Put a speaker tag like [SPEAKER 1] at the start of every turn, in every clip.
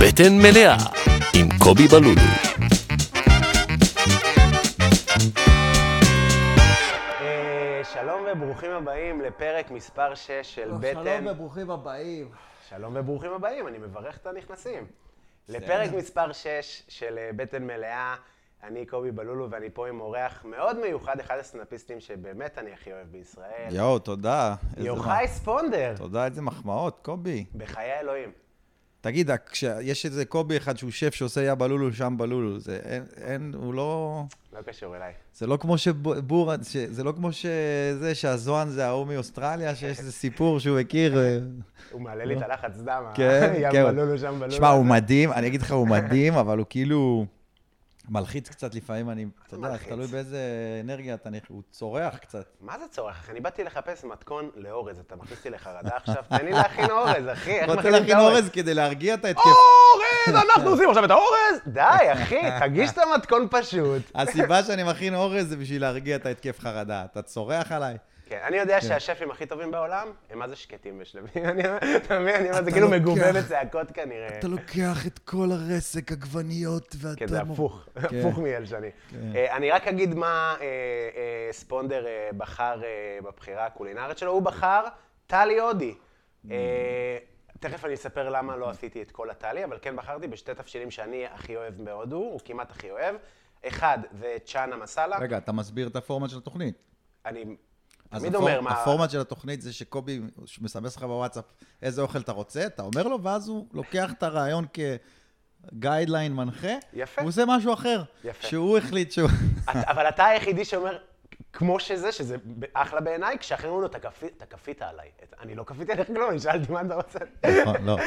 [SPEAKER 1] בטן מלאה עם קובי בלולו.
[SPEAKER 2] אה, שלום וברוכים הבאים לפרק מספר 6 של בטן.
[SPEAKER 3] אה, שלום וברוכים הבאים.
[SPEAKER 2] שלום וברוכים הבאים, אני מברך את הנכנסים. לפרק מספר 6 של אה, בטן מלאה, אני קובי בלולו ואני פה עם אורח מאוד מיוחד, אחד הסנאפיסטים שבאמת אני הכי אוהב בישראל.
[SPEAKER 4] יואו, תודה. איזה
[SPEAKER 2] יוחאי ספונדר,
[SPEAKER 4] מח- תודה, איזה מחמאות, קובי.
[SPEAKER 2] בחיי אלוהים.
[SPEAKER 4] תגיד, אה, כש- יש איזה קובי אחד שהוא שף שעושה יא בלולו, שם בלולו. זה אין, אין, הוא לא...
[SPEAKER 2] לא קשור אליי.
[SPEAKER 4] זה לא כמו שבור... ש... זה לא כמו שזה שהזוהן זה ההוא מאוסטרליה, שיש איזה סיפור שהוא הכיר. אה,
[SPEAKER 2] הוא מעלה לי את הלחץ דם, ה-
[SPEAKER 4] כן,
[SPEAKER 2] ים
[SPEAKER 4] כן.
[SPEAKER 2] בלולו, שם בלולו.
[SPEAKER 4] שמע, הוא מדהים, אני אגיד לך, הוא מדהים, אבל הוא כאילו... מלחיץ קצת לפעמים, אני, אתה יודע,
[SPEAKER 2] מלחיץ?
[SPEAKER 4] תלוי באיזה אנרגיה אתה נכ... הוא צורח קצת.
[SPEAKER 2] מה זה צורך? אחי? אני באתי לחפש מתכון לאורז, אתה מכניס לי לחרדה עכשיו? תן לי להכין אורז, אחי, איך
[SPEAKER 4] רוצה
[SPEAKER 2] מכינים את
[SPEAKER 4] להכין
[SPEAKER 2] האורז?
[SPEAKER 4] אורז כדי להרגיע את ההתקף.
[SPEAKER 2] אורז, אנחנו עושים עכשיו את האורז! די, אחי, תגיש את המתכון פשוט.
[SPEAKER 4] הסיבה שאני מכין אורז זה בשביל להרגיע את ההתקף חרדה. אתה צורח עליי.
[SPEAKER 2] כן, אני יודע שהשפים הכי טובים בעולם, הם מה זה שקטים ושלווים. אני אומר, אתה מבין? אני אומר, זה
[SPEAKER 4] אתה
[SPEAKER 2] כאילו
[SPEAKER 4] לוקח-
[SPEAKER 2] מגובה בצעקות כנראה.
[SPEAKER 4] אתה לא- לוקח את כל הרסק, עגבניות, ואתה...
[SPEAKER 2] כן, זה הפוך,
[SPEAKER 4] כן.
[SPEAKER 2] הפוך מאלשני. אה, אני רק אגיד מה אה, אה, ספונדר אה, בחר אה, בבחירה הקולינרית שלו. הוא בחר טלי הודי.
[SPEAKER 4] Mm.
[SPEAKER 2] אה, תכף אני אספר למה לא עשיתי את כל הטלי, אבל כן בחרתי בשתי תבשילים שאני הכי אוהב בהודו, הוא כמעט הכי אוהב. אחד זה צ'אנה מסאלה.
[SPEAKER 4] רגע, אתה מסביר את הפורמט של התוכנית.
[SPEAKER 2] אני
[SPEAKER 4] אז
[SPEAKER 2] תמיד
[SPEAKER 4] הפור-
[SPEAKER 2] אומר מה...
[SPEAKER 4] הפורמט של התוכנית זה שקובי מסמס לך בוואטסאפ איזה אוכל אתה רוצה, אתה אומר לו, ואז הוא לוקח את הרעיון כגיידליין מנחה.
[SPEAKER 2] יפה.
[SPEAKER 4] הוא עושה משהו אחר.
[SPEAKER 2] יפה.
[SPEAKER 4] שהוא החליט שהוא...
[SPEAKER 2] את- אבל אתה היחידי שאומר, כמו שזה, שזה ב- אחלה בעיניי, כשאחרים אומרים לו, "אתה כפי- אתה כפית עליי. את- אני לא כפיתי עליך כלום, אני שאלתי מה אתה רוצה.
[SPEAKER 4] נכון, לא,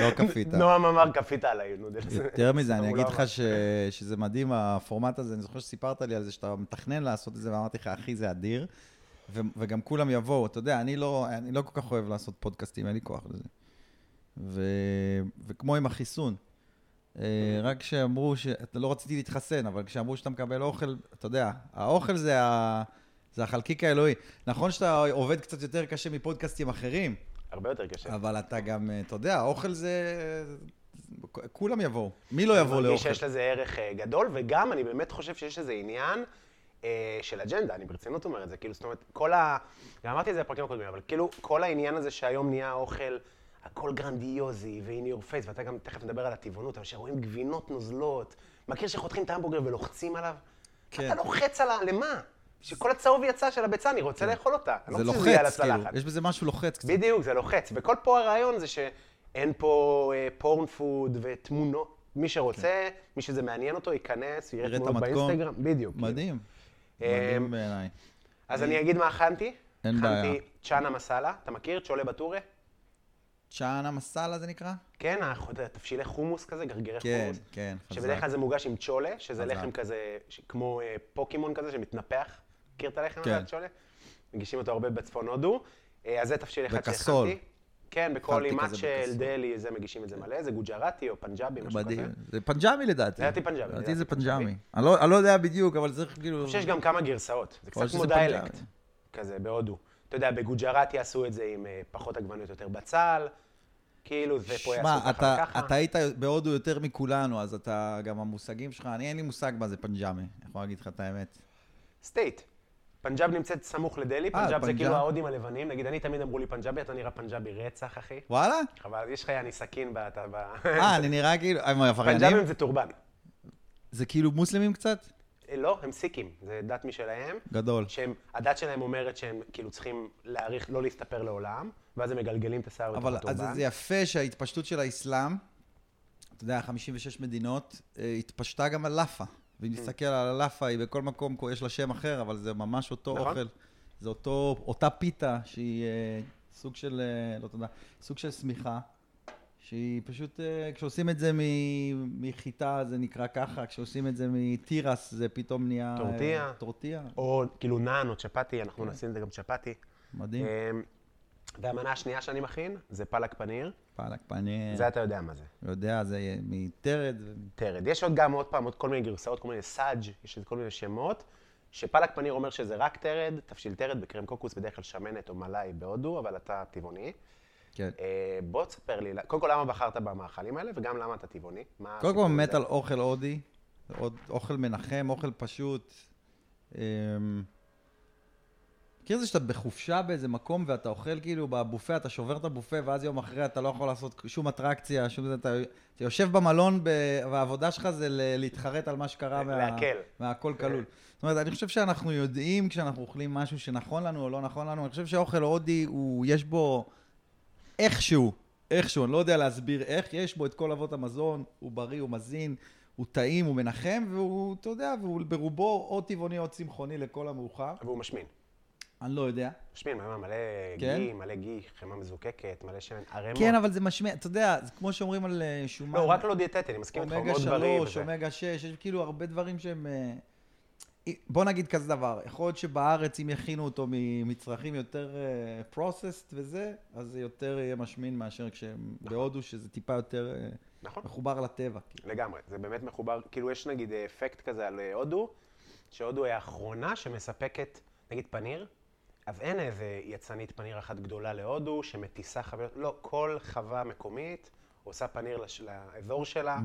[SPEAKER 4] לא כפית. כן.
[SPEAKER 2] נועם אמר, כפית עליי, נודלס.
[SPEAKER 4] יותר מזה, אני
[SPEAKER 2] הוא
[SPEAKER 4] אגיד
[SPEAKER 2] לא
[SPEAKER 4] לך ש... שזה מדהים, הפורמט הזה, אני זוכר שסיפרת לי על זה, שאתה מתכנן לעשות את זה, ואמרתי לך, אחי, זה אדיר. ו... וגם כולם יבואו, אתה יודע, אני לא, אני לא כל כך אוהב לעשות פודקאסטים, אין לי כוח לזה. ו... וכמו עם החיסון, אה, רק כשאמרו ש... אתה- לא רציתי להתחסן, אבל כשאמרו שאתה מקבל אוכל, אתה יודע, האוכל זה, ה... זה החלקיק האלוהי. נכון שאתה עובד קצת יותר קשה מפודקאסטים אחרים,
[SPEAKER 2] הרבה יותר קשה.
[SPEAKER 4] אבל אתה גם, אה, אתה יודע, האוכל זה... אה, כולם יבואו. מי לא יבוא
[SPEAKER 2] אני מרגיש
[SPEAKER 4] לאוכל?
[SPEAKER 2] שיש לזה ערך אה, גדול, וגם אני באמת חושב שיש לזה עניין אה, של אג'נדה, אני ברצינות אומר את זה, כאילו, זאת אומרת, כל ה... גם אמרתי את זה בפרקים הקודמים, אבל כאילו, כל העניין הזה שהיום נהיה האוכל, הכל גרנדיוזי, ו-in your face, ואתה גם תכף נדבר על הטבעונות, אבל שרואים גבינות נוזלות, מכיר שחותכים את ההמבורגר ולוחצים עליו?
[SPEAKER 4] כן.
[SPEAKER 2] אתה לוחץ על ה... למה? שכל הצהוב יצא של הביצה, אני רוצה לאכול אותה. אני לא
[SPEAKER 4] כן. זה
[SPEAKER 2] רוצה שזה יהיה על
[SPEAKER 4] לוחץ, כאילו.
[SPEAKER 2] הצלחת.
[SPEAKER 4] יש בזה משהו לוחץ קצת.
[SPEAKER 2] בדיוק, זה לוחץ. וכל פה הרעיון זה שאין פה אה, פורן פוד ותמונות. מי שרוצה, מי שזה מעניין אותו, ייכנס, יראה
[SPEAKER 4] כן. יראה את
[SPEAKER 2] תמונות
[SPEAKER 4] המתכון.
[SPEAKER 2] באינסטגרם. בדיוק.
[SPEAKER 4] מדהים.
[SPEAKER 2] אמ,
[SPEAKER 4] מדהים בעיניי.
[SPEAKER 2] אז אני אגיד מה הכנתי.
[SPEAKER 4] אין בעיה.
[SPEAKER 2] הכנתי צ'אנה מסאלה, אתה מכיר? צ'ולה בטורה?
[SPEAKER 4] צ'אנה מסאלה זה נקרא?
[SPEAKER 2] כן, אנחנו- אתה יודע, תבשילי חומוס כזה, גרגירי
[SPEAKER 4] כן,
[SPEAKER 2] חומוס.
[SPEAKER 4] כן, חזק.
[SPEAKER 2] שבדרך כלל זה מוגש עם צ'ולה, שזה
[SPEAKER 4] חזק.
[SPEAKER 2] לחם כזה, ש- כמו אה, פוקימון כזה שמתנפח. מכיר את הלחם הזה,
[SPEAKER 4] כן.
[SPEAKER 2] הצ'ולה? מגישים אותו הרבה בצפון הודו. אה, אז זה תבשיל אחד שהכנתי.
[SPEAKER 4] בקסול.
[SPEAKER 2] כן, בכל
[SPEAKER 4] אכלתי
[SPEAKER 2] אימת
[SPEAKER 4] כזה
[SPEAKER 2] של
[SPEAKER 4] בקסול.
[SPEAKER 2] דלי, זה מגישים את זה מלא, זה גוג'רטי או פנג'אבי, משהו כזה.
[SPEAKER 4] מדהים. זה פנג'מי לדעתי.
[SPEAKER 2] לדעתי פנג'מי,
[SPEAKER 4] לדעתי
[SPEAKER 2] לדעתי
[SPEAKER 4] זה
[SPEAKER 2] פנג'מי.
[SPEAKER 4] פנג'מי. אני לא אני לא יודע בדיוק, אבל צריך כאילו...
[SPEAKER 2] אני חושב שיש גם כמה גרסאות, זה
[SPEAKER 4] יכול
[SPEAKER 2] קצת
[SPEAKER 4] להיות
[SPEAKER 2] כמו
[SPEAKER 4] שזה פנג'אבי.
[SPEAKER 2] דיאלקט, כזה, בהודו. אתה יודע, בגוג'רט יעשו את זה עם אה, פחות עגבניות, יותר בצל, כאילו, זה פה יעשו
[SPEAKER 4] שמע,
[SPEAKER 2] ככה
[SPEAKER 4] אתה-
[SPEAKER 2] וככה.
[SPEAKER 4] אתה היית בהודו יותר מכולנו, אז אתה, גם המושגים שלך, אני אין לי מושג מה זה פנג'מי, אני יכול להגיד לך את האמת.
[SPEAKER 2] סטייט. פנג'אב נמצאת סמוך לדלהי, פנג'אב זה
[SPEAKER 4] אה, פנג'אב.
[SPEAKER 2] כאילו ההודים הלבנים, נגיד, אני תמיד אמרו לי פנג'אבי, אתה נראה פנג'אבי רצח, אחי.
[SPEAKER 4] וואלה?
[SPEAKER 2] חבל, יש לך יעני סכין ב... אתה ב...
[SPEAKER 4] אה, אני נראה כאילו... הם עבריינים?
[SPEAKER 2] פנג'אבים זה טורבן.
[SPEAKER 4] זה כאילו מוסלמים קצת?
[SPEAKER 2] אה, לא, הם סיקים, זה דת משלהם.
[SPEAKER 4] גדול.
[SPEAKER 2] שהם, הדת שלהם אומרת שהם כאילו צריכים להעריך, לא להסתפר לעולם, ואז הם מגלגלים את השיער בתוך
[SPEAKER 4] אבל
[SPEAKER 2] הטורבן.
[SPEAKER 4] אז זה יפה שההתפשטות של האסלאם, אתה יודע, 56 מדינות, אה, התפשטה גם על לאפה.
[SPEAKER 2] Mm.
[SPEAKER 4] ואם נסתכל על הלאפה, היא בכל מקום, יש לה שם אחר, אבל זה ממש אותו
[SPEAKER 2] נכון.
[SPEAKER 4] אוכל. זה אותו, אותה פיתה שהיא אה, סוג של, אה, לא תודה, סוג של שמיכה, שהיא פשוט, אה, כשעושים את זה מ- מחיטה זה נקרא ככה, כשעושים את זה מתירס זה פתאום נהיה... אה,
[SPEAKER 2] טורטיה.
[SPEAKER 4] טורטיה,
[SPEAKER 2] או כאילו נען או צ'פטי, אנחנו
[SPEAKER 4] כן.
[SPEAKER 2] נשים את זה גם צ'פטי.
[SPEAKER 4] מדהים.
[SPEAKER 2] אמ, והמנה השנייה שאני מכין זה פלק פניר,
[SPEAKER 4] פאלק פניר,
[SPEAKER 2] זה אתה יודע מה זה,
[SPEAKER 4] יודע, זה מטרד. ו-
[SPEAKER 2] טרד. יש עוד גם עוד פעם, עוד כל מיני גרסאות, כל מיני סאג', יש עוד כל מיני שמות, שפלק פניר אומר שזה רק טרד, תבשיל טרד בקרם קוקוס, בדרך כלל שמנת או מלאי בהודו, אבל אתה טבעוני.
[SPEAKER 4] כן.
[SPEAKER 2] אה, בוא תספר לי, קודם כל למה בחרת במאכלים האלה, וגם למה אתה טבעוני. מה
[SPEAKER 4] קודם כל
[SPEAKER 2] הסיפור
[SPEAKER 4] מת
[SPEAKER 2] הזה?
[SPEAKER 4] על אוכל הודי, עוד- אוכל מנחם, אוכל פשוט. אמ, מכיר זה שאתה בחופשה באיזה מקום ואתה אוכל כאילו בבופה, אתה שובר את הבופה ואז יום אחרי אתה לא יכול לעשות שום אטרקציה, שום זה, אתה, אתה יושב במלון ב... והעבודה שלך זה ל... להתחרט על מה שקרה
[SPEAKER 2] להקל.
[SPEAKER 4] מהכל
[SPEAKER 2] כן.
[SPEAKER 4] כלול. זאת אומרת, אני חושב שאנחנו יודעים כשאנחנו אוכלים משהו שנכון לנו או לא נכון לנו, אני חושב שהאוכל ההודי הוא, יש בו איכשהו, איכשהו, אני לא יודע להסביר איך, יש בו את כל אבות המזון, הוא בריא, הוא מזין, הוא טעים, הוא מנחם, והוא, אתה יודע, והוא ברובו או טבעוני או צמחוני לכל המאוחר,
[SPEAKER 2] והוא משמין.
[SPEAKER 4] אני לא יודע.
[SPEAKER 2] משמין, מלא מלא
[SPEAKER 4] כן?
[SPEAKER 2] גי, מלא גי, חמאה מזוקקת, מלא שמן, ערימות.
[SPEAKER 4] כן, אבל זה משמע, אתה יודע, זה כמו שאומרים על אה, שומן.
[SPEAKER 2] לא, הוא רק לא דיאטטי, אני מסכים איתך, הוא
[SPEAKER 4] אומגה
[SPEAKER 2] מאוד בריא.
[SPEAKER 4] שלוש,
[SPEAKER 2] וזה.
[SPEAKER 4] אומגה שש, יש כאילו הרבה דברים שהם... אה, בוא נגיד כזה דבר, יכול להיות שבארץ אם יכינו אותו ממצרכים יותר אה, processed וזה, אז זה יותר יהיה משמין מאשר כשהם בהודו, שזה טיפה יותר אה,
[SPEAKER 2] נכון.
[SPEAKER 4] מחובר לטבע. כאילו.
[SPEAKER 2] לגמרי, זה באמת מחובר, כאילו יש נגיד אה, אפקט כזה על אה, הודו, שהודו היא האחרונה שמספקת, נגיד פניר, אז אין איזה יצנית פניר אחת גדולה להודו שמטיסה חבילות, לא, כל חווה מקומית עושה פניר לש... לאזור שלה.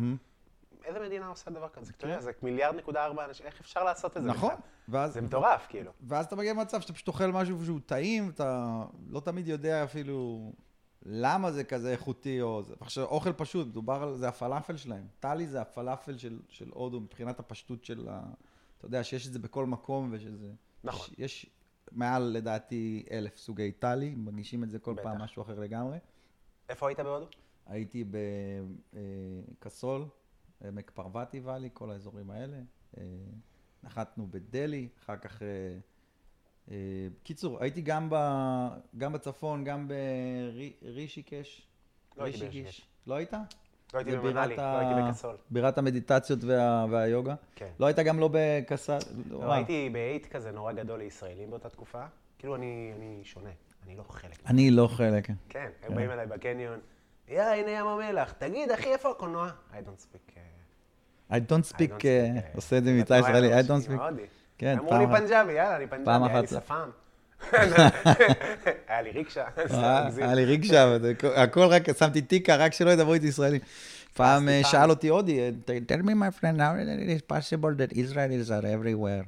[SPEAKER 2] איזה מדינה עושה דבר כזה? אתה יודע, זה מיליארד נקודה ארבע אנשים, איך אפשר לעשות את זה?
[SPEAKER 4] כן. נכון,
[SPEAKER 2] בכלל?
[SPEAKER 4] ואז,
[SPEAKER 2] זה מטורף, כאילו.
[SPEAKER 4] ואז אתה מגיע למצב שאתה פשוט אוכל משהו שהוא טעים, אתה לא תמיד יודע אפילו למה זה כזה איכותי או זה. עכשיו, אוכל פשוט, דובר על זה הפלאפל שלהם. טלי זה הפלאפל של, של הודו מבחינת הפשטות של ה... אתה יודע, שיש את זה בכל מקום ושזה...
[SPEAKER 2] נכון.
[SPEAKER 4] יש, יש מעל, לדעתי, אלף סוגי טלי, מרגישים את זה כל
[SPEAKER 2] בטח.
[SPEAKER 4] פעם משהו אחר לגמרי.
[SPEAKER 2] איפה היית בהודו?
[SPEAKER 4] הייתי בקסול, עמק פרווטי ואלי, כל האזורים האלה. אה, נחתנו בדלהי, אחר כך... אה, אה, בקיצור, הייתי גם, ב, גם בצפון, גם ברישיקש.
[SPEAKER 2] לא הייתי ברישיקש.
[SPEAKER 4] לא היית?
[SPEAKER 2] לא הייתי
[SPEAKER 4] זה בירת
[SPEAKER 2] במנאלי, לא הייתי בקסול.
[SPEAKER 4] בירת המדיטציות וה, והיוגה.
[SPEAKER 2] כן.
[SPEAKER 4] לא היית גם לא בקסל?
[SPEAKER 2] לא, הייתי באייט כזה נורא גדול לישראלים באותה תקופה. כאילו, אני אני שונה, אני לא חלק
[SPEAKER 4] אני לא חלק.
[SPEAKER 2] כן, הם באים אליי בקניון, יא, הנה ים המלח, תגיד, אחי, איפה הקולנוע? I don't speak... אה,
[SPEAKER 4] I don't
[SPEAKER 2] I
[SPEAKER 4] speak,
[SPEAKER 2] don't
[SPEAKER 4] uh,
[SPEAKER 2] speak, אה,
[SPEAKER 4] עושה את זה
[SPEAKER 2] בתנועה
[SPEAKER 4] מבצע ישראלי, I don't
[SPEAKER 2] האנושית,
[SPEAKER 4] speak.
[SPEAKER 2] מאוד.
[SPEAKER 4] כן,
[SPEAKER 2] אמרו
[SPEAKER 4] פעם
[SPEAKER 2] לי
[SPEAKER 4] אחת.
[SPEAKER 2] פנג'בי, יאללה, אני פנג'בי,
[SPEAKER 4] פעם
[SPEAKER 2] היה לי
[SPEAKER 4] אחת לא. זה.
[SPEAKER 2] שפם. היה לי ריקשה, זה
[SPEAKER 4] אה,
[SPEAKER 2] מגזים.
[SPEAKER 4] היה לי רגשה, וזה כל- הכל רק, שמתי תיקה, רק שלא ידברו איתי ישראלים. פעם אה,
[SPEAKER 2] פעם.
[SPEAKER 4] שאל אותי הודי, tell me my friend, how it is possible that Israelis are everywhere.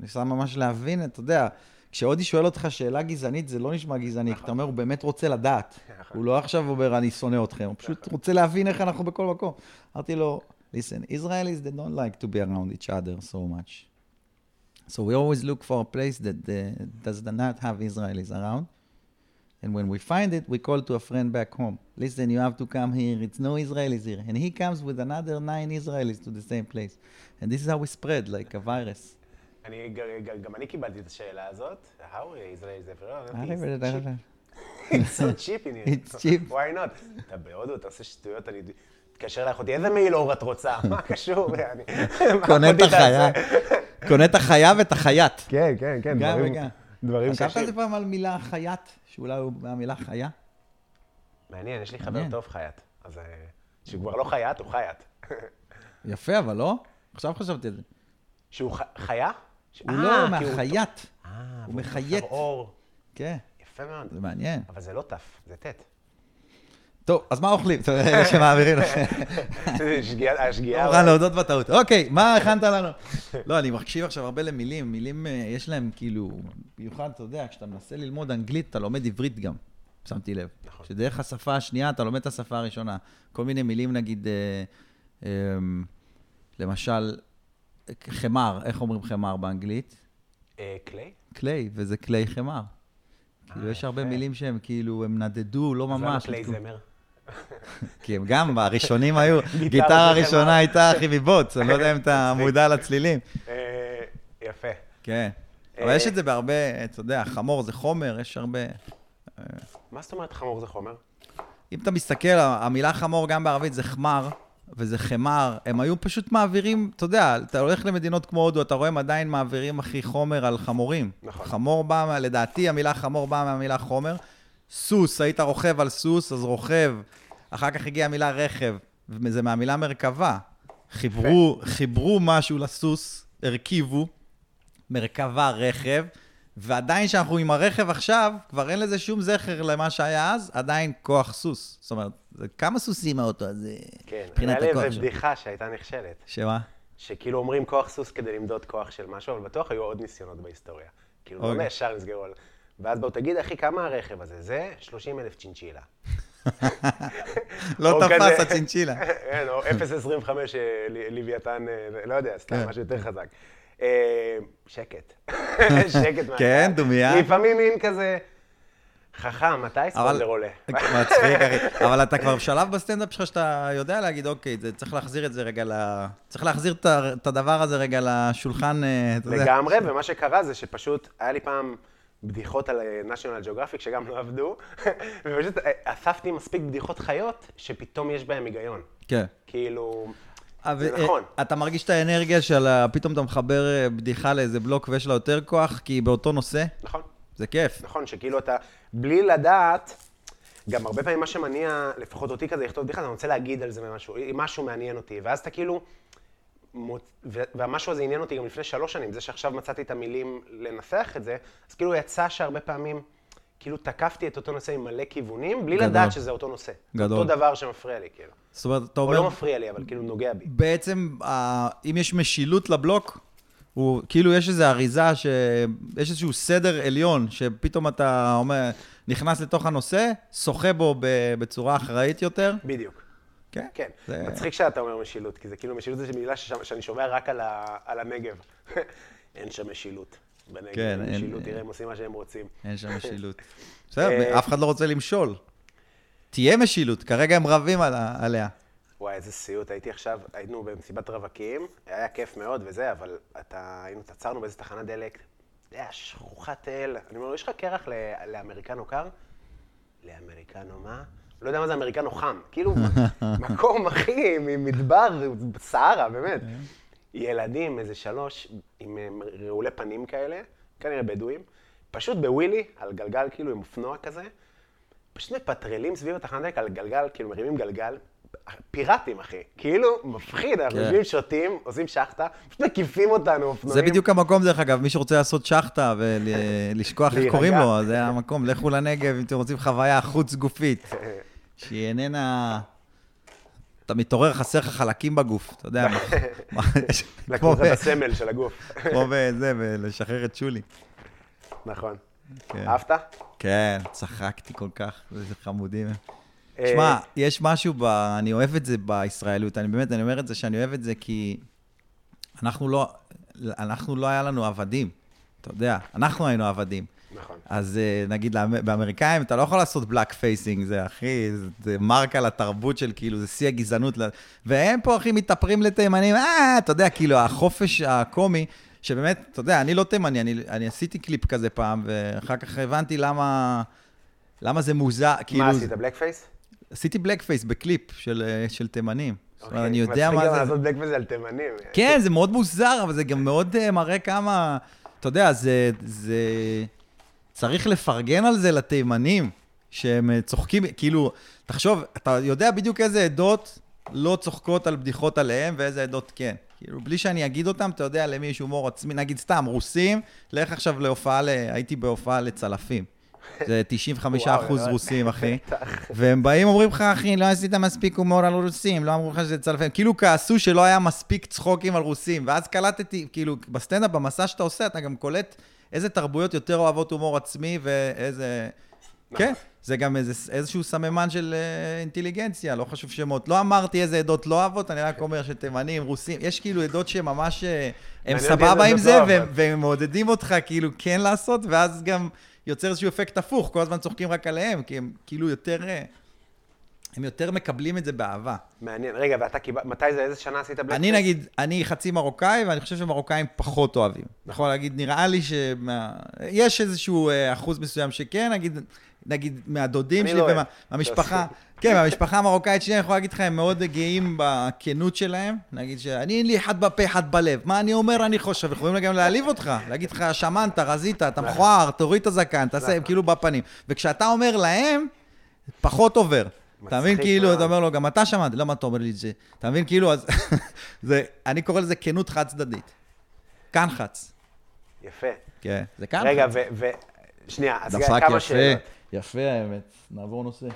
[SPEAKER 4] ניסה ממש להבין, אתה יודע, כשהודי שואל אותך שאלה גזענית, זה לא נשמע גזעני, כי אתה אומר, הוא באמת רוצה לדעת.
[SPEAKER 2] נכון.
[SPEAKER 4] הוא לא עכשיו אומר, אני שונא אתכם, הוא פשוט רוצה להבין איך אנחנו בכל מקום. אמרתי לו, listen, Israelis, they don't like to be around each other so much. So we always look for a place that uh, does not have Israelis around. And when we find it, we call to a friend back home. Listen, you have to come here. It's no Israelis here. And he comes with another nine Israelis to the same place. And this is how we spread, like a virus.
[SPEAKER 2] אני, ג- ג- גם אני קיבלתי את השאלה הזאת, how Israel is everywhere, אמרתי, "It's cheap."
[SPEAKER 4] כן,
[SPEAKER 2] It's so cheap in here.
[SPEAKER 4] אה, It's cheap.
[SPEAKER 2] Why not? אתה בהודו, אתה עושה שטויות, אני... תתקשר לאחותי, איזה מעיל אור את רוצה? מה קשור? אני- מה
[SPEAKER 4] קונה את
[SPEAKER 2] אחותי
[SPEAKER 4] החיה.
[SPEAKER 2] תעשה?
[SPEAKER 4] קונה את החיה ואת החייט.
[SPEAKER 2] כן, כן, כן,
[SPEAKER 4] גם
[SPEAKER 2] דברים-
[SPEAKER 4] וגם.
[SPEAKER 2] דברים
[SPEAKER 4] חשבת על
[SPEAKER 2] קשים.
[SPEAKER 4] זה פעם על מילה חייט? שאולי הוא מהמילה חיה?
[SPEAKER 2] מעניין, יש לי חבר
[SPEAKER 4] מעניין.
[SPEAKER 2] טוב חייט. אז אה, שהוא כבר לא חייט, הוא חייט.
[SPEAKER 4] יפה, אבל לא? עכשיו חשבתי על זה.
[SPEAKER 2] שהוא ח- חיה? ש-
[SPEAKER 4] הוא
[SPEAKER 2] אה,
[SPEAKER 4] לא
[SPEAKER 2] כי הוא-
[SPEAKER 4] מהחייט.
[SPEAKER 2] אה,
[SPEAKER 4] הוא
[SPEAKER 2] והוא
[SPEAKER 4] מחיית.
[SPEAKER 2] עכשיו אור.
[SPEAKER 4] כן,
[SPEAKER 2] יפה מאוד.
[SPEAKER 4] זה מעניין.
[SPEAKER 2] אבל זה לא תף, זה טט.
[SPEAKER 4] טוב, אז מה אוכלים? אתה יודע, שמעבירים לכם.
[SPEAKER 2] זה שגיאה, השגיאה.
[SPEAKER 4] מוכן להודות בטעות. אוקיי, מה הכנת לנו? לא, אני מקשיב עכשיו הרבה למילים. מילים, אה, יש להם כאילו, במיוחד, אתה יודע, כשאתה מנסה ללמוד אנגלית, אתה לומד עברית גם, שמתי לב.
[SPEAKER 2] נכון.
[SPEAKER 4] שדרך השפה השנייה, אתה לומד את השפה הראשונה. כל מיני מילים, נגיד, אה, אה, למשל, חמר, איך אומרים חמר באנגלית?
[SPEAKER 2] אה, קליי?
[SPEAKER 4] קליי, וזה קליי חמר. כאילו, יש הרבה מילים שהם כאילו, הם נדדו, לא
[SPEAKER 2] אה, אז למה
[SPEAKER 4] ממש.
[SPEAKER 2] קליי
[SPEAKER 4] נדדו.
[SPEAKER 2] זמר.
[SPEAKER 4] כי הם גם, הראשונים היו, גיטרה הראשונה הייתה אחי מבוץ, אני לא יודע אם אתה מודע לצלילים.
[SPEAKER 2] אה, יפה.
[SPEAKER 4] כן.
[SPEAKER 2] אה.
[SPEAKER 4] אבל יש את זה בהרבה, אתה יודע, חמור זה חומר, יש הרבה...
[SPEAKER 2] מה זאת אומרת חמור זה חומר?
[SPEAKER 4] אם אתה מסתכל, המילה חמור גם בערבית זה חמר, וזה חמר, הם היו פשוט מעבירים, אתה יודע, אתה הולך למדינות כמו הודו, אתה רואה הם עדיין מעבירים הכי חומר על חמורים.
[SPEAKER 2] נכון.
[SPEAKER 4] חמור בא, מה- לדעתי המילה חמור באה מהמילה חומר. סוס, היית רוכב על סוס, אז רוכב. אחר כך הגיעה המילה רכב, זה מהמילה מרכבה. חיברו, חיברו משהו לסוס, הרכיבו, מרכבה, רכב, ועדיין שאנחנו עם הרכב עכשיו, כבר אין לזה שום זכר למה שהיה אז, עדיין כוח סוס. זאת אומרת, זה כמה סוסים האוטו הזה,
[SPEAKER 2] כן,
[SPEAKER 4] מבחינת
[SPEAKER 2] היה לי
[SPEAKER 4] הכוח
[SPEAKER 2] איזה
[SPEAKER 4] שלו.
[SPEAKER 2] בדיחה שהייתה נכשלת,
[SPEAKER 4] שמה?
[SPEAKER 2] שכאילו אומרים כוח סוס כדי למדוד כוח של משהו, אבל בטוח היו עוד ניסיונות בהיסטוריה. כאילו, לא
[SPEAKER 4] אוקיי.
[SPEAKER 2] ישר נסגרו על... ואז באו, תגיד, אחי, כמה הרכב הזה? זה 30 אלף צ'ינצ'ילה.
[SPEAKER 4] לא
[SPEAKER 2] או
[SPEAKER 4] תפס
[SPEAKER 2] כזה.
[SPEAKER 4] הצ'ינצ'ילה.
[SPEAKER 2] כן, או 0.25 אה, ל- לוויתן, אה, לא יודע, סתם,
[SPEAKER 4] כן.
[SPEAKER 2] משהו יותר חזק. אה, שקט. שקט מהקהל.
[SPEAKER 4] כן, דומייה.
[SPEAKER 2] לפעמים מין כזה, חכם, מתי ספונדר עולה?
[SPEAKER 4] מצחיק, אחי. אבל אתה כבר בשלב בסטנדאפ שלך שאתה יודע להגיד, אוקיי, זה- צריך להחזיר את זה רגע ל... צריך להחזיר את ה- את הדבר הזה רגע לשולחן, אה, אתה יודע.
[SPEAKER 2] לגמרי, ומה שקרה זה שפשוט, היה לי פעם בדיחות על אה, national geographic שגם לא עבדו, ופשוט אה, אספתי מספיק בדיחות חיות, שפתאום יש בהן היגיון.
[SPEAKER 4] כן.
[SPEAKER 2] כאילו,
[SPEAKER 4] אבל,
[SPEAKER 2] זה נכון.
[SPEAKER 4] אה, אתה מרגיש את האנרגיה של ה... פתאום אתה מחבר אה, בדיחה לאיזה בלוק ויש לה יותר כוח, כי היא באותו נושא?
[SPEAKER 2] נכון.
[SPEAKER 4] זה כיף.
[SPEAKER 2] נכון, שכאילו אתה, בלי לדעת, גם הרבה פעמים מה שמניע, לפחות אותי כזה, לכתוב בדיחה, אני רוצה להגיד על זה משהו, משהו מעניין אותי, ואז אתה כאילו, מוצ... ו- והמשהו הזה עניין אותי גם לפני שלוש שנים, זה שעכשיו מצאתי את המילים לנסח את זה, אז כאילו יצא שהרבה פעמים, כאילו תקפתי את אותו נושא עם מלא כיוונים, בלי
[SPEAKER 4] גדול.
[SPEAKER 2] גדול. לדעת שזה אותו נושא.
[SPEAKER 4] גדול.
[SPEAKER 2] אותו דבר שמפריע לי, כאילו.
[SPEAKER 4] זאת אומרת, אתה
[SPEAKER 2] או
[SPEAKER 4] אומר...
[SPEAKER 2] לא מפריע לי, אבל כאילו נוגע בי.
[SPEAKER 4] בעצם, ה- אם יש משילות לבלוק, הוא כאילו יש איזו אריזה, ש... יש איזשהו סדר עליון, שפתאום אתה אומר, נכנס לתוך הנושא, שוחה בו ב- בצורה אחראית יותר.
[SPEAKER 2] בדיוק.
[SPEAKER 4] כן.
[SPEAKER 2] כן.
[SPEAKER 4] זה...
[SPEAKER 2] מצחיק שאתה אומר משילות, כי זה כאילו משילות זה מילה ששם- שאני שומע רק על ה- על הנגב. אין שם משילות. בנגב
[SPEAKER 4] כן,
[SPEAKER 2] אין
[SPEAKER 4] אין-
[SPEAKER 2] משילות, תראה, הם עושים מה שהם רוצים.
[SPEAKER 4] אין שם משילות. בסדר,
[SPEAKER 2] אה,
[SPEAKER 4] אף אחד לא רוצה למשול. תהיה משילות, כרגע הם רבים על ה- עליה.
[SPEAKER 2] וואי, איזה סיוט, הייתי עכשיו, היינו במסיבת רווקים, היה כיף מאוד וזה, אבל אתה, היינו, עצרנו באיזה תחנת דלק, זה היה שכוחת אל. אני אומר לו, יש לך קרח ל- לאמריקנו קר? לאמריקנו מה? לא יודע מה זה אמריקנו חם. כאילו, מקום, אחי, ממדבר, סהרה, באמת.
[SPEAKER 4] כן.
[SPEAKER 2] ילדים, איזה שלוש, עם אה, רעולי פנים כאלה, כנראה בדואים, פשוט בווילי, על גלגל, כאילו, עם אופנוע כזה, פשוט מפטרלים סביב התחנת דלק על גלגל, כאילו מרימים גלגל, פיראטים אחי, כאילו מפחיד, אנחנו
[SPEAKER 4] כן.
[SPEAKER 2] יושבים שותים, עושים שחטה, פשוט מקיפים אותנו אופנועים.
[SPEAKER 4] זה בדיוק המקום, דרך אגב, מי שרוצה לעשות שחטה ולשכוח איך
[SPEAKER 2] להירגע.
[SPEAKER 4] קוראים לו, זה המקום. לכו לנגב אם אתם רוצים חוויה חוץ גופית, שהיא איננה... אתה מתעורר, חסר לך חלקים בגוף, אתה יודע. מה- מה-
[SPEAKER 2] לקחו
[SPEAKER 4] כמו
[SPEAKER 2] לך
[SPEAKER 4] ב-
[SPEAKER 2] את הסמל של הגוף.
[SPEAKER 4] כמו בזה, ולשחרר את שולי.
[SPEAKER 2] נכון.
[SPEAKER 4] כן.
[SPEAKER 2] אהבת?
[SPEAKER 4] כן, צחקתי כל כך, איזה חמודים הם.
[SPEAKER 2] אה,
[SPEAKER 4] שמע, יש משהו ב... אני אוהב את זה בישראליות, אני באמת, אני אומר את זה שאני אוהב את זה כי אנחנו לא, אנחנו לא היה לנו עבדים, אתה יודע, אנחנו היינו עבדים.
[SPEAKER 2] נכון.
[SPEAKER 4] אז אה, נגיד לאמ- באמריקאים, אתה לא יכול לעשות בלאק פייסינג, זה הכי, זה- זה מרק על התרבות של כאילו, זה שיא הגזענות. ל- והם פה הכי מתאפרים לתימנים, אה, אתה יודע, כאילו, החופש הקומי, שבאמת, אתה יודע, אני לא תימני, אני, אני עשיתי קליפ כזה פעם, ואחר כך הבנתי למה, למה זה מוזר, כאילו...
[SPEAKER 2] מה עשית, בלק פייס?
[SPEAKER 4] עשיתי בלק פייס בקליפ של, אה, של תימנים. זאת אומרת, אני יודע
[SPEAKER 2] אוקיי, מצחיק
[SPEAKER 4] מה
[SPEAKER 2] גם
[SPEAKER 4] זה.
[SPEAKER 2] לעשות בלק פייס על תימנים.
[SPEAKER 4] כן, זה מאוד מוזר, אבל זה גם מאוד אה, מראה כמה... אתה יודע, זה... זה... צריך לפרגן על זה לתימנים, שהם אה, צוחקים, כאילו, תחשוב, אתה יודע בדיוק איזה עדות לא צוחקות על בדיחות עליהם ואיזה עדות כן. כאילו, בלי שאני אגיד אותם, אתה יודע למי יש הומור עצמי, נגיד סתם, רוסים, לך עכשיו להופעה, ל... הייתי בהופעה לצלפים. זה 95 אחוז
[SPEAKER 2] וואו,
[SPEAKER 4] רוסים, אחי. והם באים, אומרים לך, אחי, לא עשית מספיק הומור על רוסים, לא אמרו לך שזה צלפים. כאילו כעסו שלא היה מספיק צחוקים על רוסים. ואז קלטתי, כאילו, בסטנדאפ, במסע שאתה עושה, אתה גם קולט איזה תרבויות יותר אוהבות הומור עצמי ואיזה...
[SPEAKER 2] נכון.
[SPEAKER 4] כן, זה גם איזה, איזשהו סממן של אה, אינטליגנציה, לא חשוב שמות. לא אמרתי איזה עדות לא אוהבות, אני
[SPEAKER 2] כן.
[SPEAKER 4] רק אומר שתימנים, רוסים, יש כאילו עדות שממש, אה, הם
[SPEAKER 2] מעניין אותי
[SPEAKER 4] סבבה
[SPEAKER 2] איזה
[SPEAKER 4] עם
[SPEAKER 2] עדות
[SPEAKER 4] זה,
[SPEAKER 2] לא
[SPEAKER 4] והם,
[SPEAKER 2] אוהבות.
[SPEAKER 4] והם מעודדים אותך כאילו כן לעשות, ואז גם יוצר איזשהו אפקט הפוך, כל הזמן צוחקים רק עליהם, כי הם כאילו יותר, אה, הם יותר מקבלים את זה באהבה.
[SPEAKER 2] מעניין. רגע, ואתה קיבלת, מתי זה, איזה שנה עשית בלק פייס?
[SPEAKER 4] אני נגיד, אני חצי מרוקאי, ואני חושב שמרוקאים פחות אוהבים. נכון, להגיד, נראה לי ש... יש איזשהו אה, אחוז מסוים שכן, נגיד, נגיד מהדודים
[SPEAKER 2] אני
[SPEAKER 4] שלי
[SPEAKER 2] לא אוהב.
[SPEAKER 4] ומהמשפחה, כן, מהמשפחה המרוקאית שלי, אני יכול להגיד לך, הם מאוד גאים בכנות שלהם. נגיד שאני, אין לי אחד בפה, אחד בלב. מה אני אומר, אני חושב, יכולים גם להעליב אותך. להגיד לך, שמנת, רזית, אתה
[SPEAKER 2] נכון.
[SPEAKER 4] מכוער, תוריד את הזקן, תעשה, הם כאילו בפנים. וכשאתה אומר להם, פחות עובר. אתה מבין,
[SPEAKER 2] מצחיק
[SPEAKER 4] כאילו,
[SPEAKER 2] מאוד.
[SPEAKER 4] אתה אומר לו, גם אתה שמעת, למה אתה אומר לי את זה? אתה מבין, כאילו, אז... זה, אני קורא לזה כנות חד-צדדית. כאן חץ.
[SPEAKER 2] יפה.
[SPEAKER 4] כן, זה כאן.
[SPEAKER 2] רגע, ו... ו- שנייה, אז
[SPEAKER 4] דפק
[SPEAKER 2] כמה שאלות.
[SPEAKER 4] יפה, יפה האמת. נעבור נושא.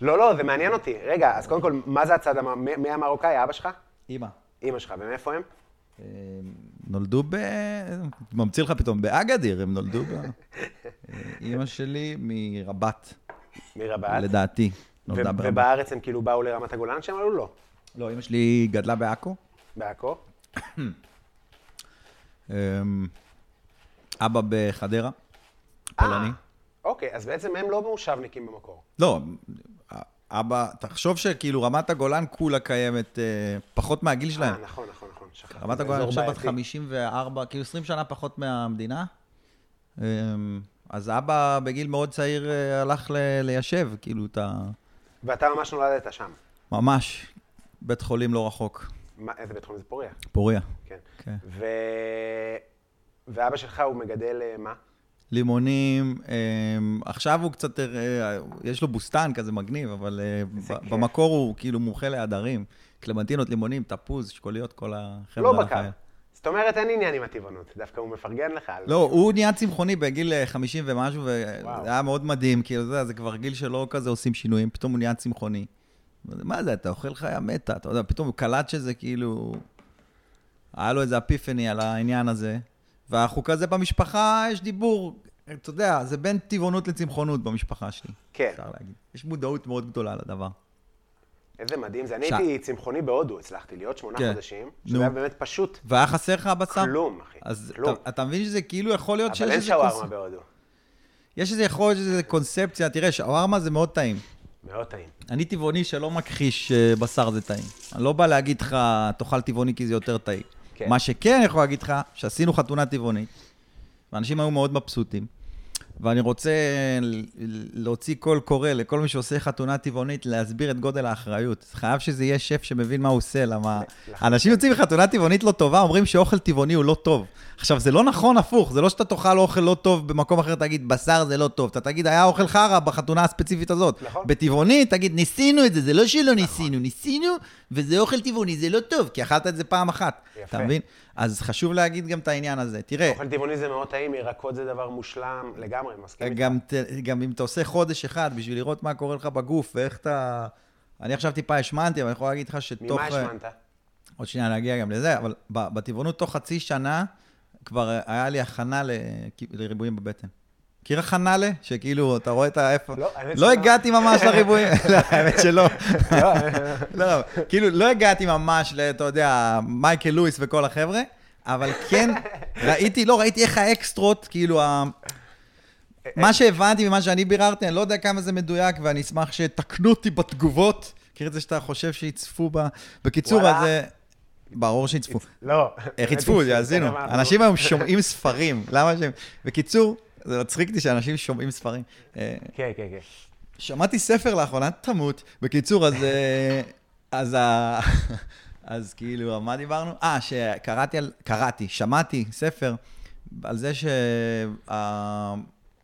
[SPEAKER 2] לא, לא, זה מעניין אותי. רגע, אז קודם כל, מה זה הצד, המ- מי- מי המרוקאי, אבא שלך?
[SPEAKER 4] אימא.
[SPEAKER 2] אימא שלך, ומאיפה הם?
[SPEAKER 4] אה, נולדו ב... ממציא לך פתאום, באגדיר הם נולדו ב... אה, אימא שלי מרבת,
[SPEAKER 2] מרבת.
[SPEAKER 4] לדעתי.
[SPEAKER 2] ו-
[SPEAKER 4] נולדה ברבת.
[SPEAKER 2] ובארץ הם כאילו באו לרמת הגולן שהם עלו? לא.
[SPEAKER 4] לא, אימא שלי גדלה בעכו.
[SPEAKER 2] בעכו?
[SPEAKER 4] אה, אבא בחדרה,
[SPEAKER 2] אה!
[SPEAKER 4] פולני.
[SPEAKER 2] אוקיי, אז בעצם הם לא מושבניקים במקור.
[SPEAKER 4] לא, אבא, תחשוב שכאילו רמת הגולן כולה קיימת אה, פחות מהגיל שלהם.
[SPEAKER 2] אה, נכון, נכון, נכון, שכחתי.
[SPEAKER 4] רמת
[SPEAKER 2] זה
[SPEAKER 4] הגולן
[SPEAKER 2] אזור
[SPEAKER 4] עכשיו בת
[SPEAKER 2] בעייתי.
[SPEAKER 4] 54, כאילו 20 שנה פחות מהמדינה. אמ, אז אבא בגיל מאוד צעיר אה, הלך ל- ליישב, כאילו, את ה...
[SPEAKER 2] ואתה ממש נולדת שם.
[SPEAKER 4] ממש בית חולים לא רחוק,
[SPEAKER 2] מה, איזה בית חולים זה פוריה?
[SPEAKER 4] פוריה.
[SPEAKER 2] כן.
[SPEAKER 4] כן.
[SPEAKER 2] ו... ואבא שלך הוא מגדל אה, מה?
[SPEAKER 4] לימונים, אמ, עכשיו הוא קצת, אה, יש לו בוסטן כזה מגניב, אבל אה, ב-
[SPEAKER 2] כיף.
[SPEAKER 4] במקור הוא כאילו מומחה לעדרים. קלמנטינות, לימונים, תפוז, שקוליות, כל החבר'ה.
[SPEAKER 2] לא
[SPEAKER 4] על
[SPEAKER 2] בקר.
[SPEAKER 4] החיים.
[SPEAKER 2] זאת אומרת, אין עניין עם הטבעונות, דווקא הוא מפרגן לך. על-
[SPEAKER 4] לא, הוא נהיה צמחוני בגיל אה, 50 ומשהו,
[SPEAKER 2] וואו.
[SPEAKER 4] וזה היה מאוד מדהים, כאילו, אתה יודע, זה כבר גיל שלא כזה עושים שינויים, פתאום הוא נהיה צמחוני. מה זה, אתה אוכל חיה מתה, אתה יודע, פתאום הוא קלט שזה כאילו... היה לו איזה אפיפני על העניין הזה, ואנחנו כזה במשפחה, יש דיבור, אתה יודע, זה בין טבעונות לצמחונות במשפחה שלי.
[SPEAKER 2] כן.
[SPEAKER 4] אפשר להגיד. יש מודעות מאוד גדולה לדבר.
[SPEAKER 2] איזה מדהים זה. אני
[SPEAKER 4] ש-
[SPEAKER 2] הייתי צמחוני בהודו, הצלחתי להיות שמונה
[SPEAKER 4] כן.
[SPEAKER 2] חודשים,
[SPEAKER 4] נו.
[SPEAKER 2] שזה היה באמת פשוט
[SPEAKER 4] והיה חסר לך הבשר?
[SPEAKER 2] כלום, אחי.
[SPEAKER 4] אז
[SPEAKER 2] כלום.
[SPEAKER 4] אתה, אתה מבין שזה כאילו יכול להיות
[SPEAKER 2] אבל אין
[SPEAKER 4] איזה
[SPEAKER 2] שווארמה
[SPEAKER 4] קונספט-
[SPEAKER 2] בהודו.
[SPEAKER 4] יש איזה יכול להיות שזה קונספציה, תראה, שווארמה זה מאוד טעים.
[SPEAKER 2] מאוד טעים.
[SPEAKER 4] אני טבעוני שלא מכחיש שבשר זה טעים. אני לא בא להגיד לך, תאכל טבעוני כי זה יותר טעים.
[SPEAKER 2] כן.
[SPEAKER 4] כן. מה שכן אני יכול להגיד לך, שעשינו חתונה טבעונית, ואנשים היו מאוד מבסוטים, ואני רוצה ל- להוציא קול קורא לכל מי שעושה חתונה טבעונית, להסביר את גודל האחריות. חייב שזה יהיה שף שמבין מה הוא עושה, למה... אנשים יוצאים מחתונה טבעונית לא טובה, אומרים שאוכל טבעוני הוא לא טוב. עכשיו, זה לא נכון הפוך, זה לא שאתה תאכל אוכל לא טוב במקום אחר, תגיד, בשר זה לא טוב. אתה תגיד, היה אוכל חרא בחתונה הספציפית הזאת.
[SPEAKER 2] נכון.
[SPEAKER 4] בטבעוני, תגיד, ניסינו את זה, זה לא שלא ניסינו, ניסינו, וזה אוכל טבעוני, זה לא טוב, כי אכלת את זה פעם אחת.
[SPEAKER 2] יפה.
[SPEAKER 4] אתה מבין? אז חשוב להגיד גם את העניין הזה. תראה,
[SPEAKER 2] אוכל טבעוני זה מאוד טעים, ירקות זה דבר מושלם לגמרי, מסכים איתך.
[SPEAKER 4] אה, גם, ת- גם אם אתה עושה חודש אחד בשביל לראות מה קורה לך בגוף ואיך אתה... אני עכשיו טיפה השמנתי, אבל אני יכול להגיד לך שתוך... אה,
[SPEAKER 2] ממה השמנת?
[SPEAKER 4] עוד שנייה נגיע גם לזה, אבל ב- בטבעונות תוך חצי שנה כבר היה לי הכנה ל- לריבועים בבטן. מכיר הכנה ל? שכאילו, אתה רואה את ה... איפה...
[SPEAKER 2] לא, האמת
[SPEAKER 4] לא
[SPEAKER 2] שלא.
[SPEAKER 4] הגעתי ממש לריבועים, לא, האמת שלא. לא, כאילו, לא הגעתי ממש ל... אתה יודע, מייקל לואיס וכל החבר'ה, אבל כן ראיתי, לא, ראיתי איך האקסטרות, כאילו, ה- מה שהבנתי ממה שאני ביררתי, אני לא יודע כמה זה מדויק, ואני אשמח שתקנו אותי בתגובות. מכיר את זה שאתה חושב שיצפו ב... בקיצור,
[SPEAKER 2] וואלה.
[SPEAKER 4] אז... זה- ברור שיצפו.
[SPEAKER 2] לא.
[SPEAKER 4] איך יצפו? יאזינו. אנשים היום שומעים ספרים, למה שהם... בקיצור, זה מצחיק אותי שאנשים שומעים ספרים. אה,
[SPEAKER 2] כן, כן, כן.
[SPEAKER 4] שמעתי ספר לאחרונה, תמות. בקיצור, אז... אה, אז ה... אז כאילו, על מה דיברנו? אה, שקראתי על... קראתי, שמעתי ספר על זה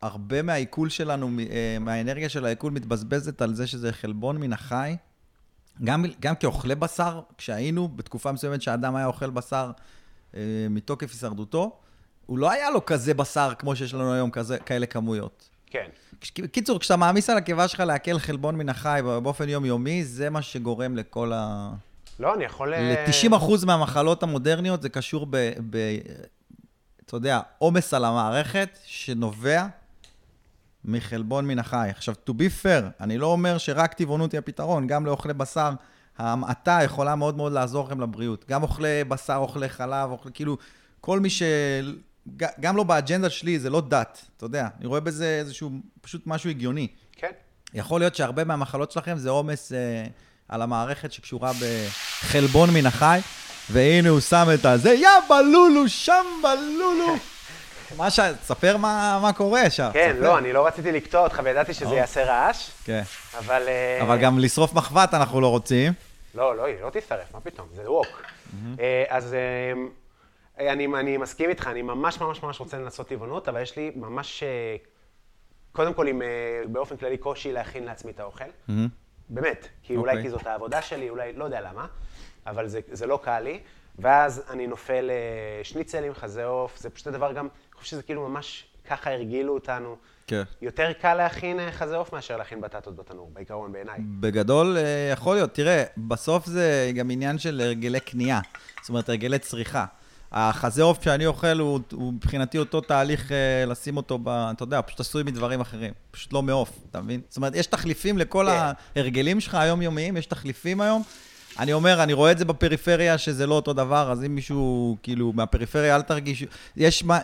[SPEAKER 4] שהרבה מהעיכול שלנו, מ- אה, מהאנרגיה של העיכול מתבזבזת על זה שזה חלבון מן החי. גם, גם כאוכלי בשר, כשהיינו בתקופה מסוימת שאדם היה אוכל בשר אה, מתוקף הישרדותו, הוא לא היה לו כזה בשר כמו שיש לנו היום, כזה, כאלה כמויות.
[SPEAKER 2] כן.
[SPEAKER 4] קיצור, כשאתה מעמיס על הקיבה שלך לעכל חלבון מן החי באופן יומיומי, זה מה שגורם לכל ה...
[SPEAKER 2] לא, אני יכול... אה,
[SPEAKER 4] ל-90% מהמחלות המודרניות זה קשור ב... ב אתה יודע, עומס על המערכת שנובע מחלבון מן החי. עכשיו, to be fair, אני לא אומר שרק טבעונות היא הפתרון, גם לאוכלי בשר, ההמעטה יכולה מאוד מאוד לעזור לכם לבריאות. גם אוכלי בשר, אוכלי חלב, אוכלי, כאילו, כל מי ש... ג- גם לא באג'נדה שלי, זה לא דת, אתה יודע. אני רואה בזה איזשהו, פשוט משהו הגיוני.
[SPEAKER 2] כן.
[SPEAKER 4] יכול להיות שהרבה מהמחלות שלכם זה עומס אה, על המערכת שקשורה בחלבון מן החי, והנה הוא שם את הזה, יא בלולו, שם בלולו. מה ש... ספר מה, מה קורה שם.
[SPEAKER 2] כן,
[SPEAKER 4] ספר.
[SPEAKER 2] לא, אני לא רציתי לקטוע אותך וידעתי שזה
[SPEAKER 4] אוקיי.
[SPEAKER 2] יעשה רעש,
[SPEAKER 4] כן.
[SPEAKER 2] אבל... אה,
[SPEAKER 4] אבל גם לשרוף מחבת אנחנו לא רוצים.
[SPEAKER 2] לא, לא, היא לא תשרף, מה פתאום, זה ווק. אה, אז אה, אני, אני מסכים איתך, אני ממש ממש ממש רוצה לנסות טבעונות, אבל יש לי ממש, אה, קודם כל, עם, אה, באופן כללי, קושי להכין לעצמי את האוכל. באמת, כי אולי
[SPEAKER 4] אוקיי.
[SPEAKER 2] כי זאת העבודה שלי, אולי, לא יודע למה, אבל זה, זה לא קל לי. ואז אני נופל לשניצלים, חזה עוף, זה פשוט הדבר גם, אני חושב שזה כאילו ממש ככה הרגילו אותנו.
[SPEAKER 4] כן.
[SPEAKER 2] יותר קל להכין אה, חזה עוף מאשר להכין בטטות בתנור, בעיקרון בעיניי.
[SPEAKER 4] בגדול, אה, יכול להיות. תראה, בסוף זה גם עניין של הרגלי קנייה. זאת אומרת, הרגלי צריכה. החזה עוף שאני אוכל הוא, הוא מבחינתי אותו תהליך אה, לשים אותו ב... אתה יודע, פשוט עשוי מדברים אחרים. פשוט לא מעוף, אתה מבין? זאת אומרת, יש תחליפים לכל
[SPEAKER 2] כן.
[SPEAKER 4] ההרגלים שלך היומיומיים, יש תחליפים היום. אני אומר, אני רואה את זה בפריפריה, שזה לא אותו דבר, אז אם מישהו, כאילו, מהפריפריה, אל תרגיש... יש מה...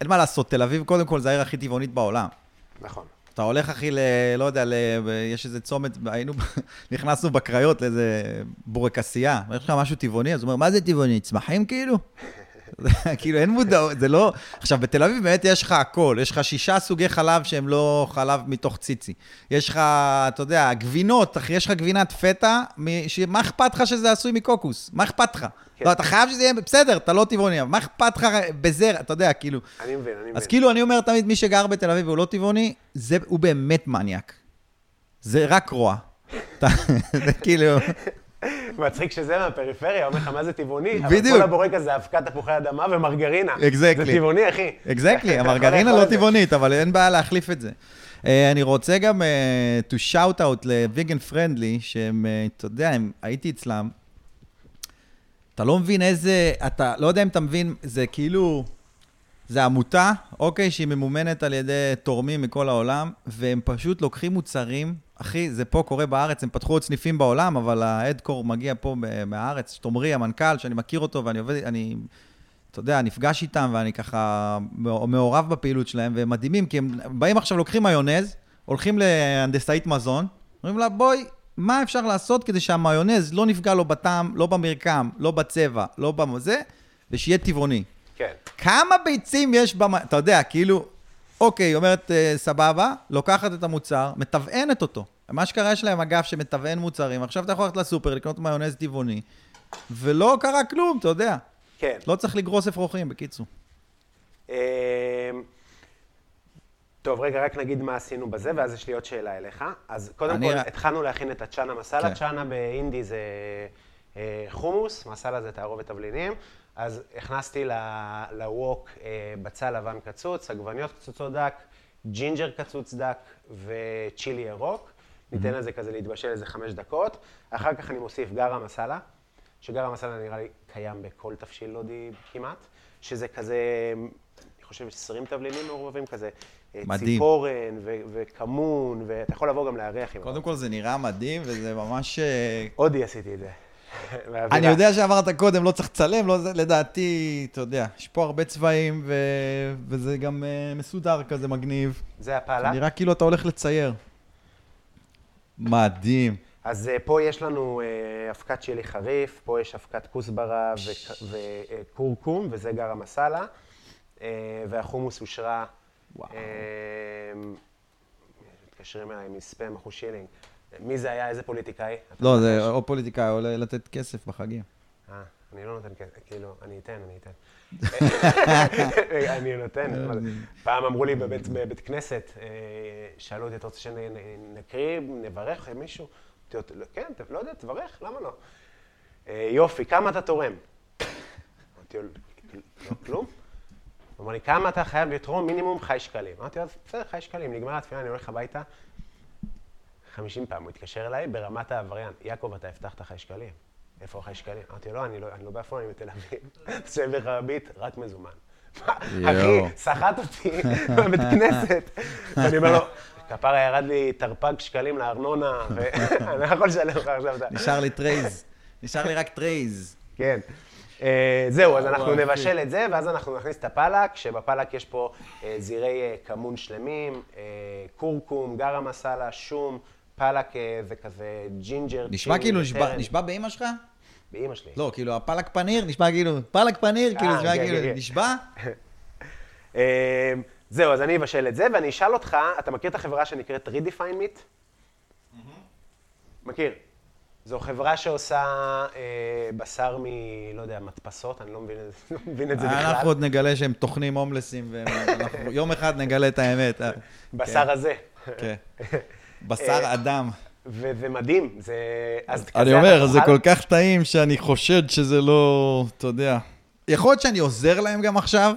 [SPEAKER 4] אין מה לעשות, תל אביב, קודם כל, זה העיר הכי טבעונית בעולם.
[SPEAKER 2] נכון.
[SPEAKER 4] אתה הולך, אחי, ל... לא יודע, ל... יש איזה צומת, היינו, נכנסנו בקריות לאיזה בורקסייה, ויש לך משהו טבעוני, אז הוא אומר, מה זה טבעוני? צמחים כאילו? כאילו, אין מודעות, זה לא... עכשיו, בתל אביב באמת יש לך הכל, יש לך שישה סוגי חלב שהם לא חלב מתוך ציצי. יש לך, אתה יודע, גבינות, אחי, יש לך גבינת פטה, מ- ש- מה אכפת לך שזה עשוי מקוקוס? מה אכפת לך?
[SPEAKER 2] כן.
[SPEAKER 4] לא, אתה חייב שזה יהיה, בסדר, אתה לא טבעוני, אבל מה אכפת לך בזרע, אתה יודע, כאילו...
[SPEAKER 2] אני מבין, אני מבין.
[SPEAKER 4] אז כאילו, אני אומר תמיד, מי שגר בתל אביב והוא לא טבעוני, זה, הוא באמת מניאק. זה רק רוע. אתה- זה כאילו,
[SPEAKER 2] מצחיק שזה מהפריפריה, אומר לך מה זה טבעוני, אבל
[SPEAKER 4] בדיוק.
[SPEAKER 2] כל הבורקס זה אבקת תפוחי אדמה ומרגרינה.
[SPEAKER 4] Exactly.
[SPEAKER 2] זה טבעוני, אחי. אתה
[SPEAKER 4] אקזקטלי,
[SPEAKER 2] יכול
[SPEAKER 4] המרגרינה
[SPEAKER 2] לאכול
[SPEAKER 4] לא
[SPEAKER 2] את זה.
[SPEAKER 4] טבעונית, אבל אין בעיה להחליף את זה. אה, אני רוצה גם אה, to shout out לוויגן פרנדלי, שהם, אה, אתה יודע, הם- הייתי אצלם, אתה לא מבין איזה, אתה לא יודע אם אתה מבין, זה כאילו, זה עמותה, אוקיי, שהיא ממומנת על ידי תורמים מכל העולם, והם פשוט לוקחים מוצרים, אחי, זה פה קורה בארץ, הם פתחו עוד סניפים בעולם, אבל האדקור מגיע פה ב- מהארץ, תומרי, המנכ"ל, שאני מכיר אותו, ואני עובד, אני, אתה יודע, נפגש איתם, ואני ככה מע- מעורב בפעילות שלהם, והם מדהימים, כי הם באים עכשיו, לוקחים מיונז, הולכים להנדסאית מזון, אומרים לה, בואי, מה אפשר לעשות כדי שהמיונז לא נפגע לו בטעם, לא במרקם, לא בצבע, לא בזה, ושיהיה טבעוני.
[SPEAKER 2] כן.
[SPEAKER 4] כמה ביצים יש במ... אתה יודע, כאילו, אוקיי, היא אומרת, אה, סבבה, לוקחת את המוצר, מטבענת אותו. מה שקרה, יש להם אגף שמטבען מוצרים, עכשיו אתה יכול ללכת לסופר, לקנות מיונז טבעוני, ולא קרה כלום, אתה יודע.
[SPEAKER 2] כן.
[SPEAKER 4] לא צריך לגרוס אפרוחים, בקיצור.
[SPEAKER 2] אמ, טוב, רגע, רק נגיד מה עשינו בזה, ואז יש לי עוד שאלה אליך. אז קודם
[SPEAKER 4] אני
[SPEAKER 2] כל,
[SPEAKER 4] רק-
[SPEAKER 2] התחלנו להכין את הצ'אנה מסאלה.
[SPEAKER 4] כן.
[SPEAKER 2] צ'אנה באינדי זה אה, חומוס, מסאלה זה תערובת תבלינים. אז הכנסתי ל- לווק אה, בצל לבן קצוץ, עגבניות קצוצות דק, ג'ינג'ר קצוץ דק וצ'ילי ירוק.
[SPEAKER 4] Mm-hmm.
[SPEAKER 2] ניתן לזה כזה להתבשל איזה חמש דקות. אחר כך אני מוסיף גרה מסאלה, שגרה מסאלה נראה לי קיים בכל תבשיל לודי כמעט, שזה כזה, אני חושב 20 תבלינים מעורבבים כזה. אה,
[SPEAKER 4] מדהים.
[SPEAKER 2] ציפורן ו- וכמון, ואתה יכול לבוא גם לארח עם...
[SPEAKER 4] קודם כל, זה נראה מדהים, וזה ממש... אה,
[SPEAKER 2] הודי עשיתי את זה. מהאווירה.
[SPEAKER 4] אני יודע שאמרת קודם, לא צריך לצלם, לא זה, לדעתי, אתה יודע, יש פה הרבה צבעים, ו... וזה גם אה, מסודר כזה, מגניב.
[SPEAKER 2] זה
[SPEAKER 4] זה
[SPEAKER 2] הפעלה.
[SPEAKER 4] נראה כאילו אתה הולך לצייר. מדהים.
[SPEAKER 2] אז אה, פה יש לנו אה, אבקת שלי חריף, פה יש אבקת כוסברה וכורכום, וזה גרה מסאלה. אה, והחומוס אושרה.
[SPEAKER 4] וואו.
[SPEAKER 2] אה, מתקשרים אליי מספאם, אחו שילינג. מי זה היה? איזה פוליטיקאי? אתה
[SPEAKER 4] לא,
[SPEAKER 2] ממש-
[SPEAKER 4] זה או פוליטיקאי, או ל- לתת כסף בחגים.
[SPEAKER 2] אה, אני לא נותן כסף, כאילו, אני אתן, אני אתן. אני נותן. מה זה? פעם אמרו לי בבית, בבית כנסת, אה, שאלו אותי, אתה רוצה שנקריא, נברך מישהו? אמרתי לו, כן, ת- לא יודע, תברך, למה לא? "אה, יופי, כמה אתה תורם? אמרתי לו, לא כלום. הוא אמר לי, כמה אתה חייב לתרום? מינימום חי שקלים. אמרתי לו, "אז בסדר, חי שקלים, נגמר התפילה, אני הולך הביתה. 50 פעם הוא התקשר אליי ברמת העבריין, יעקב, אתה הבטחת חי שקלים. איפה החי שקלים? אמרתי, לו, לא, אני לא, אני לא בעפולה, אני בתל אביב. תשב לך ביט, רק מזומן. אחי,
[SPEAKER 4] יואו.
[SPEAKER 2] סחט אותי בבית כנסת. ואני אומר לו, כפרה ירד לי תרפ"ג שקלים לארנונה, ואני לא יכול לשלם לך עכשיו את ה...
[SPEAKER 4] נשאר לי טרייז. נשאר לי רק טרייז.
[SPEAKER 2] כן. אה, זהו, אז אנחנו
[SPEAKER 4] וואו,
[SPEAKER 2] נבשל את זה, ואז אנחנו נכניס את הפלק, שבפלק יש פה אה, זירי אה, כמון שלמים, אה, כורכום, גרה מסאלה, שום, פלק אה, וכזה ג'ינג'ר.
[SPEAKER 4] נשמע
[SPEAKER 2] צ'ילי,
[SPEAKER 4] כאילו
[SPEAKER 2] וטרן.
[SPEAKER 4] נשבע- נשבע באמא שלך?
[SPEAKER 2] באמא שלי.
[SPEAKER 4] לא, כאילו, הפלק פניר, נשמע כאילו, פלק פניר, כאילו,
[SPEAKER 2] אה,
[SPEAKER 4] נשמע
[SPEAKER 2] כן, כן,
[SPEAKER 4] כאילו,
[SPEAKER 2] כן.
[SPEAKER 4] נשבע?
[SPEAKER 2] אה, זהו, אז אני אבשל את זה, ואני אשאל אותך, אתה מכיר את החברה שנקראת Redefine Meat? מכיר. זו חברה שעושה אה, בשר מ... לא יודע, מדפסות, אני לא מבין את זה- לא מבין את זה בכלל.
[SPEAKER 4] אנחנו עוד נגלה שהם טוחנים הומלסים, ויום אחד נגלה את האמת. אה,
[SPEAKER 2] בשר
[SPEAKER 4] כן,
[SPEAKER 2] הזה.
[SPEAKER 4] כן. בשר אדם.
[SPEAKER 2] וזה מדהים, זה... אז
[SPEAKER 4] אני
[SPEAKER 2] כזה
[SPEAKER 4] אומר,
[SPEAKER 2] אתה
[SPEAKER 4] זה
[SPEAKER 2] תאכל-
[SPEAKER 4] כל כך טעים שאני חושד שזה לא, אתה יודע. יכול להיות שאני עוזר להם גם עכשיו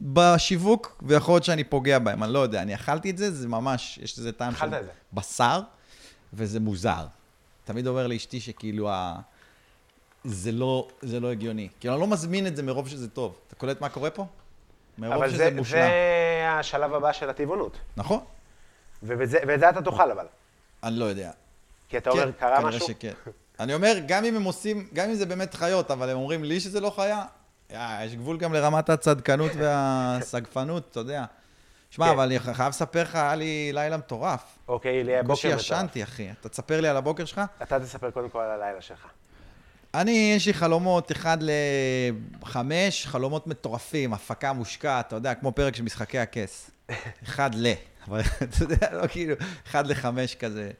[SPEAKER 4] בשיווק, ויכול להיות שאני פוגע בהם, אני לא יודע. אני אכלתי את זה, זה ממש, יש לזה טעם של
[SPEAKER 2] אכלת את זה.
[SPEAKER 4] בשר, וזה מוזר. תמיד אומר לאשתי שכאילו ה... זה לא, זה לא הגיוני. כאילו, אני לא מזמין את זה מרוב שזה טוב. אתה קולט מה קורה פה? מרוב
[SPEAKER 2] אבל
[SPEAKER 4] שזה
[SPEAKER 2] זה,
[SPEAKER 4] מושלם.
[SPEAKER 2] זה השלב הבא של הטבעונות.
[SPEAKER 4] נכון?
[SPEAKER 2] ובזה- ואת זה אתה תאכל אבל.
[SPEAKER 4] אני לא יודע.
[SPEAKER 2] כי אתה אומר,
[SPEAKER 4] כן,
[SPEAKER 2] קרה
[SPEAKER 4] כנראה
[SPEAKER 2] משהו?
[SPEAKER 4] שכן. אני אומר, גם אם הם עושים, גם אם זה באמת חיות, אבל הם אומרים לי שזה לא חיה, אה, יש גבול גם לרמת הצדקנות והסגפנות, אתה יודע. שמע,
[SPEAKER 2] כן.
[SPEAKER 4] אבל אני חייב לספר לך, היה לי לילה מטורף.
[SPEAKER 2] אוקיי, לי הבוקר...
[SPEAKER 4] בקושי
[SPEAKER 2] מטורף.
[SPEAKER 4] ישנתי, אחי. אתה תספר לי על הבוקר שלך?
[SPEAKER 2] אתה תספר קודם כל על הלילה שלך.
[SPEAKER 4] אני, יש לי חלומות אחד לחמש, חלומות מטורפים, הפקה מושקעת, אתה יודע, כמו פרק של משחקי הכס. אחד ל. אבל אתה יודע, לא כאילו, אחד לחמש כזה,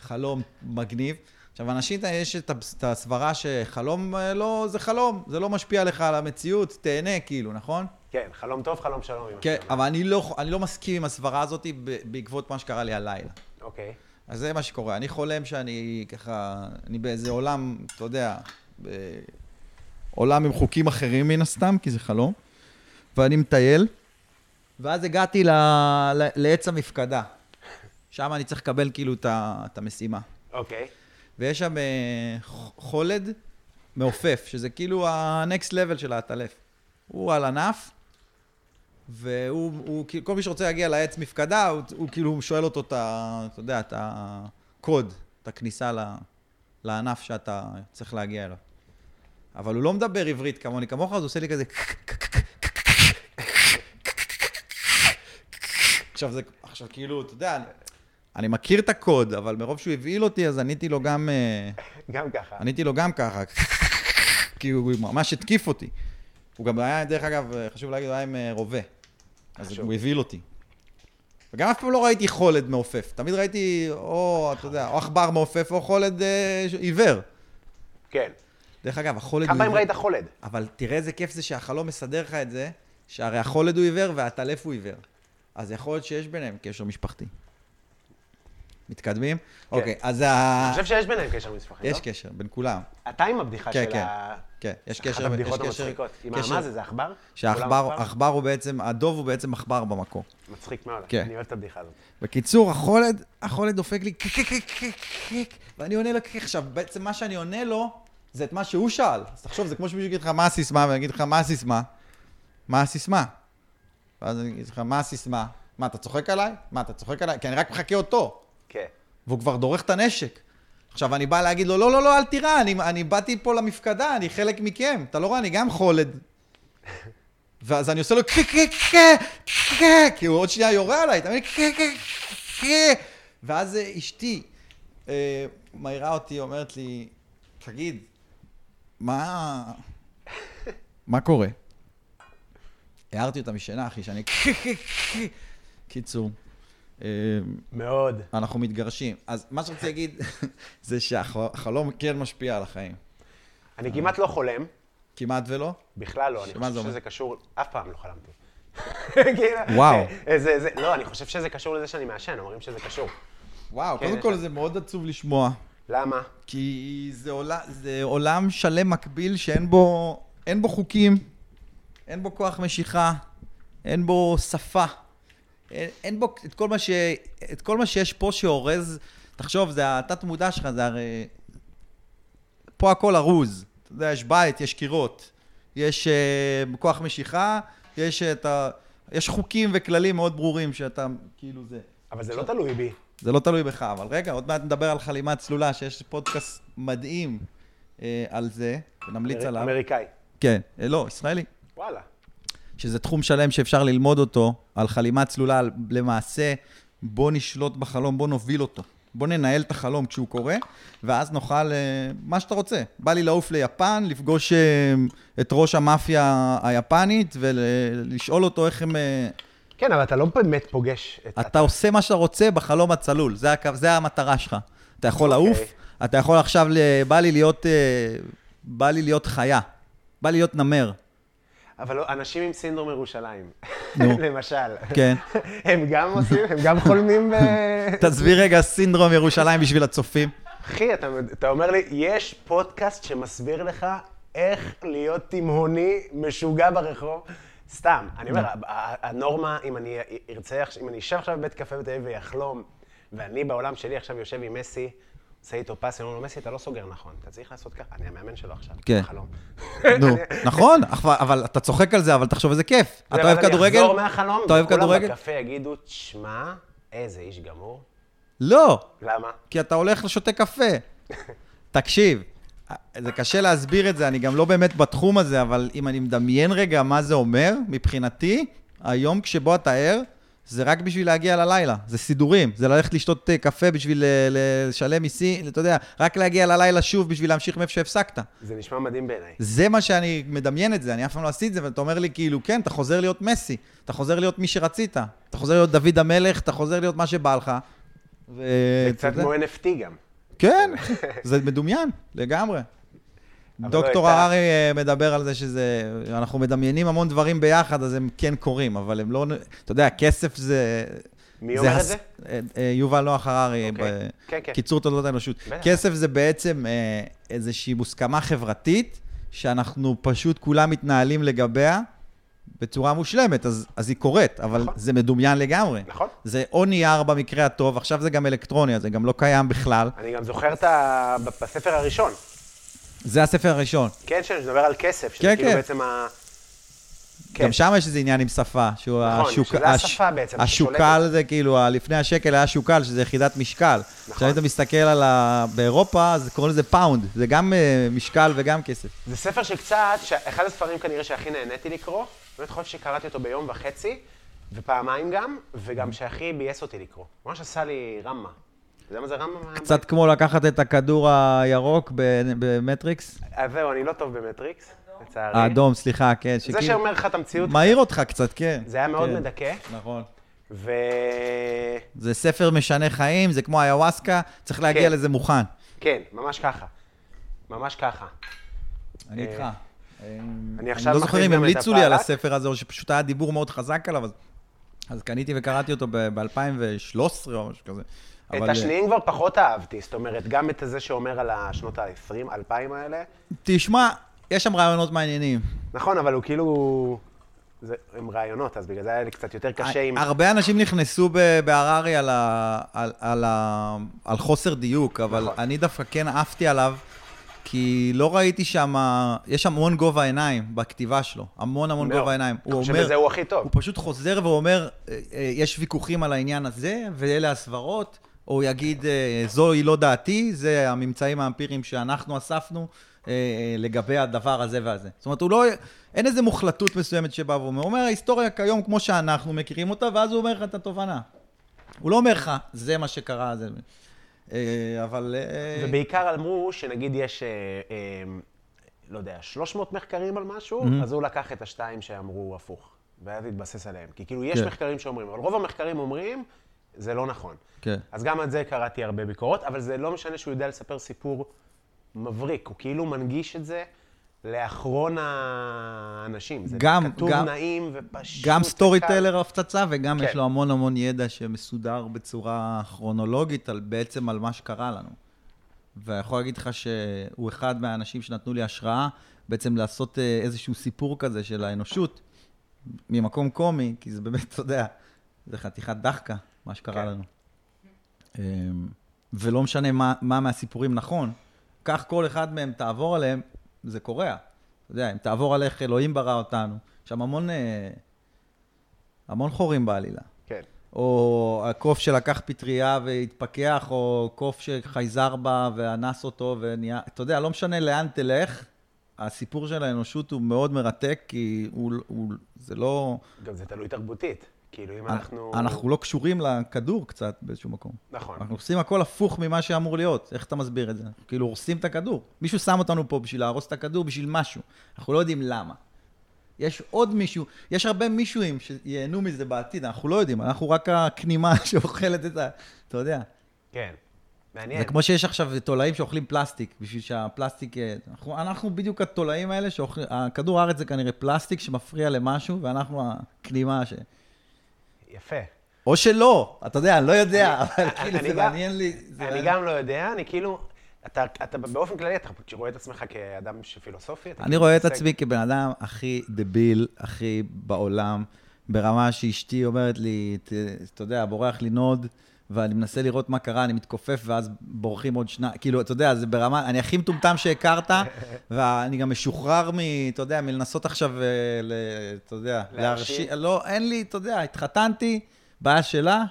[SPEAKER 4] חלום מגניב. עכשיו, אנשים, יש את הבס- את הסברה שחלום אה, לא, זה חלום, זה לא משפיע לך על המציאות, תהנה כאילו, נכון?
[SPEAKER 2] כן, חלום טוב, חלום שלום. אמא
[SPEAKER 4] כן,
[SPEAKER 2] שלי.
[SPEAKER 4] אבל אני לא, אני לא מסכים עם הסברה הזאת ב- בעקבות מה שקרה לי הלילה.
[SPEAKER 2] אוקיי.
[SPEAKER 4] אז זה מה שקורה. אני חולם שאני ככה, אני באיזה עולם, אתה יודע, ב... עולם עם חוקים אחרים מן הסתם, כי זה חלום, ואני מטייל, ואז הגעתי ל... ל... לעץ המפקדה. שם אני צריך לקבל כאילו את ה- את המשימה.
[SPEAKER 2] אוקיי.
[SPEAKER 4] ויש שם אה, ח- חולד מעופף, שזה כאילו ה-next level של העטלף. הוא על ענף, והוא, הוא, כאילו, כל מי שרוצה להגיע לעץ מפקדה, הוא, הוא כאילו שואל אותו את ה... אתה יודע, את הקוד, את הכניסה ל- לענף שאתה צריך להגיע אליו. אבל הוא לא מדבר עברית כמוני, כמוך, אז הוא עושה לי כזה... עכשיו זה, עכשיו כאילו, אתה יודע, אני, אני מכיר את הקוד, אבל מרוב שהוא הבהיל אותי, אז עניתי לו גם, אה,
[SPEAKER 2] גם ככה.
[SPEAKER 4] עניתי לו גם ככה, כי הוא ממש התקיף אותי. הוא גם היה, דרך אגב, אה, חשוב להגיד, הוא היה עם אה, רובה. אז
[SPEAKER 2] חשוב.
[SPEAKER 4] הוא הבהיל אותי. וגם אף פעם לא ראיתי חולד מעופף. תמיד ראיתי, או, אתה יודע, או עכבר מעופף, או חולד אה, ש- עיוור.
[SPEAKER 2] כן.
[SPEAKER 4] דרך אגב, החולד הוא
[SPEAKER 2] כמה פעמים
[SPEAKER 4] עיוור.
[SPEAKER 2] ראית חולד?
[SPEAKER 4] אבל תראה איזה כיף זה שהחלום מסדר לך את זה, שהרי החולד הוא עיוור והטלף הוא עיוור. אז יכול להיות שיש ביניהם קשר משפחתי. מתקדמים? אוקיי, אז ה...
[SPEAKER 2] כן. אני חושב שיש ביניהם קשר משפחי, לא?
[SPEAKER 4] יש קשר בין כולם.
[SPEAKER 2] אתה עם הבדיחה
[SPEAKER 4] כן,
[SPEAKER 2] של
[SPEAKER 4] כן.
[SPEAKER 2] ה...
[SPEAKER 4] כן, יש
[SPEAKER 2] אחת
[SPEAKER 4] קשר...
[SPEAKER 2] הבדיחות
[SPEAKER 4] יש קשר-
[SPEAKER 2] המצחיקות. עם
[SPEAKER 4] קשר-
[SPEAKER 2] מה זה, זה עכבר?
[SPEAKER 4] שהעכבר
[SPEAKER 2] כולם
[SPEAKER 4] העכבר הוא בעצם, הדוב הוא בעצם עכבר במקור.
[SPEAKER 2] מצחיק מאוד.
[SPEAKER 4] כן.
[SPEAKER 2] אני אוהב את הבדיחה הזאת.
[SPEAKER 4] בקיצור, החולד, החולד דופק לי קיק, קיק, קיק, קיק, קיק, ואני עונה לו קיק. עכשיו, בעצם מה שאני עונה לו, זה את מה שהוא שאל. אז תחשוב, זה כמו שמישהו יגיד לך מה הסיסמה, ואני אגיד לך מה הסיסמה, מה הסיסמה. ואז אני אגיד לך מה הסיסמה, מה, אתה צוחק עליי? מה, אתה צוחק עליי? כי אני רק מחכה אותו,
[SPEAKER 2] כן.
[SPEAKER 4] והוא כבר דורך את הנשק. עכשיו, אני בא להגיד לו, לא, לא, לא, אל תירא, אני, אני באתי פה למפקדה, אני חלק מכם, אתה לא רואה, אני גם חולד. ואז אני עושה לו קה קה קה קה, כי הוא עוד שנייה יורה עליי, אתה מבין? קה קה קה. ואז אה, אשתי אה, מעירה אותי, אומרת לי, תגיד, מה... מה קורה? הערתי אותה משאלה, אחי, שאני קה קה קה. קיצור, אה,
[SPEAKER 2] מאוד.
[SPEAKER 4] אנחנו מתגרשים. אז מה שרציתי להגיד זה שהחלום כן משפיע על החיים. אה.
[SPEAKER 2] אני כמעט לא חולם,
[SPEAKER 4] כמעט ולא.
[SPEAKER 2] בכלל לא. אני
[SPEAKER 4] שמה זה
[SPEAKER 2] חושב
[SPEAKER 4] אומר?
[SPEAKER 2] שזה קשור... אף פעם לא חלמתי. כאילו,
[SPEAKER 4] וואו.
[SPEAKER 2] אה, זה- זה- לא, אני חושב שזה קשור לזה שאני מעשן, אומרים שזה קשור.
[SPEAKER 4] וואו,
[SPEAKER 2] כן,
[SPEAKER 4] קודם
[SPEAKER 2] יש
[SPEAKER 4] כל
[SPEAKER 2] לך.
[SPEAKER 4] זה מאוד עצוב לשמוע,
[SPEAKER 2] למה?
[SPEAKER 4] כי זה, עול... זה עולם שלם מקביל שאין בו, אין בו חוקים, אין בו כוח משיכה, אין בו שפה, אין, אין בו את כל, מה ש... את כל מה שיש פה שאורז, תחשוב, זה התת מודע שלך, זה הרי... פה הכל ארוז. אתה יודע, יש בית, יש קירות, יש uh, כוח משיכה, יש את ה... יש חוקים וכללים מאוד ברורים שאתה, כאילו זה...
[SPEAKER 2] אבל זה לא תלוי בי.
[SPEAKER 4] זה לא תלוי בך, אבל רגע, עוד מעט נדבר על חלימה צלולה, שיש פודקאסט מדהים אה, על זה, ונמליץ
[SPEAKER 2] אמר-
[SPEAKER 4] עליו.
[SPEAKER 2] אמריקאי.
[SPEAKER 4] כן, אה, לא, ישראלי.
[SPEAKER 2] וואלה.
[SPEAKER 4] שזה תחום שלם שאפשר ללמוד אותו, על חלימה צלולה, על- למעשה, בוא נשלוט בחלום, בוא נוביל אותו. בוא ננהל את החלום כשהוא קורה, ואז נאכל אה, מה שאתה רוצה. בא לי לעוף ליפן, לפגוש אה, את ראש המאפיה היפנית, ולשאול אותו איך הם... אה,
[SPEAKER 2] כן, אבל אתה לא באמת פוגש את...
[SPEAKER 4] אתה עושה מה שאתה רוצה בחלום הצלול, זה, הקו, זה המטרה שלך. אתה יכול
[SPEAKER 2] אוקיי.
[SPEAKER 4] לעוף, אתה יכול עכשיו, ל... בא לי להיות, אה, בא לי להיות חיה, בא לי להיות נמר.
[SPEAKER 2] אבל לא- אנשים עם סינדרום ירושלים,
[SPEAKER 4] נו.
[SPEAKER 2] למשל,
[SPEAKER 4] כן.
[SPEAKER 2] הם גם עושים, הם גם חולמים ב...
[SPEAKER 4] תעזבי רגע סינדרום ירושלים בשביל הצופים.
[SPEAKER 2] אחי, אתה, אתה אומר לי, יש פודקאסט שמסביר לך איך להיות תימהוני משוגע ברחוב? סתם, אני אומר, ה-
[SPEAKER 4] לא.
[SPEAKER 2] ה- הנורמה, אם אני ארצה, עכש- אם אני אשב עכשיו בבית קפה בתל אביב ויחלום, ואני בעולם שלי עכשיו יושב עם מסי, עושה איתו פס, אני אומר לו, מסי, אתה לא סוגר נכון, אתה צריך לעשות ככה, אני המאמן שלו עכשיו,
[SPEAKER 4] כן.
[SPEAKER 2] חלום.
[SPEAKER 4] נו, נכון, אבל- אבל אתה צוחק על זה, אבל תחשוב איזה כיף. אתה אוהב כדורגל?
[SPEAKER 2] אני אחזור מהחלום,
[SPEAKER 4] אתה אוהב
[SPEAKER 2] וכולם
[SPEAKER 4] כדורגל?
[SPEAKER 2] בקפה יגידו, תשמע, איזה איש גמור.
[SPEAKER 4] לא,
[SPEAKER 2] למה?
[SPEAKER 4] כי אתה הולך לשותה קפה. תקשיב, זה קשה להסביר את זה, אני גם לא באמת בתחום הזה, אבל אם אני מדמיין רגע מה זה אומר, מבחינתי, היום כשבו אתה ער, זה רק בשביל להגיע ללילה, זה סידורים, זה ללכת לשתות אה, קפה בשביל אה, ל- לשלם מיסים, אתה יודע, רק להגיע ללילה שוב בשביל להמשיך מאיפה שהפסקת.
[SPEAKER 2] זה נשמע מדהים בעיניי.
[SPEAKER 4] זה מה שאני מדמיין את זה, אני אף פעם לא עשיתי את זה, ואתה אומר לי כאילו, כן, אתה חוזר להיות מסי, אתה חוזר להיות מי שרצית, אתה חוזר להיות דוד המלך, אתה חוזר להיות מה שבא לך. ו...
[SPEAKER 2] זה קצת כמו NFT גם.
[SPEAKER 4] כן, זה מדומיין, לגמרי.
[SPEAKER 2] אבל
[SPEAKER 4] דוקטור
[SPEAKER 2] לא הייתה-
[SPEAKER 4] הררי אה, מדבר על זה שזה, אנחנו מדמיינים המון דברים ביחד, אז הם כן קורים, אבל הם לא, אתה יודע, כסף זה...
[SPEAKER 2] מי אומר את
[SPEAKER 4] הס-
[SPEAKER 2] זה?
[SPEAKER 4] אה, אה, יובל נוח הררי,
[SPEAKER 2] אוקיי. כן, כן.
[SPEAKER 4] בקיצור תולדות האנושות.
[SPEAKER 2] בטח.
[SPEAKER 4] כסף זה בעצם אה, איזושהי מוסכמה חברתית, שאנחנו פשוט כולם מתנהלים לגביה בצורה מושלמת, אז, אז היא קורית, אבל
[SPEAKER 2] נכון.
[SPEAKER 4] זה מדומיין לגמרי.
[SPEAKER 2] נכון.
[SPEAKER 4] זה או נייר במקרה הטוב, עכשיו זה גם אלקטרוני, אז זה גם לא קיים בכלל.
[SPEAKER 2] אני גם זוכר את ה... בספר הראשון,
[SPEAKER 4] זה הספר הראשון.
[SPEAKER 2] כן, שמדבר על כסף, שזה
[SPEAKER 4] כן,
[SPEAKER 2] כאילו
[SPEAKER 4] כן.
[SPEAKER 2] בעצם ה...
[SPEAKER 4] כן. גם שם יש איזה עניין עם שפה, שהוא
[SPEAKER 2] נכון, שזה השפה בעצם
[SPEAKER 4] השוקל
[SPEAKER 2] ששולטת.
[SPEAKER 4] זה כאילו, ה- לפני השקל היה שוקל, שזה יחידת משקל.
[SPEAKER 2] נכון.
[SPEAKER 4] עכשיו אם אתה מסתכל על ה... באירופה, אז קוראים לזה פאונד, זה גם אה, משקל וגם כסף.
[SPEAKER 2] זה ספר שקצת, ש- אחד הספרים כנראה שהכי נהניתי לקרוא, באמת חושב שקראתי אותו ביום וחצי, ופעמיים גם, וגם שהכי ביאס אותי לקרוא. ממש עשה לי רמבה. אתה יודע מה זה רמבה?
[SPEAKER 4] קצת כמו לקחת את הכדור הירוק ב- במטריקס,
[SPEAKER 2] אז זהו, אני לא טוב במטריקס, לצערי.
[SPEAKER 4] האדום, סליחה, כן,
[SPEAKER 2] זה
[SPEAKER 4] שכאילו,
[SPEAKER 2] שאומר לך את המציאות,
[SPEAKER 4] מעיר אותך קצת, כן.
[SPEAKER 2] זה היה מאוד
[SPEAKER 4] כן.
[SPEAKER 2] מדכא,
[SPEAKER 4] נכון.
[SPEAKER 2] ו...
[SPEAKER 4] זה ספר משנה חיים, זה כמו איוואסקה, צריך להגיע
[SPEAKER 2] כן.
[SPEAKER 4] לזה מוכן.
[SPEAKER 2] כן, ממש ככה. ממש ככה.
[SPEAKER 4] אני איתך.
[SPEAKER 2] אה,
[SPEAKER 4] אמ,
[SPEAKER 2] אני
[SPEAKER 4] אני
[SPEAKER 2] עכשיו
[SPEAKER 4] לא זוכר
[SPEAKER 2] מכניס
[SPEAKER 4] אם
[SPEAKER 2] גם את
[SPEAKER 4] המליצו לי על
[SPEAKER 2] הפעלת.
[SPEAKER 4] הספר הזה, או שפשוט היה דיבור מאוד חזק עליו, אז- אז קניתי וקראתי אותו ב-2013 או משהו כזה.
[SPEAKER 2] את
[SPEAKER 4] אבל, אה,
[SPEAKER 2] השניים כבר פחות אהבתי, זאת אומרת, גם את זה שאומר על השנות ה-20, 2000 האלה.
[SPEAKER 4] תשמע, יש שם רעיונות מעניינים.
[SPEAKER 2] נכון, אבל הוא כאילו... זה עם רעיונות, אז בגלל זה היה לי קצת יותר קשה עם...
[SPEAKER 4] הרבה אנשים נכנסו ב- בהררי על, ה- על, על, ה- על חוסר דיוק, אבל
[SPEAKER 2] נכון.
[SPEAKER 4] אני דווקא כן עפתי עליו, כי לא ראיתי שם, יש המון גובה עיניים בכתיבה שלו, המון המון
[SPEAKER 2] מאוד.
[SPEAKER 4] גובה עיניים.
[SPEAKER 2] אני חושב שזה הוא הכי טוב.
[SPEAKER 4] הוא פשוט חוזר ואומר, אה, אה, יש ויכוחים על העניין הזה, ואלה הסברות, או הוא יגיד, אה, זוהי לא דעתי, זה הממצאים האמפיריים שאנחנו אספנו. אה, אה, לגבי הדבר הזה והזה. זאת אומרת, הוא לא... אין איזו מוחלטות מסוימת שבאה ואומר, הוא אומר, ההיסטוריה כיום כמו שאנחנו מכירים אותה, ואז הוא אומר לך את התובנה. הוא לא אומר לך, זה מה שקרה, זה... אה, אבל... אה,
[SPEAKER 2] ובעיקר אמרו שנגיד יש, אה, אה, לא יודע, 300 מחקרים על משהו,
[SPEAKER 4] Mm-hmm.
[SPEAKER 2] אז הוא לקח את השתיים שאמרו הפוך, ואז התבסס עליהם. כי כאילו, יש
[SPEAKER 4] כן.
[SPEAKER 2] מחקרים שאומרים, אבל רוב המחקרים אומרים, זה לא נכון.
[SPEAKER 4] כן.
[SPEAKER 2] אז גם על זה קראתי הרבה ביקורות, אבל זה לא משנה שהוא יודע לספר סיפור מבריק, הוא כאילו מנגיש את זה לאחרון האנשים. זה
[SPEAKER 4] גם-
[SPEAKER 2] כתוב
[SPEAKER 4] גם-
[SPEAKER 2] נעים ופשוט.
[SPEAKER 4] גם סטורי
[SPEAKER 2] וקל.
[SPEAKER 4] טיילר הפצצה, וגם
[SPEAKER 2] כן.
[SPEAKER 4] יש לו המון המון ידע שמסודר בצורה כרונולוגית, על בעצם על מה שקרה לנו. ואני יכול להגיד לך שהוא אחד מהאנשים שנתנו לי השראה בעצם לעשות אה, איזשהו סיפור כזה של האנושות, ממקום קומי, כי זה באמת, אתה יודע, זה חתיכת דחקה, מה שקרה
[SPEAKER 2] כן.
[SPEAKER 4] לנו. אמ, ולא משנה מה, מה מהסיפורים נכון, קח כל אחד מהם, תעבור עליהם, זה קורע. אתה יודע, אם תעבור על איך אלוהים ברא אותנו, יש שם המון, אה, המון חורים בעלילה.
[SPEAKER 2] כן.
[SPEAKER 4] או הקוף שלקח פטריה והתפכח, או קוף שחייזר בה ואנס אותו ונהיה... אתה יודע, לא משנה לאן תלך, הסיפור של האנושות הוא מאוד מרתק, כי הוא, הוא, זה לא...
[SPEAKER 2] גם זה תלוי תרבותית. כאילו, אם אנחנו...
[SPEAKER 4] אנחנו לא קשורים לכדור קצת באיזשהו מקום.
[SPEAKER 2] נכון.
[SPEAKER 4] אנחנו עושים הכל הפוך ממה שאמור להיות. איך אתה מסביר את זה? אנחנו כאילו הורסים את הכדור. מישהו שם אותנו פה בשביל להרוס את הכדור, בשביל משהו. אנחנו לא יודעים למה. יש עוד מישהו, יש הרבה מישהוים שייהנו מזה בעתיד, אנחנו לא יודעים, אנחנו רק הכנימה שאוכלת את ה... אתה יודע.
[SPEAKER 2] כן. מעניין.
[SPEAKER 4] זה כמו שיש עכשיו תולעים שאוכלים פלסטיק, בשביל שהפלסטיק... אה, אנחנו, אנחנו בדיוק התולעים האלה, שאוכל- הכדור הארץ זה כנראה פלסטיק שמפריע למשהו, ואנחנו הכנימה ש...
[SPEAKER 2] יפה.
[SPEAKER 4] או שלא, אתה יודע, אני לא יודע, אבל
[SPEAKER 2] אני-
[SPEAKER 4] כאילו
[SPEAKER 2] אני
[SPEAKER 4] זה
[SPEAKER 2] גם-
[SPEAKER 4] מעניין לי. זה
[SPEAKER 2] אני
[SPEAKER 4] מעניין.
[SPEAKER 2] גם לא יודע, אני כאילו... אתה, אתה באופן כללי, אתה רואה את עצמך כאדם שפילוסופי? אתה
[SPEAKER 4] אני
[SPEAKER 2] כאילו
[SPEAKER 4] רואה את
[SPEAKER 2] מתעסק-
[SPEAKER 4] עצמי כבן אדם הכי דביל, הכי בעולם, ברמה שאשתי אומרת לי, "ת- אתה יודע, בורח לי נוד, ואני מנסה לראות מה קרה, אני מתכופף, ואז בורחים עוד שניים, כאילו, אתה יודע, זה ברמה, אני הכי מטומטם שהכרת, ואני גם משוחרר מ... אתה יודע, מלנסות עכשיו, אה, ל, אתה יודע,
[SPEAKER 2] להרשים.
[SPEAKER 4] להרשיע, לא, אין לי, אתה יודע, התחתנתי, בעיה שלה.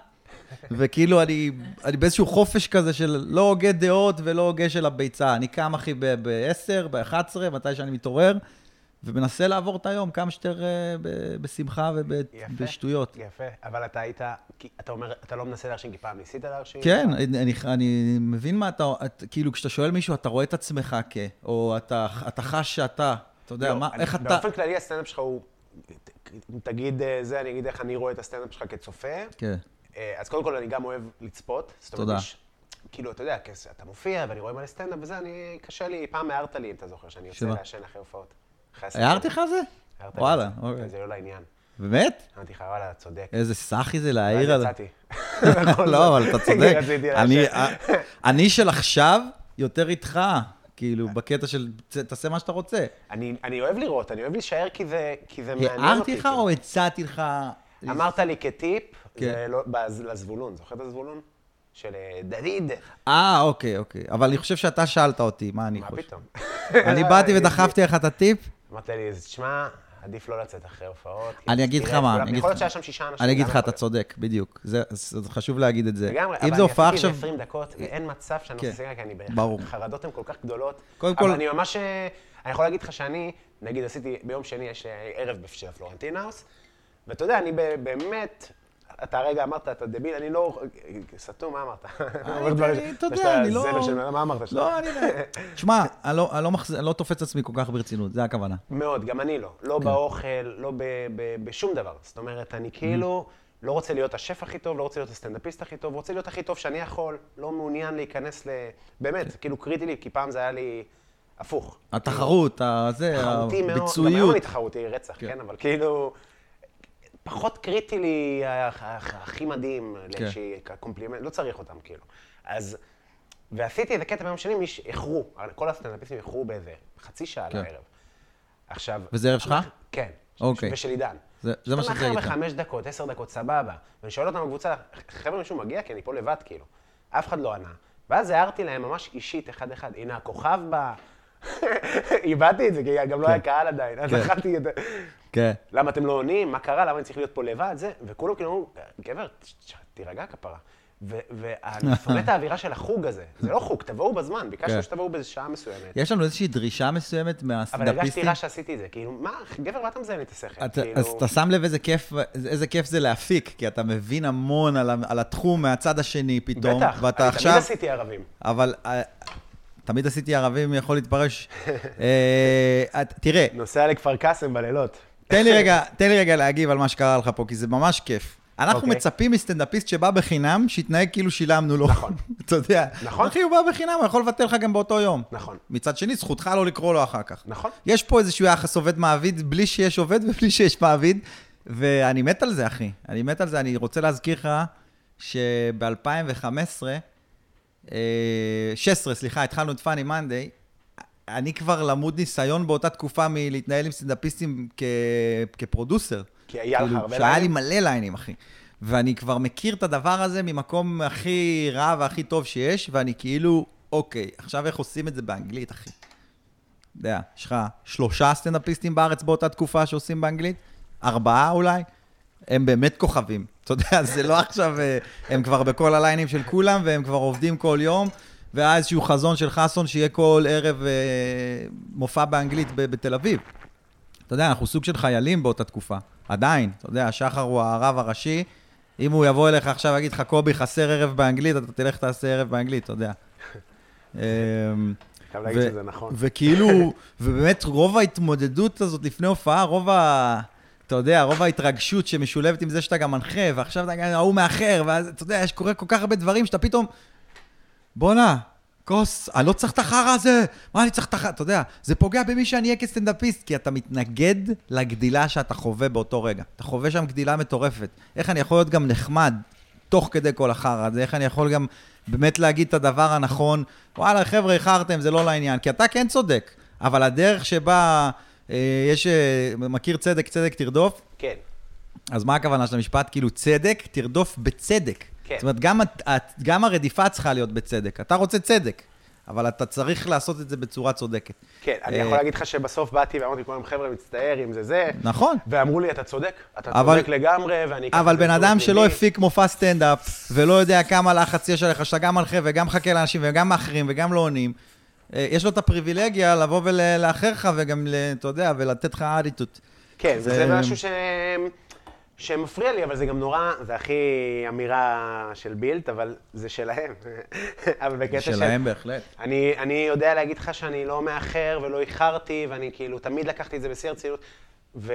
[SPEAKER 4] וכאילו אני, אני באיזשהו חופש כזה של לא הוגה דעות ולא הוגה של הביצה. אני קם, אחי, ב-10, ב-11, מתי שאני מתעורר, ומנסה לעבור את היום כמה שיותר אה, ב- בשמחה
[SPEAKER 2] יפה.
[SPEAKER 4] ובשטויות.
[SPEAKER 2] יפה, אבל אתה היית... כי אתה אומר, אתה לא מנסה להרשים, כי פעם ניסית להרשים?
[SPEAKER 4] כן, אני, אני, אני מבין מה אתה, את, כאילו, כשאתה שואל מישהו, אתה רואה את עצמך כ... או אתה, אתה חש שאתה, אתה יודע,
[SPEAKER 2] לא,
[SPEAKER 4] מה,
[SPEAKER 2] אני-
[SPEAKER 4] איך אתה...
[SPEAKER 2] באופן כללי הסטנדאפ שלך הוא... אם תגיד אה, זה, אני אגיד איך אני רואה את הסטנדאפ שלך כצופה.
[SPEAKER 4] כן,
[SPEAKER 2] אה, אז קודם כל, אני גם אוהב לצפות. זאת אומרת,
[SPEAKER 4] תודה.
[SPEAKER 2] יש- כאילו, אתה יודע, כס- אתה מופיע ואני רואה מלא סטנדאפ וזה, אני... קשה לי, פעם הערת לי, אם אתה זוכר, שאני יוצא
[SPEAKER 4] שמה?
[SPEAKER 2] לעשן אחרי הופעות. אחרי הסטנדאפ.
[SPEAKER 4] הערתי לך על זה?
[SPEAKER 2] הערת לי.
[SPEAKER 4] וואלה, אוקיי.
[SPEAKER 2] זה לא לעניין.
[SPEAKER 4] באמת?
[SPEAKER 2] אמרתי לך, וואלה, אתה צודק.
[SPEAKER 4] איזה סאחי זה
[SPEAKER 2] ואז
[SPEAKER 4] להעיר על...
[SPEAKER 2] יצאתי. כן,
[SPEAKER 4] לא, אבל אתה צודק.
[SPEAKER 2] רציתי
[SPEAKER 4] אני-
[SPEAKER 2] לעשן.
[SPEAKER 4] ה- אני של עכשיו יותר איתך, כאילו, בקטע של "ת- תעשה מה שאתה רוצה.
[SPEAKER 2] אני, אני אוהב לראות, אני אוהב להישאר כי זה, כי זה מעניין אותי.
[SPEAKER 4] הערתי לך
[SPEAKER 2] כאילו.
[SPEAKER 4] או הצעתי לך...
[SPEAKER 2] אמרת לי כטיפ,
[SPEAKER 4] כן.
[SPEAKER 2] זה לא- בז- לזבולון, זוכר את הזבולון? של אה, דוד.
[SPEAKER 4] אה, אוקיי, אוקיי. אבל אני חושב שאתה שאלת אותי, מה אני
[SPEAKER 2] מה
[SPEAKER 4] חושב.
[SPEAKER 2] פתאום? לא, אה,
[SPEAKER 4] אני באתי ודחפתי לך את הטיפ,
[SPEAKER 2] אמרת לי, אז תשמע, עדיף לא לצאת אחרי הופעות. כי
[SPEAKER 4] אני אגיד לך
[SPEAKER 2] תראה את
[SPEAKER 4] מה,
[SPEAKER 2] כולם."
[SPEAKER 4] אני אגיד
[SPEAKER 2] אה, יכול להיות שהיה
[SPEAKER 4] לך-
[SPEAKER 2] שם שישה אנשים. לא?
[SPEAKER 4] אני אגיד
[SPEAKER 2] גם
[SPEAKER 4] לך,
[SPEAKER 2] יכול
[SPEAKER 4] אתה
[SPEAKER 2] להיות.
[SPEAKER 4] צודק, בדיוק. זה זה- זה חשוב להגיד את זה.
[SPEAKER 2] לגמרי,
[SPEAKER 4] אם
[SPEAKER 2] אבל
[SPEAKER 4] זו
[SPEAKER 2] אני
[SPEAKER 4] הופעה
[SPEAKER 2] עשיתי
[SPEAKER 4] עכשיו...
[SPEAKER 2] איזה 20 דקות, ואין מצב שאני
[SPEAKER 4] כן.
[SPEAKER 2] עושה סיגריה, כי אני בח-
[SPEAKER 4] ברור.
[SPEAKER 2] חרדות הן כל כך גדולות.
[SPEAKER 4] קודם
[SPEAKER 2] אבל
[SPEAKER 4] כל-
[SPEAKER 2] אני ממש... אה, אני יכול להגיד לך שאני, נגיד עשיתי, ביום שני יש אה, ערב של הפלורנטין האוס, ואתה יודע, אני ב- באמת... אתה הרגע אמרת, אתה דביל, אני לא... סתום, מה אמרת? אומר דברים-
[SPEAKER 4] אה, אתה יודע,
[SPEAKER 2] לא, יש לה
[SPEAKER 4] אני לא-
[SPEAKER 2] זמר של- מה אמרת? שאתה-
[SPEAKER 4] לא, אני לא... שמע, אני לא- אני לא מחז- אני לא תופס את עצמי כל כך ברצינות, זה הכוונה.
[SPEAKER 2] מאוד, גם אני לא. לא באוכל, לא ב, ב, בשום דבר. זאת אומרת, אני כאילו לא רוצה להיות השף הכי טוב, לא רוצה להיות הסטנדאפיסט הכי טוב, רוצה להיות הכי טוב שאני יכול, לא מעוניין להיכנס ל... באמת, זה כאילו קריטי לי, כי פעם זה היה לי הפוך.
[SPEAKER 4] התחרות, ה- זה,
[SPEAKER 2] תחרותי מאוד. גם היום
[SPEAKER 4] הביצועיות.
[SPEAKER 2] אני תחרותי רצח, כן.
[SPEAKER 4] כן.
[SPEAKER 2] אבל כאילו... פחות קריטי לי הח- הח- הכי מדהים
[SPEAKER 4] כן.
[SPEAKER 2] לאיזושהי קומפלימנט, לא צריך אותם כאילו. אז, ועשיתי איזה קטע ביום שני, מי ש- איחרו, כל הסטנדאפיסטים איחרו באיזה חצי שעה
[SPEAKER 4] כן.
[SPEAKER 2] לערב. עכשיו...
[SPEAKER 4] וזה ערב שלך?
[SPEAKER 2] כן.
[SPEAKER 4] אוקיי.
[SPEAKER 2] ושל עידן.
[SPEAKER 4] זה- זה מה שרציתי
[SPEAKER 2] להגיד.
[SPEAKER 4] להגיד לך.
[SPEAKER 2] חמש דקות, עשר דקות, סבבה. ואני שואל אותם בקבוצה, חבר'ה, מישהו מגיע? כי אני פה לבד, כאילו. אף אחד לא ענה. ואז הערתי להם ממש אישית, אחד-אחד, הנה הכוכב בא. איבדתי את זה, כי גם לא היה קהל עדיין. אז
[SPEAKER 4] כן.
[SPEAKER 2] אכלתי את זה.
[SPEAKER 4] כן.
[SPEAKER 2] למה אתם לא עונים? מה קרה? למה אני צריך להיות פה לבד? זה. וכולם כאילו אמרו, גבר, ת- ת- תירגע כפרה. ו- ואני שונא את האווירה של החוג הזה. זה לא חוג, תבואו בזמן. ביקשנו
[SPEAKER 4] כן.
[SPEAKER 2] שתבואו באיזו שעה מסוימת.
[SPEAKER 4] יש לנו איזושהי דרישה מסוימת
[SPEAKER 2] אבל הרגשתי
[SPEAKER 4] מהסטנדאפיסטים.
[SPEAKER 2] רע שעשיתי את זה. כאילו, מה, גבר, מה אתה מזיין לי את השכל?
[SPEAKER 4] אתה-
[SPEAKER 2] כאילו-
[SPEAKER 4] אז אתה שם לב איזה כיף, איזה כיף זה להפיק, כי אתה מבין המון על, ה- על התחום מהצד השני פתאום.
[SPEAKER 2] בטח,
[SPEAKER 4] ואתה
[SPEAKER 2] אני
[SPEAKER 4] עכשיו...
[SPEAKER 2] תמיד עשיתי ערבים.
[SPEAKER 4] אבל אה, תמיד עשיתי ערבים, יכול להתפרש. אה, את- תראה,
[SPEAKER 2] נוסע לכפר קאסם בלילות.
[SPEAKER 4] תן לי רגע, תן לי רגע להגיב על מה שקרה לך פה, כי זה ממש כיף. אנחנו
[SPEAKER 2] אוקיי.
[SPEAKER 4] מצפים מסטנדאפיסט שבא בחינם, שיתנהג כאילו שילמנו לו.
[SPEAKER 2] נכון.
[SPEAKER 4] אתה יודע.
[SPEAKER 2] נכון.
[SPEAKER 4] אחי, הוא בא בחינם, הוא יכול לבטל לך גם באותו יום.
[SPEAKER 2] נכון.
[SPEAKER 4] מצד שני, זכותך לא לקרוא לו אחר כך.
[SPEAKER 2] נכון.
[SPEAKER 4] יש פה איזשהו יחס עובד-מעביד, בלי שיש עובד ובלי שיש מעביד, ואני מת על זה, אחי. אני מת על זה. אני רוצה להזכיר לך שב-2015, 16, סליחה, התחלנו את פאני מנדי, אני כבר למוד ניסיון באותה תקופה מלהתנהל עם סטנדאפיסטים כ... כפרודוסר.
[SPEAKER 2] כי היה לך
[SPEAKER 4] כאילו,
[SPEAKER 2] הרבה
[SPEAKER 4] שהיה לי
[SPEAKER 2] ליינים?
[SPEAKER 4] מלא ליינים, אחי. ואני כבר מכיר את הדבר הזה ממקום הכי רע והכי טוב שיש, ואני כאילו, אוקיי, עכשיו איך עושים את זה באנגלית, אחי? יודע, יש לך שלושה סטנדאפיסטים בארץ באותה תקופה שעושים באנגלית? ארבעה אולי? הם באמת כוכבים. אתה יודע, זה לא עכשיו, אה, הם כבר בכל הליינים של כולם, והם כבר עובדים כל יום, והיה איזשהו חזון של חסון שיהיה כל ערב אה, מופע באנגלית ב- בתל אביב. אתה יודע, אנחנו סוג של חיילים באותה תקופה, עדיין. אתה יודע, שחר הוא הרב הראשי. אם הוא יבוא אליך עכשיו ויגיד לך, קובי, חסר ערב באנגלית, אתה תלך תעשה ערב באנגלית, אתה יודע. אמ,
[SPEAKER 2] חייב להגיד
[SPEAKER 4] ו-
[SPEAKER 2] שזה נכון.
[SPEAKER 4] וכאילו, ובאמת רוב ההתמודדות הזאת לפני הופעה, רוב ה... אתה יודע, רוב ההתרגשות שמשולבת עם זה שאתה גם מנחה, ועכשיו אתה גם ההוא מאחר, ואז אתה יודע, יש קורה כל כך הרבה דברים שאתה פתאום... בואנה, כוס, אני לא צריך את החרא הזה, מה אני צריך את החרא, אתה יודע, זה פוגע במי שאני אהיה כסטנדאפיסט, כי אתה מתנגד לגדילה שאתה חווה באותו רגע. אתה חווה שם גדילה מטורפת. איך אני יכול להיות גם נחמד תוך כדי כל החרא הזה? איך אני יכול גם באמת להגיד את הדבר הנכון? וואלה, חבר'ה, איחרתם, זה לא לעניין, כי אתה כן צודק, אבל הדרך שבה אה, יש, אה, מכיר צדק, צדק תרדוף,
[SPEAKER 2] כן.
[SPEAKER 4] אז מה הכוונה של המשפט? כאילו, צדק, תרדוף בצדק.
[SPEAKER 2] כן.
[SPEAKER 4] זאת אומרת, גם, הת- הת- גם הרדיפה צריכה להיות בצדק. אתה רוצה צדק, אבל אתה צריך לעשות את זה בצורה צודקת.
[SPEAKER 2] כן, אני
[SPEAKER 4] אה,
[SPEAKER 2] יכול להגיד לך שבסוף באתי ואמרתי לכולם, חבר'ה, מצטער אם זה זה.
[SPEAKER 4] נכון.
[SPEAKER 2] ואמרו לי, אתה צודק, אתה
[SPEAKER 4] אבל-
[SPEAKER 2] צודק לגמרי, ואני... אקח את
[SPEAKER 4] אבל
[SPEAKER 2] זה
[SPEAKER 4] בן
[SPEAKER 2] לתשומת
[SPEAKER 4] אדם שלא
[SPEAKER 2] ליבי."
[SPEAKER 4] הפיק מופע סטנדאפ, ולא יודע כמה לחץ יש עליך, שאתה גם מנחה וגם מחכה לאנשים וגם מאחרים וגם לא עונים, אה, יש לו את הפריבילגיה לבוא ולאחר לך וגם, ל- אתה יודע, ולתת לך אדיטות.
[SPEAKER 2] כן,
[SPEAKER 4] זה-
[SPEAKER 2] זה, זה משהו ש... שמפריע לי, אבל זה גם נורא, זה הכי אמירה של בילט, אבל זה שלהם. אבל בקטע של...
[SPEAKER 4] שלהם בהחלט.
[SPEAKER 2] אני, אני יודע להגיד לך שאני לא מאחר ולא איחרתי, ואני כאילו תמיד לקחתי את זה בשיא הרצינות, ו...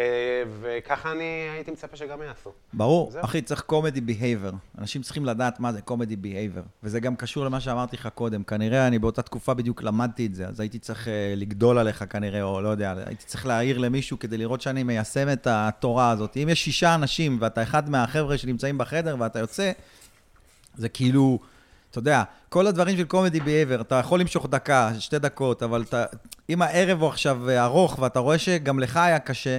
[SPEAKER 2] וככה אני הייתי מצפה שגם יעשו.
[SPEAKER 4] ברור,
[SPEAKER 2] זהו.
[SPEAKER 4] אחי, צריך קומדי בייבר. אנשים צריכים לדעת מה זה קומדי בייבר. וזה גם קשור למה שאמרתי לך קודם. כנראה אני באותה תקופה בדיוק למדתי את זה, אז הייתי צריך אה, לגדול עליך כנראה, או לא יודע, הייתי צריך להעיר למישהו כדי לראות שאני מיישם את התורה הזאת. אם יש שישה אנשים ואתה אחד מהחבר'ה שנמצאים בחדר ואתה יוצא, זה כאילו, אתה יודע, כל הדברים של קומדי בייבר, אתה יכול למשוך דקה, שתי דקות, אבל אתה, אם הערב הוא עכשיו אה, ארוך ואתה רואה שגם לך היה קשה,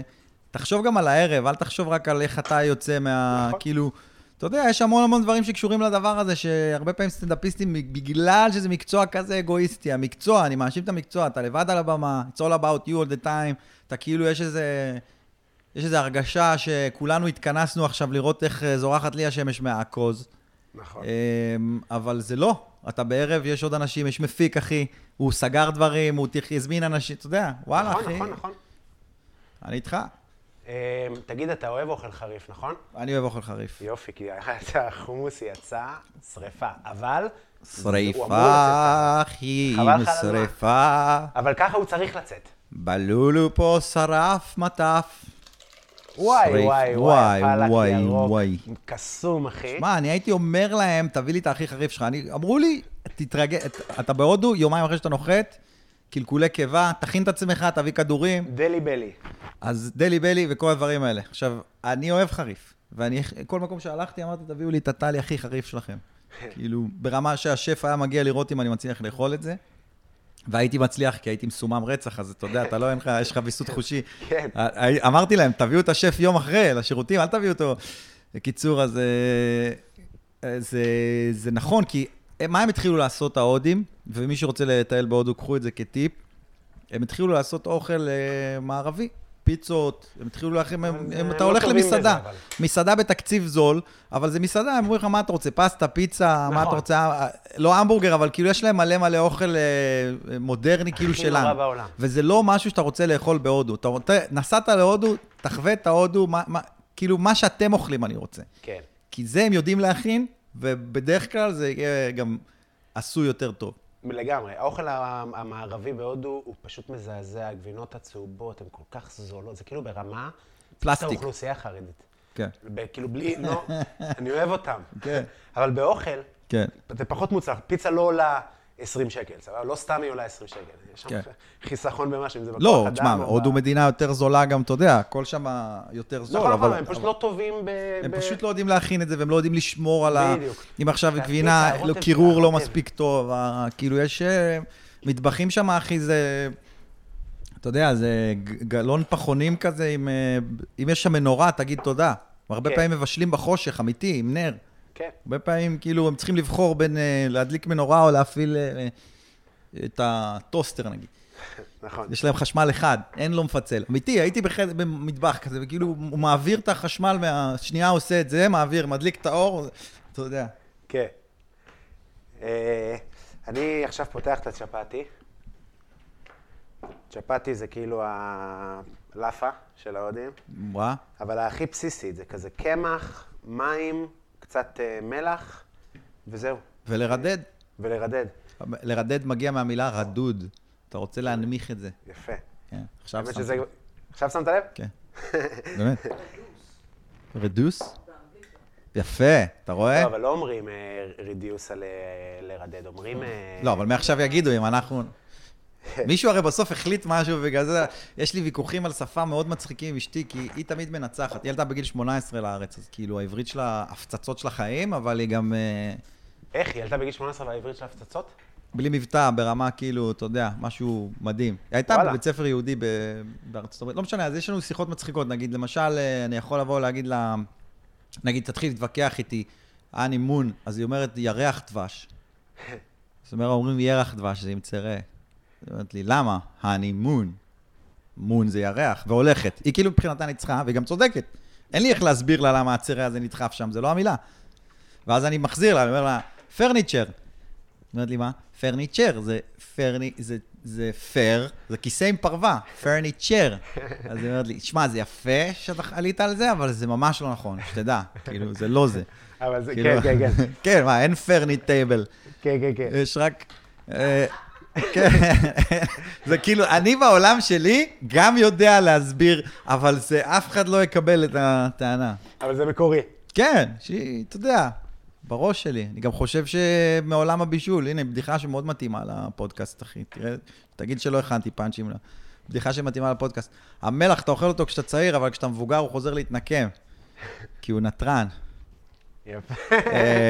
[SPEAKER 4] תחשוב גם על הערב, אל תחשוב רק על איך אתה יוצא מה...
[SPEAKER 2] נכון.
[SPEAKER 4] כאילו, אתה יודע, יש המון המון דברים שקשורים לדבר הזה, שהרבה פעמים סטנדאפיסטים, בגלל שזה מקצוע כזה אגואיסטי, המקצוע, אני מאשים את המקצוע, אתה לבד על הבמה, it's all about you all the time, אתה כאילו, יש איזה... יש איזו הרגשה שכולנו התכנסנו עכשיו לראות איך אה, זורחת לי השמש מהעכוז.
[SPEAKER 2] נכון.
[SPEAKER 4] אמ, אבל זה לא. אתה בערב, יש עוד אנשים, יש מפיק, אחי. הוא סגר דברים, הוא תכ- הזמין אנשים, אתה יודע, וואלה,
[SPEAKER 2] נכון,
[SPEAKER 4] אחי.
[SPEAKER 2] נכון, נכון.
[SPEAKER 4] אני איתך.
[SPEAKER 2] אה, תגיד, אתה אוהב אוכל חריף, נכון?
[SPEAKER 4] אני אוהב אוכל חריף.
[SPEAKER 2] יופי, כי החומוס יצא שריפה, אבל... הוא אמור לצאת.
[SPEAKER 4] שריפה, אחי,
[SPEAKER 2] חבל לך על הזמן.
[SPEAKER 4] שריפה.
[SPEAKER 2] אבל ככה הוא צריך לצאת.
[SPEAKER 4] בלולו פה שרף מטף.
[SPEAKER 2] אוקיי. וואי,
[SPEAKER 4] שריף.
[SPEAKER 2] וואי, וואי, פלק
[SPEAKER 4] וואי,
[SPEAKER 2] ירוק,
[SPEAKER 4] וואי.
[SPEAKER 2] קסום, אחי.
[SPEAKER 4] שמע, אני הייתי אומר להם, תביא לי את הכי חריף שלך. אני, אמרו לי, תתרגל, אתה בהודו, יומיים אחרי שאתה נוחת, קלקולי קיבה, תכין את עצמך, תביא כדורים.
[SPEAKER 2] דלי בלי.
[SPEAKER 4] אז דלי בלי וכל הדברים האלה. עכשיו, אני אוהב חריף, ואני, כל מקום שהלכתי אמרתי, תביאו לי את הטלי הכי חריף שלכם. כאילו, ברמה שהשף היה מגיע לראות אם אני מצליח לאכול את זה, והייתי מצליח, כי הייתי מסומם רצח, אז אתה יודע, אתה לא, אין לך, יש לך ויסות חושי.
[SPEAKER 2] כן.
[SPEAKER 4] ה- ה- אמרתי להם, תביאו את השף יום אחרי, לשירותים, אל תביאו אותו. בקיצור, אז אה, אה, זה, זה נכון, כי מה הם התחילו לעשות ההודים, ומי שרוצה לטייל בהודו, קחו את זה כטיפ. הם התחילו לעשות אוכל אה, מערבי, פיצות, הם התחילו להכין, הם,
[SPEAKER 2] אבל
[SPEAKER 4] הם,
[SPEAKER 2] הם
[SPEAKER 4] אתה
[SPEAKER 2] לא
[SPEAKER 4] הולך
[SPEAKER 2] טובים בזה,
[SPEAKER 4] למסעדה, כאילו
[SPEAKER 2] אבל.
[SPEAKER 4] מסעדה בתקציב זול, אבל זה מסעדה, הם אומרים לך, מה אתה רוצה, פסטה, פיצה, מה אתה
[SPEAKER 2] נכון.
[SPEAKER 4] רוצה, אה, לא המבורגר, אבל כאילו יש להם מלא מלא אוכל אה, מודרני, כאילו
[SPEAKER 2] הכי
[SPEAKER 4] שלנו.
[SPEAKER 2] נורא בעולם.
[SPEAKER 4] וזה לא משהו שאתה רוצה לאכול בהודו. אתה רוצה, נסעת להודו, תחווה את ההודו, מה, מה, כאילו, מה שאתם אוכלים אני רוצה.
[SPEAKER 2] כן.
[SPEAKER 4] כי זה הם יודעים להכין, ובדרך כלל זה יהיה גם עשוי יותר טוב.
[SPEAKER 2] לגמרי. האוכל ה- המערבי בהודו הוא פשוט מזעזע, הגבינות הצהובות הן כל כך זולות, זה כאילו ברמה...
[SPEAKER 4] פלסטיק.
[SPEAKER 2] זה האוכלוסייה החרדית.
[SPEAKER 4] כן.
[SPEAKER 2] ב- כאילו בלי, לא, אני אוהב אותם.
[SPEAKER 4] כן.
[SPEAKER 2] אבל באוכל,
[SPEAKER 4] כן.
[SPEAKER 2] זה פחות מוצלח. פיצה לא עולה 20 שקל, סבבה? לא סתם היא עולה 20 שקל. יש שם
[SPEAKER 4] כן.
[SPEAKER 2] חיסכון במשהו, אם זה בכוח אדם.
[SPEAKER 4] לא, תשמע,
[SPEAKER 2] או ב-
[SPEAKER 4] הודו מדינה יותר זולה גם, אתה יודע, הכל שם יותר זול,
[SPEAKER 2] נכון,
[SPEAKER 4] אבל...
[SPEAKER 2] נכון, הם פשוט
[SPEAKER 4] אבל-
[SPEAKER 2] לא טובים ב...
[SPEAKER 4] הם
[SPEAKER 2] ב-
[SPEAKER 4] פשוט לא יודעים להכין את זה, והם לא יודעים לשמור על ה...
[SPEAKER 2] בדיוק. כן,
[SPEAKER 4] אם עכשיו
[SPEAKER 2] והפיצה,
[SPEAKER 4] גבינה,
[SPEAKER 2] הרוטב,
[SPEAKER 4] לא, קירור לא
[SPEAKER 2] הרוטב.
[SPEAKER 4] מספיק טוב, ה- כאילו יש... אה, מטבחים שם, אחי, זה... אתה יודע, זה ג- גלון פחונים כזה, עם, אה, אם יש שם מנורה, תגיד תודה. הרבה
[SPEAKER 2] כן.
[SPEAKER 4] פעמים מבשלים בחושך, אמיתי, עם נר.
[SPEAKER 2] כן.
[SPEAKER 4] הרבה פעמים, כאילו, הם צריכים לבחור בין אה, להדליק מנורה או להפעיל אה, אה, את הטוסטר, נגיד.
[SPEAKER 2] נכון.
[SPEAKER 4] יש להם חשמל אחד, אין לו מפצל. אמיתי, הייתי בחד... במטבח כזה, וכאילו, הוא מעביר את החשמל מה... שנייה עושה את זה, מעביר, מדליק את האור, אתה יודע.
[SPEAKER 2] כן. אה, אני עכשיו פותח את הצ'פאטי. צ'פאטי זה כאילו הלאפה של ההודים,
[SPEAKER 4] וואה,
[SPEAKER 2] אבל הכי בסיסית, זה כזה קמח, מים, קצת אה, מלח, וזהו,
[SPEAKER 4] ולרדד.
[SPEAKER 2] ולרדד.
[SPEAKER 4] לרדד מגיע מהמילה רדוד. אתה רוצה להנמיך את זה.
[SPEAKER 2] יפה.
[SPEAKER 4] כן, עכשיו כן.
[SPEAKER 2] האמת
[SPEAKER 4] שמת.
[SPEAKER 2] שזה... עכשיו שמת לב?
[SPEAKER 4] כן, באמת. רדוס? יפה, אתה רואה?
[SPEAKER 2] לא, אבל לא אומרים אה, reduce על אה, לרדד, אומרים... אה,
[SPEAKER 4] לא, אבל מעכשיו יגידו אם אנחנו... מישהו הרי בסוף החליט משהו, ובגלל זה יש לי ויכוחים על שפה מאוד מצחיקים עם אשתי, כי היא תמיד מנצחת. היא ילדה בגיל 18 לארץ, אז כאילו העברית שלה, הפצצות של החיים, אבל היא גם אה,
[SPEAKER 2] איך, היא עלתה בגיל 18 והעברית שלה הפצצות?
[SPEAKER 4] בלי מבטא, ברמה כאילו, אתה יודע, משהו מדהים. היא הייתה
[SPEAKER 2] וואלה.
[SPEAKER 4] בבית ספר יהודי ב- בארצות הברית, לא משנה, אז יש לנו שיחות מצחיקות, נגיד, למשל, אה, אני יכול לבוא להגיד לה, נגיד, תתחיל להתווכח איתי, אה, אני מון, אז היא אומרת, ירח דבש. זאת אומרת, אומרים ירח דבש, זה עם צרה. היא אומרת לי, למה? אני מון. מון זה ירח, והולכת. היא כאילו מבחינתה ניצחה, והיא גם צודקת. אין לי איך להסביר לה למה הצרה הזה נדחף שם, זה לא המילה. ואז אני מחזיר לה, אני אומר לה, פרניצ'ר. היא אומרת לי, מה? פרניצ'ר, זה פרני, זה, זה פר, זה כיסא עם פרווה, פרניצ'ר. אז היא אומרת לי, שמע, זה יפה שאתה עלית על זה, אבל זה ממש לא נכון, שתדע. כאילו, זה לא זה.
[SPEAKER 2] אבל זה,
[SPEAKER 4] כאילו-
[SPEAKER 2] כן, כן, כן,
[SPEAKER 4] כן, מה, אין פרני טייבל.
[SPEAKER 2] כן, כן, כן.
[SPEAKER 4] יש רק... אה, כן, זה כאילו, אני בעולם שלי גם יודע להסביר, אבל זה, אף אחד לא יקבל את הטענה.
[SPEAKER 2] אבל זה מקורי.
[SPEAKER 4] כן, שהיא, אתה יודע, בראש שלי. אני גם חושב שמעולם הבישול, הנה, בדיחה שמאוד מתאימה לפודקאסט, אחי. תראה, תגיד שלא הכנתי פאנצ'ים לה. בדיחה שמתאימה לפודקאסט. המלח, אתה אוכל אותו כשאתה צעיר, אבל כשאתה מבוגר הוא חוזר להתנקם. כי הוא נתרן.
[SPEAKER 2] יפה.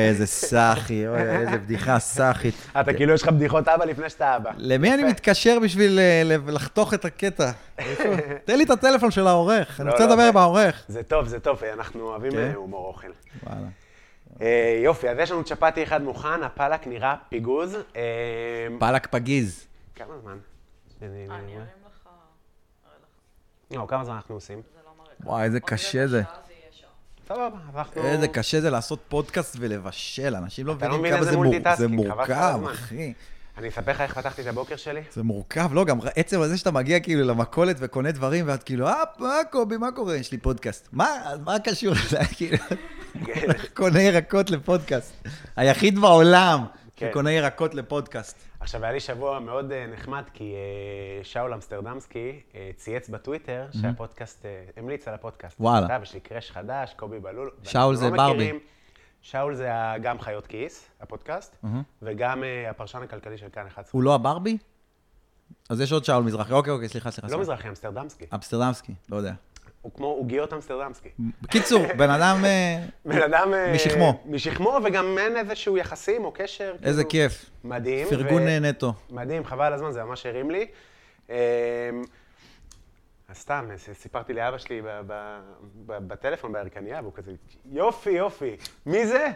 [SPEAKER 4] איזה סאחי, אוי, איזה בדיחה סאחית.
[SPEAKER 2] אתה כאילו יש לך בדיחות אבא לפני שאתה אבא.
[SPEAKER 4] למי אני מתקשר בשביל אה, ל- לחתוך את הקטע? תן לי את הטלפון של העורך, אני
[SPEAKER 2] לא,
[SPEAKER 4] רוצה
[SPEAKER 2] לא,
[SPEAKER 4] לדבר
[SPEAKER 2] זה-
[SPEAKER 4] עם העורך.
[SPEAKER 2] זה טוב, זה טוב, אנחנו אוהבים
[SPEAKER 4] כן.
[SPEAKER 2] אה, הומור אוכל.
[SPEAKER 4] וואלה.
[SPEAKER 2] אה, יופי, אז יש לנו צ'פטי אחד מוכן, הפלק נראה פיגוז. אה,
[SPEAKER 4] פלק פגיז.
[SPEAKER 2] כמה זמן? אני-
[SPEAKER 3] אה,
[SPEAKER 2] אני-
[SPEAKER 3] אני ארים לך, אראה לך.
[SPEAKER 2] לא, כמה זמן אנחנו עושים?
[SPEAKER 3] זה לא מראה.
[SPEAKER 4] וואי, איזה
[SPEAKER 3] עוד
[SPEAKER 4] קשה
[SPEAKER 3] רבע
[SPEAKER 4] זה.
[SPEAKER 3] שעה יהיה שם.
[SPEAKER 2] סבבה, אז אנחנו...
[SPEAKER 4] איזה קשה זה לעשות פודקאסט ולבשל, אנשים לא
[SPEAKER 2] אתה לא
[SPEAKER 4] מבינים
[SPEAKER 2] מבין
[SPEAKER 4] כמה
[SPEAKER 2] איזה
[SPEAKER 4] זה מור- זה
[SPEAKER 2] מולטיטאסקינג, חבל לך על
[SPEAKER 4] מורכב,
[SPEAKER 2] הזמן.
[SPEAKER 4] אחי.
[SPEAKER 2] אני אספר לך איך פתחתי את הבוקר שלי?
[SPEAKER 4] זה מורכב, לא, גם עצם הזה שאתה מגיע כאילו למכולת וקונה דברים, ואת כאילו, אה, מה קובי, מה קורה? יש לי פודקאסט. מה, מה קשור לזה? כאילו,
[SPEAKER 2] כן.
[SPEAKER 4] הולך, קונה ירקות לפודקאסט. היחיד בעולם
[SPEAKER 2] כן.
[SPEAKER 4] שקונה ירקות לפודקאסט.
[SPEAKER 2] עכשיו, היה לי שבוע מאוד אה, נחמד, כי אה, שאול אמסטרדמסקי אה, צייץ בטוויטר שהפודקאסט, אה, המליץ על הפודקאסט.
[SPEAKER 4] וואלה.
[SPEAKER 2] כתב, יש לי קרש חדש, קובי בלול.
[SPEAKER 4] שאול
[SPEAKER 2] ואנחנו
[SPEAKER 4] זה
[SPEAKER 2] לא
[SPEAKER 4] ברבי.
[SPEAKER 2] מכירים. שאול זה ה- גם חיות כיס, הפודקאסט, וגם אה, הפרשן הכלכלי של כאן 11.
[SPEAKER 4] הוא לא הברבי? אז יש עוד שאול מזרחי. אוקיי, אוקיי, סליחה, סליחה.
[SPEAKER 2] לא
[SPEAKER 4] סליחה.
[SPEAKER 2] מזרחי, אמסטרדמסקי.
[SPEAKER 4] אמסטרדמסקי, לא יודע.
[SPEAKER 2] הוא כמו עוגיות אמסטרדמסקי.
[SPEAKER 4] בקיצור, בן אדם, אה,
[SPEAKER 2] בן אדם... אה,
[SPEAKER 4] משכמו.
[SPEAKER 2] משכמו, וגם אין איזשהו יחסים או קשר.
[SPEAKER 4] איזה
[SPEAKER 2] כאילו,
[SPEAKER 4] כיף.
[SPEAKER 2] מדהים.
[SPEAKER 4] פרגון
[SPEAKER 2] ו-
[SPEAKER 4] אה, נטו.
[SPEAKER 2] מדהים, חבל על הזמן, זה ממש הרים לי. אמ, אז סתם, ס- סיפרתי לאבא שלי ב- ב- ב- בטלפון בירקניה, והוא כזה, יופי, יופי, מי זה?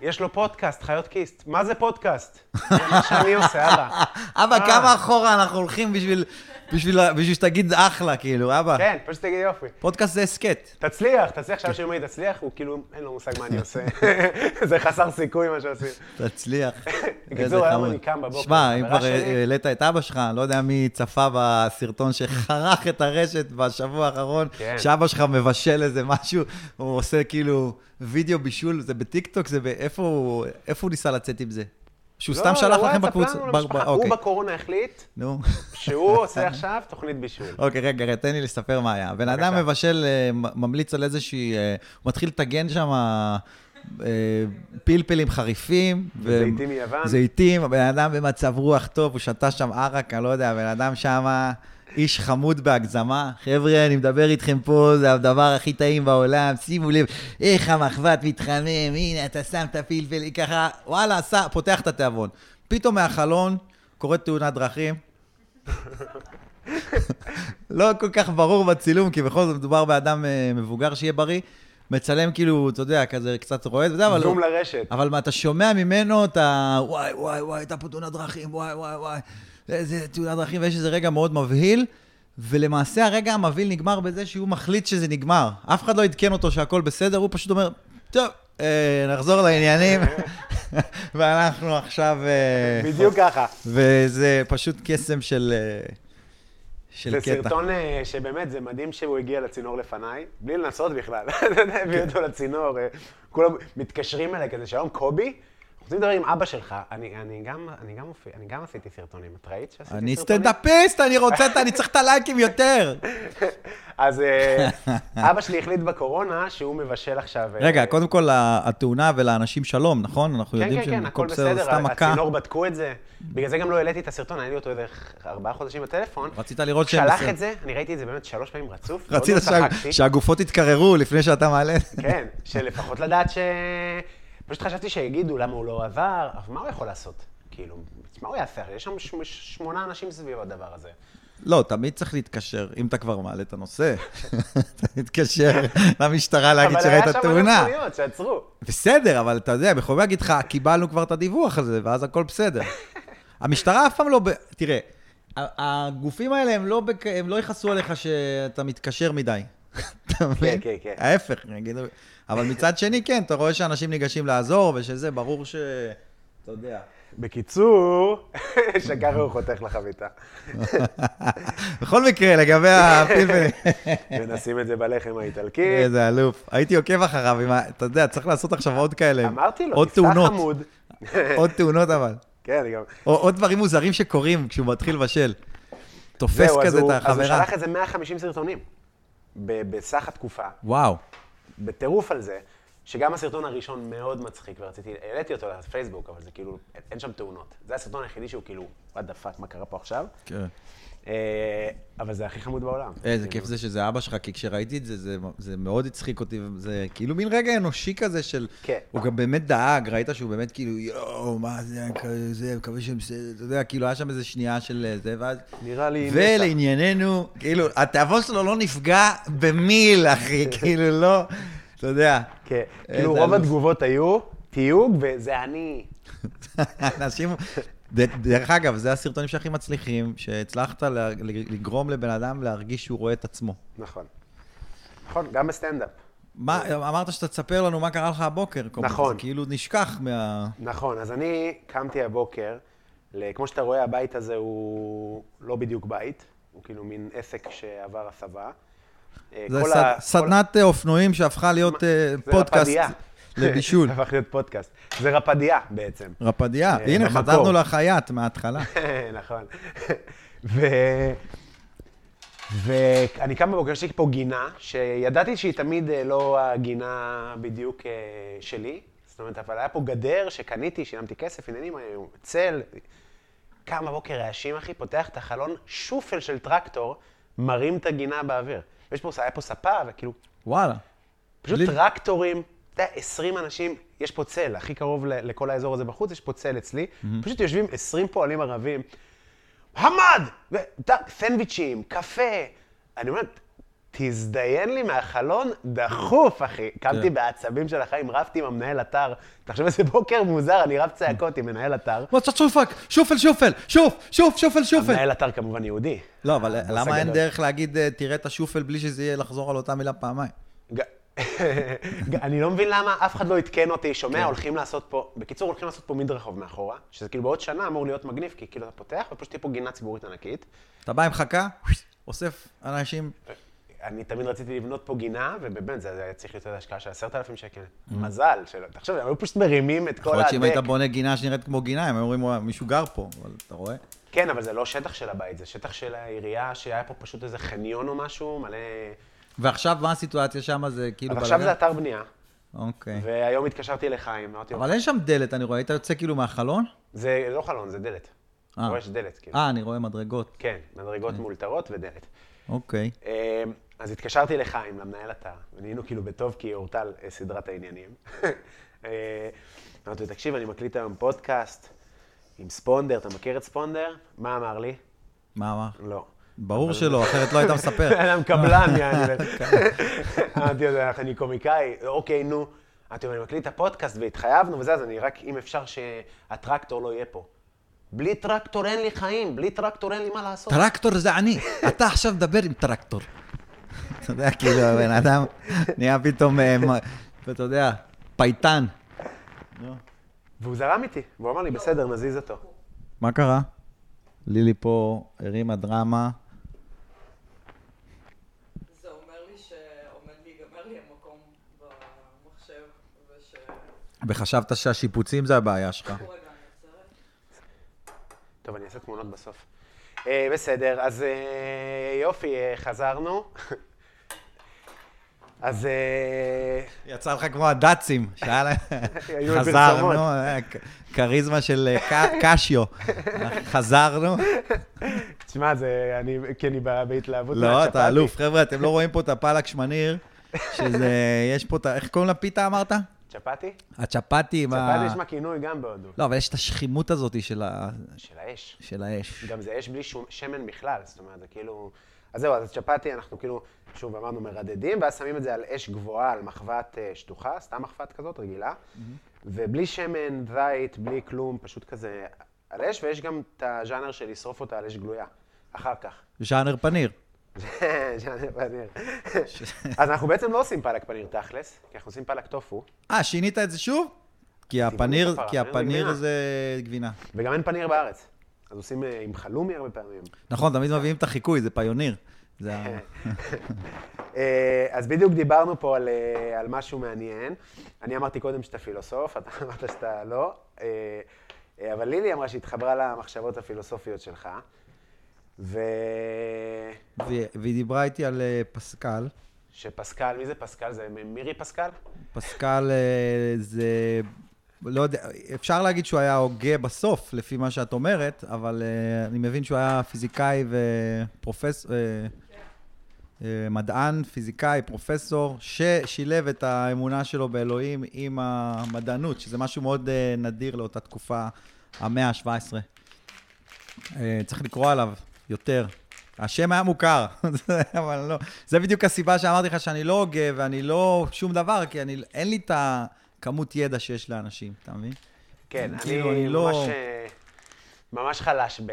[SPEAKER 2] יש לו פודקאסט, חיות כיסט. מה זה פודקאסט? זה מה שאני עושה, אבא.
[SPEAKER 4] אבא,
[SPEAKER 2] אה.
[SPEAKER 4] כמה אחורה אנחנו הולכים בשביל, בשביל, בשביל שתגיד אחלה, כאילו, אבא.
[SPEAKER 2] כן, פשוט תגיד יופי.
[SPEAKER 4] פודקאסט זה הסכת.
[SPEAKER 2] תצליח, תצליח, שאבא שלי אומר לי, תצליח, הוא כאילו, אין לו מושג מה אני עושה. זה חסר סיכוי מה שעושים.
[SPEAKER 4] תצליח.
[SPEAKER 2] בקיצור,
[SPEAKER 4] איזה
[SPEAKER 2] היום
[SPEAKER 4] חמוד.
[SPEAKER 2] אני קם בבוקר,
[SPEAKER 4] שמע, אם
[SPEAKER 2] חברה
[SPEAKER 4] כבר אה,
[SPEAKER 2] שלי-
[SPEAKER 4] העלית את אבא שלך, אני לא יודע מי צפה בסרטון שחרך את הרשת בשבוע האחרון,
[SPEAKER 2] כן.
[SPEAKER 4] שאבא שלך מבשל איזה משהו, הוא עושה כאילו וידאו בישול, זה בטיקטוק, זה ב... איפה הוא איפה הוא ניסה לצאת עם זה? שהוא סתם שלח לכם בקבוצה?
[SPEAKER 2] לא,
[SPEAKER 4] ב-
[SPEAKER 2] וואטסאפ
[SPEAKER 4] ב-
[SPEAKER 2] לנו,
[SPEAKER 4] אוקיי.
[SPEAKER 2] הוא בקורונה החליט
[SPEAKER 4] נו.
[SPEAKER 2] שהוא עושה עכשיו תוכנית בישול.
[SPEAKER 4] אוקיי, רגע, רגע, תן לי לספר מה היה. בן אדם
[SPEAKER 2] כן. בבקשה.
[SPEAKER 4] מבשל, אה, מ- ממליץ על איזושהי... אה, הוא מתחיל לטגן שם אה, פלפלים חריפים. ו-
[SPEAKER 2] זיתים מיוון.
[SPEAKER 4] זיתים, הבן אדם במצב רוח טוב, הוא שתה שם ערק, אני לא יודע, הבן אדם שם איש חמוד בהגזמה. חבר'ה, אני מדבר איתכם פה, זה הדבר הכי טעים בעולם, שימו לב, איך המחבת מתחמם, הנה, אתה שם את הפלפל, ככה, וואלה, עשה, פותח את התיאבון. פתאום מהחלון קורית תאונת דרכים. לא כל כך ברור בצילום, כי בכל זאת מדובר באדם אה, מבוגר שיהיה בריא. מצלם כאילו, אתה יודע, כזה קצת רועד וזה, אבל... לא-
[SPEAKER 2] זום לרשת.
[SPEAKER 4] אבל מה, אתה שומע ממנו את ה... וואי, וואי, וואי, הייתה פה תאונת דרכים, וואי, וואי, וואי, איזה תאונת דרכים, ויש איזה רגע מאוד מבהיל, ולמעשה הרגע המבהיל נגמר בזה שהוא מחליט שזה נגמר. אף אחד לא עדכן אותו שהכל בסדר, הוא פשוט אומר, טוב, אה, נחזור לעניינים, ואנחנו עכשיו... אה,
[SPEAKER 2] בדיוק ככה.
[SPEAKER 4] וזה פשוט קסם של... אה, של
[SPEAKER 2] זה
[SPEAKER 4] קטע.
[SPEAKER 2] סרטון אה, שבאמת, זה מדהים שהוא הגיע לצינור לפניי, בלי
[SPEAKER 4] כן.
[SPEAKER 2] לנסות בכלל. אתה יודע, הביא אותו לצינור, אה, כולם מתקשרים אליי כזה, שלום קובי? אני מדבר עם אבא שלך, אני, אני, גם, אני, גם, מופיע, אני גם עשיתי סרטונים, את ראית שעשיתי סרטונים?
[SPEAKER 4] אני סטנדאפיסט, אני רוצה, את- אני צריך את הלייקים יותר.
[SPEAKER 2] אז אה, אבא שלי החליט בקורונה שהוא מבשל עכשיו... אה,
[SPEAKER 4] רגע, קודם כל, ה- התאונה ולאנשים שלום, נכון? אנחנו
[SPEAKER 2] כן,
[SPEAKER 4] יודעים
[SPEAKER 2] כן, כן,
[SPEAKER 4] שהכל
[SPEAKER 2] הכל
[SPEAKER 4] בסדר,
[SPEAKER 2] בסדר,
[SPEAKER 4] סתם מכה.
[SPEAKER 2] הצינור בדקו את זה. בגלל זה גם לא העליתי את הסרטון, העליתי אותו איזה ארבעה חודשים בטלפון.
[SPEAKER 4] רצית לראות שהם
[SPEAKER 2] שלח
[SPEAKER 4] בסדר.
[SPEAKER 2] את זה, אני ראיתי את זה באמת שלוש פעמים רצוף. מאוד
[SPEAKER 4] רצית
[SPEAKER 2] לא
[SPEAKER 4] שה-
[SPEAKER 2] צחקתי.
[SPEAKER 4] שהגופות יתקררו לפני שאתה מעלה.
[SPEAKER 2] כן, שלפחות לדעת ש... פשוט חשבתי שיגידו למה הוא לא עבר, אבל מה הוא יכול לעשות? כאילו, מה הוא יעשה? יש שם ש- שמונה אנשים סביב הדבר הזה.
[SPEAKER 4] לא, תמיד צריך להתקשר, אם אתה כבר מעלה את הנושא. אתה מתקשר למשטרה להגיד שראית
[SPEAKER 2] אבל היה
[SPEAKER 4] תאונה.
[SPEAKER 2] שם מכוניות שעצרו.
[SPEAKER 4] בסדר, אבל אתה יודע, הם יכולים להגיד לך, קיבלנו כבר את הדיווח הזה, ואז הכל בסדר. המשטרה אף פעם לא... ב... תראה, ה- הגופים האלה, הם לא, בק... הם לא יכעסו עליך שאתה מתקשר מדי. אתה מבין?
[SPEAKER 2] כן, כן.
[SPEAKER 4] ההפך, הם יגידו... אבל מצד שני, כן, אתה רואה שאנשים ניגשים לעזור, ושזה, ברור ש... אתה יודע.
[SPEAKER 2] בקיצור, שקר הוא חותך לחביתה.
[SPEAKER 4] בכל מקרה, לגבי הפלפלים...
[SPEAKER 2] ונשים את זה בלחם האיטלקי.
[SPEAKER 4] איזה אלוף. הייתי עוקב אחריו, עם ה- אתה יודע, צריך לעשות עכשיו עוד כאלה.
[SPEAKER 2] אמרתי לו,
[SPEAKER 4] עוד
[SPEAKER 2] תפתח
[SPEAKER 4] תאונות.
[SPEAKER 2] עמוד.
[SPEAKER 4] עוד תאונות אבל.
[SPEAKER 2] כן, אני גם...
[SPEAKER 4] או עוד דברים מוזרים שקורים כשהוא מתחיל לבשל. תופס
[SPEAKER 2] זהו, אז
[SPEAKER 4] כזה את
[SPEAKER 2] הוא- אז הוא
[SPEAKER 4] החברה.
[SPEAKER 2] שלח איזה 150 סרטונים. ב- בסך התקופה,
[SPEAKER 4] וואו.
[SPEAKER 2] בטירוף על זה, שגם הסרטון הראשון מאוד מצחיק, ורציתי, העליתי אותו לפייסבוק, אבל זה כאילו, אין- אין שם תאונות. זה הסרטון היחידי שהוא כאילו, what the fuck, מה קרה פה עכשיו?
[SPEAKER 4] כן.
[SPEAKER 2] אה, אבל זה הכי חמוד בעולם.
[SPEAKER 4] אה, איזה
[SPEAKER 2] כאילו,
[SPEAKER 4] כיף זה שזה אבא שלך, כי כשראיתי את זה, זה, זה מאוד הצחיק אותי, וזה כאילו מין רגע אנושי כזה של...
[SPEAKER 2] כן.
[SPEAKER 4] הוא גם באמת דאג, ראית שהוא באמת כאילו, יואו, מה זה, כזה, מקווה שהם בסדר, אתה יודע, כאילו היה שם איזה שנייה של אה, זה, ואז...
[SPEAKER 2] נראה לי נצח.
[SPEAKER 4] ולענייננו, כאילו, התיאבון שלו לא נפגע במיל, אחי, כאילו, לא, אתה יודע. אה,
[SPEAKER 2] כן,
[SPEAKER 4] איזה
[SPEAKER 2] כאילו רוב
[SPEAKER 4] אלוף.
[SPEAKER 2] התגובות היו תיוג וזה אני.
[SPEAKER 4] אנשים... ד- דרך אגב, זה הסרטונים שהכי מצליחים, שהצלחת לה- לגרום לבן אדם להרגיש שהוא רואה את עצמו.
[SPEAKER 2] נכון. נכון, גם בסטנדאפ.
[SPEAKER 4] מה, אמרת שאתה תספר לנו מה קרה לך הבוקר. כל פעם.
[SPEAKER 2] נכון.
[SPEAKER 4] זה כאילו נשכח מה...
[SPEAKER 2] נכון, אז אני קמתי הבוקר, ל- כמו שאתה רואה, הבית הזה הוא לא בדיוק בית, הוא כאילו מין עסק שעבר הסבה. אה,
[SPEAKER 4] זה
[SPEAKER 2] כל
[SPEAKER 4] סד-
[SPEAKER 2] ה- כל-
[SPEAKER 4] סדנת אה, אופנועים שהפכה להיות אה,
[SPEAKER 2] זה
[SPEAKER 4] פודקאסט
[SPEAKER 2] רפדיה.
[SPEAKER 4] לבישול.
[SPEAKER 2] הפך להיות פודקאסט. זה רפדיה בעצם.
[SPEAKER 4] רפדיה.
[SPEAKER 2] אה,
[SPEAKER 4] הנה,
[SPEAKER 2] במקור.
[SPEAKER 4] חזרנו לחייט מההתחלה.
[SPEAKER 2] נכון. ו... ואני קם בבוקר, יש לי פה גינה, שידעתי שהיא תמיד אה, לא הגינה בדיוק אה, שלי. זאת אומרת, אבל היה פה גדר שקניתי, שילמתי כסף, עניינים היו, צל. קם בבוקר רעשים, אחי, פותח את החלון, שופל של טרקטור, מרים את הגינה באוויר. ויש פה, היה פה ספה, וכאילו,
[SPEAKER 4] וואלה.
[SPEAKER 2] פשוט
[SPEAKER 4] בלי-
[SPEAKER 2] בלי... טרקטורים, אתה יודע, 20 אנשים, יש פה צל, הכי קרוב ל- לכל האזור הזה בחוץ, יש פה צל אצלי, mm-hmm. פשוט יושבים 20 פועלים ערבים, חמד! ו- ת- סנדוויצ'ים, קפה. אני אומר, תזדיין לי מהחלון דחוף, אחי. קמתי
[SPEAKER 4] כן.
[SPEAKER 2] בעצבים של החיים, רבתי עם המנהל אתר. תחשוב איזה בוקר מוזר, אני רב צעקות עם מנהל אתר.
[SPEAKER 4] מה אתה שופק? שופל, שופל, שוף, שוף, שופל, שופל.
[SPEAKER 2] מנהל אתר כמובן יהודי.
[SPEAKER 4] לא, אבל
[SPEAKER 2] הבוס
[SPEAKER 4] למה אין
[SPEAKER 2] הגדול.
[SPEAKER 4] דרך להגיד, אה, תראה את השופל בלי שזה יהיה לחזור על אותה מילה פעמיים?
[SPEAKER 2] ג- ג- אני לא מבין למה אף אחד לא עדכן אותי,
[SPEAKER 4] כן.
[SPEAKER 2] שומע, הולכים לעשות פה, בקיצור, הולכים לעשות פה מדרחוב מאחורה, שזה כאילו בעוד שנה אמור להיות מגניב, כי כאילו אתה פותח, ופשוט תהיה פה גינה ציבורית ענקית.
[SPEAKER 4] אתה בא עם חכה, אוסף אנשים.
[SPEAKER 2] אני תמיד רציתי לבנות פה גינה, ובאמת, זה זה היה צריך להיות איזו השקעה של עשרת אלפים שקל. מזל שלא, תחשוב, הם היו פשוט מרימים את
[SPEAKER 4] Mm-hmm. יכול
[SPEAKER 2] כל
[SPEAKER 4] להיות שאם היית
[SPEAKER 2] הדק.
[SPEAKER 4] בונה גינה שנראית כמו גינה, הם היו אומרים, "וואי, מישהו גר פה, אבל אתה רואה?
[SPEAKER 2] כן, אבל זה לא שטח של הבית, זה שטח של העירייה, שהיה פה פשוט איזה חניון או משהו, מלא...
[SPEAKER 4] ועכשיו, מה הסיטואציה שם? זה כאילו...
[SPEAKER 2] אז עכשיו זה
[SPEAKER 4] בלגן?
[SPEAKER 2] אתר בנייה,
[SPEAKER 4] אוקיי.
[SPEAKER 2] והיום התקשרתי לחיים, אמרתי לו,
[SPEAKER 4] אבל אין שם דלת, אני רואה. היית יוצא כאילו מהחלון?
[SPEAKER 2] זה לא חלון, זה דלת.
[SPEAKER 4] אה.
[SPEAKER 2] פה יש דלת, כאילו.
[SPEAKER 4] אה, אני רואה מדרגות.
[SPEAKER 2] כן, מדרגות מאולתרות ודלת.
[SPEAKER 4] אוקיי.
[SPEAKER 2] אמ, אז התקשרתי לחיים, למנהל אתר, ונהיינו כאילו בטוב כי אורטל אה, סדרת העניינים. אה, אמרתי לו, תקשיב, אני מקליט היום פודקאסט עם ספונדר, אתה מכיר את ספונדר? מה אמר לי?
[SPEAKER 4] מה, מה?
[SPEAKER 2] לא.
[SPEAKER 4] ברור שלא, אחרת לא היית מספר.
[SPEAKER 2] אדם קבלן, יעני. אמרתי לו, אני קומיקאי, אוקיי, נו. אמרתי לו, אני מקליט את הפודקאסט והתחייבנו וזה, אז אני רק, אם אפשר שהטרקטור לא יהיה פה. בלי טרקטור אין לי חיים, בלי טרקטור אין לי מה לעשות.
[SPEAKER 4] טרקטור זה אני, אתה עכשיו מדבר עם טרקטור. אתה יודע, כאילו, הבן אדם נהיה פתאום, אה, מ- אתה יודע, פייטן.
[SPEAKER 2] והוא זרם איתי, והוא אמר לי, בסדר, נזיז אותו.
[SPEAKER 4] מה קרה? לילי פה הרימה דרמה.
[SPEAKER 3] זה אומר לי שעומד להיגמר לי המקום במחשב, וש...
[SPEAKER 4] וחשבת שהשיפוצים זה הבעיה שלך.
[SPEAKER 2] טוב, אני אעשה תמונות בסוף. אה, בסדר, אז אה, יופי, אה, חזרנו. אז אה,
[SPEAKER 4] יצא לך כמו הדאצים, שהיה להם,
[SPEAKER 2] היו פרסומות.
[SPEAKER 4] חזרנו, אה, כ- כריזמה של אה, ק- קשיו, חזרנו,
[SPEAKER 2] תשמע, זה, אני, כי אני ב- בהתלהבות
[SPEAKER 4] לא,
[SPEAKER 2] מהצ'פאטי.
[SPEAKER 4] אתה אלוף. חבר'ה, אתם לא רואים פה את הפלק שמניר, שזה, יש פה את ה... איך קוראים לפיתה אמרת?
[SPEAKER 2] צ'פאטי?
[SPEAKER 4] הצ'פאטי עם ה...
[SPEAKER 2] צ'פאטי יש מהכינוי גם בהודו.
[SPEAKER 4] לא, אבל יש את השכימות הזאת של ה-
[SPEAKER 2] של האש.
[SPEAKER 4] של האש.
[SPEAKER 2] גם זה אש בלי שום, שמן בכלל, זאת אומרת, זה כאילו... אז זהו, אז צ'פאטי, אנחנו כאילו, שוב אמרנו, מרדדים, ואז שמים את זה על אש גבוהה, על מחבת אה, שטוחה, סתם מחבת כזאת, רגילה, ובלי שמן, זית, בלי כלום, פשוט כזה על אש, ויש גם את הז'אנר של לשרוף אותה על אש גלויה, אחר כך.
[SPEAKER 4] ז'אנר פניר.
[SPEAKER 2] ז'אנר פניר. אז אנחנו בעצם לא עושים פלק פניר תכלס, כי אנחנו עושים פלק טופו,
[SPEAKER 4] אה, שינית את זה שוב? כי הפניר,
[SPEAKER 2] הפרה,
[SPEAKER 4] כי
[SPEAKER 2] הפניר זה
[SPEAKER 4] הפניר
[SPEAKER 2] גבינה.
[SPEAKER 4] זה גבינה.
[SPEAKER 2] וגם אין פניר בארץ. אז עושים אה, עם חלומי הרבה פעמים.
[SPEAKER 4] נכון, תמיד מביאים את החיקוי, זה פיוניר. זה ה...
[SPEAKER 2] אה, אז בדיוק דיברנו פה על, אה, על משהו מעניין. אני אמרתי קודם שאתה פילוסוף, אתה אמרת שאתה לא, אה, אה, אבל לילי אמרה שהתחברה למחשבות הפילוסופיות שלך, ושפסקל,
[SPEAKER 4] והיא והיא דיברה איתי על אה, פסקל.
[SPEAKER 2] מי זה פסקל? זה מ- מירי פסקל?
[SPEAKER 4] פסקל אה, זה, לא יודע, אפשר להגיד שהוא היה הוגה בסוף, לפי מה שאת אומרת, אבל אה, אני מבין שהוא היה פיזיקאי ופרופסור, אה, מדען, פיזיקאי, פרופסור, ששילב את האמונה שלו באלוהים עם המדענות, שזה משהו מאוד אה, נדיר לאותה תקופה, המאה ה-17. אה, צריך לקרוא עליו יותר. השם היה מוכר, זה- אבל לא. זה בדיוק הסיבה שאמרתי לך שאני לא הוגה ואני לא שום דבר, כי אני, אין לי את הכמות ידע שיש לאנשים, אתה מבין?
[SPEAKER 2] כן, אני,
[SPEAKER 4] כאילו, אני לא-
[SPEAKER 2] ממש, אה, ממש חלש ב...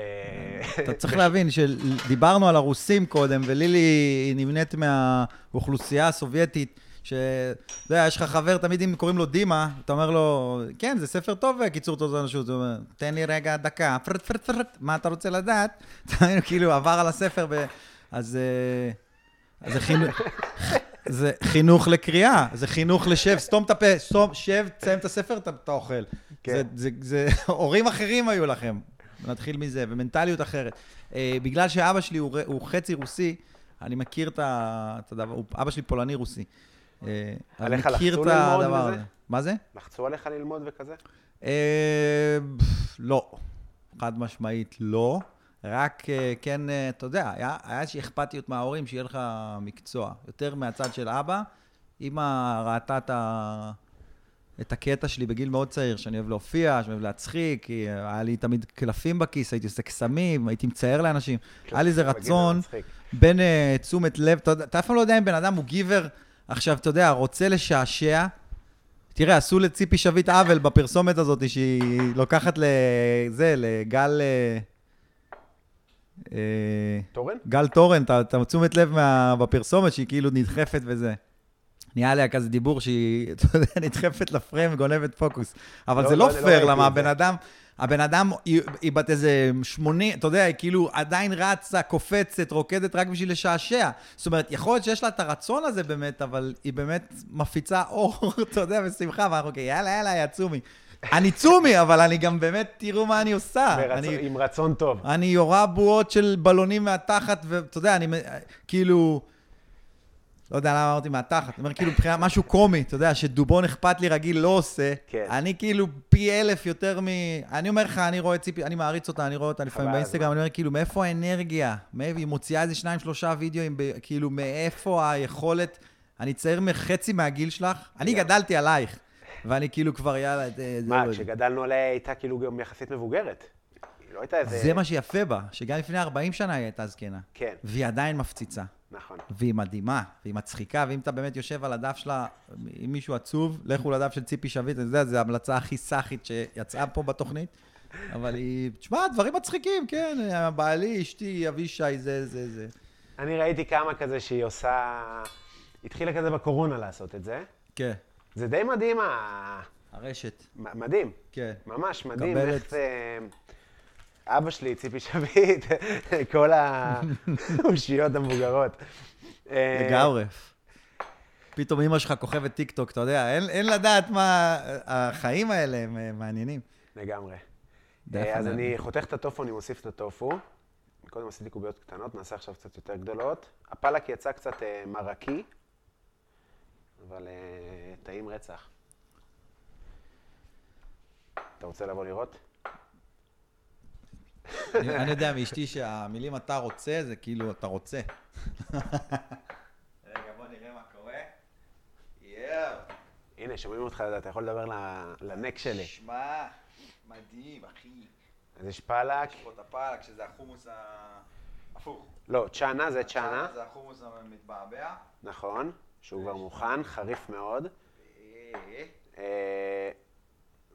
[SPEAKER 4] אתה צריך להבין שדיברנו על הרוסים קודם, ולילי היא נמנית מהאוכלוסייה הסובייטית, ש... אתה יודע, יש לך חבר, תמיד אם קוראים לו דימה, אתה אומר לו, כן, זה ספר טוב, קיצור תולדות האנושות. הוא אומר, תן לי רגע דקה, פרט פרט פרט, מה אתה רוצה לדעת? אתה מבין, כאילו עבר על הספר, ו... אז... אה, אז זה חינוך... זה חינוך לקריאה, זה חינוך לשב, סתום את הפה, סתום, שב, תסיים את הספר, אתה, אתה אוכל.
[SPEAKER 2] כן.
[SPEAKER 4] זה, זה, זה, הורים אחרים היו לכם. נתחיל מזה, ומנטליות אחרת. אה, בגלל שאבא שלי הוא, ר- הוא חצי רוסי, אני מכיר את ה- את הדבר, הוא- אבא שלי פולני-רוסי. אה, אני
[SPEAKER 2] עליך
[SPEAKER 4] מכיר
[SPEAKER 2] לחצו
[SPEAKER 4] את
[SPEAKER 2] ללמוד
[SPEAKER 4] הדבר
[SPEAKER 2] וזה?
[SPEAKER 4] הזה. מה זה?
[SPEAKER 2] לחצו עליך ללמוד וכזה?
[SPEAKER 4] אה, לא. חד משמעית לא. רק אה, כן, אה, אתה יודע, היה היה איזושהי אכפתיות מההורים שיהיה לך מקצוע. יותר מהצד של אבא. אמא ראתה את ה... את הקטע שלי בגיל מאוד צעיר, שאני אוהב להופיע, שאני אוהב להצחיק, כי היה לי תמיד קלפים בכיס, הייתי עושה קסמים, הייתי מצייר לאנשים. היה לי איזה
[SPEAKER 2] בגיל זה
[SPEAKER 4] רצון
[SPEAKER 2] מצחיק.
[SPEAKER 4] בין אה, תשומת לב, אתה יודע- אתה אף פעם לא יודע אם בן אדם הוא גיבר, עכשיו, אתה יודע, רוצה לשעשע. תראה, עשו לציפי שביט עוול בפרסומת הזאת, שהיא לוקחת לזה, לגל... אה, אה,
[SPEAKER 2] תורן?
[SPEAKER 4] גל תורן, אתה- אתה תשומת לב מה- בפרסומת שהיא כאילו נדחפת וזה. נהיה עליה כזה דיבור שהיא, אתה יודע, נדחפת לפריים וגונבת פוקוס. אבל
[SPEAKER 2] לא,
[SPEAKER 4] זה
[SPEAKER 2] לא,
[SPEAKER 4] לא
[SPEAKER 2] אני לא
[SPEAKER 4] פייר,
[SPEAKER 2] ראיתי
[SPEAKER 4] למה
[SPEAKER 2] את זה.
[SPEAKER 4] הבן אדם, הבן אדם, היא- היא בת איזה 80, אתה יודע, היא כאילו עדיין רצה, קופצת, רוקדת רק בשביל לשעשע. זאת אומרת, יכול להיות שיש לה את הרצון הזה באמת, אבל היא באמת מפיצה אור, אתה יודע, ושמחה, ואנחנו כאילו, יאללה, יאללה, יא צומי. אני צומי, אבל אני גם באמת, תראו מה אני עושה.
[SPEAKER 2] ברצון-
[SPEAKER 4] אה, אני- אה,
[SPEAKER 2] עם רצון טוב.
[SPEAKER 4] אני יורה בועות של בלונים מהתחת, ואתה יודע, אני מ- כאילו... לא יודע למה אמרתי מהתחת, אני אומר כאילו מבחינת משהו קומי, אתה יודע, שדובון אכפת לי רגיל לא עושה.
[SPEAKER 2] כן.
[SPEAKER 4] אני כאילו פי אלף יותר מ... אני אומר לך, אני רואה ציפי, אני מעריץ אותה, אני רואה אותה לפעמים
[SPEAKER 2] חבל, לא.
[SPEAKER 4] באינסטגרם, אני אומר כאילו, מאיפה האנרגיה? מאיפה היא מוציאה איזה שניים, שלושה וידאוים, ב- כאילו, מאיפה היכולת? אני צעיר מחצי מהגיל שלך, אני גדלתי עלייך, ואני כאילו כבר, יאללה, זה... לא-
[SPEAKER 2] מה,
[SPEAKER 4] זה-
[SPEAKER 2] כשגדלנו עליה היא הייתה כאילו גם יחסית מבוגרת. היא לא הייתה איזה...
[SPEAKER 4] זה מה שיפה בה, שגם לפני 40 שנה היא הייתה זקנה.
[SPEAKER 2] כן.
[SPEAKER 4] והיא עדיין מפציצה.
[SPEAKER 2] נכון.
[SPEAKER 4] והיא מדהימה, והיא מצחיקה, ואם אתה באמת יושב על הדף שלה, אם מישהו עצוב, לכו לדף של ציפי שביט, אני יודע, זו ההמלצה הכי סאחית שיצאה פה בתוכנית. אבל היא, תשמע, דברים מצחיקים, כן, בעלי, אשתי, אבישי, זה, זה, זה.
[SPEAKER 2] אני ראיתי כמה כזה שהיא עושה... התחילה כזה בקורונה לעשות את זה.
[SPEAKER 4] כן,
[SPEAKER 2] זה די מדהים, ה-
[SPEAKER 4] הרשת,
[SPEAKER 2] מ- מדהים.
[SPEAKER 4] כן.
[SPEAKER 2] ממש מדהים
[SPEAKER 4] מקבלת.
[SPEAKER 2] איך זה... אבא שלי, ציפי שביט, כל האושיות המבוגרות. אה,
[SPEAKER 4] לגמרי. פתאום אימא שלך כוכבת טיקטוק, אתה יודע, אין, אין לדעת מה... החיים האלה הם אה, מעניינים.
[SPEAKER 2] לגמרי.
[SPEAKER 4] די
[SPEAKER 2] אה, אז
[SPEAKER 4] חנן.
[SPEAKER 2] אני חותך את הטופו, אני מוסיף את הטופו. קודם עשיתי קוביות קטנות, נעשה עכשיו קצת יותר גדולות. הפלק יצא קצת אה, מרקי, אבל אה, טעים רצח. אתה רוצה לבוא לראות?
[SPEAKER 4] אני אני יודע מאשתי שהמילים אתה רוצה, זה כאילו אתה רוצה. רגע, בוא נראה מה קורה. יואו,
[SPEAKER 2] הנה, שומעים אותך, אתה יכול לדבר ל- לנק שלי.
[SPEAKER 4] שמע, מדהים, אחי.
[SPEAKER 2] אז יש פלק,
[SPEAKER 4] פה את הפלק, שזה החומוס ההפוך.
[SPEAKER 2] לא, צ'אנה זה צ'אנה,
[SPEAKER 4] זה החומוס המתבעבע.
[SPEAKER 2] נכון, שהוא כבר מוכן, חריף מאוד. אה,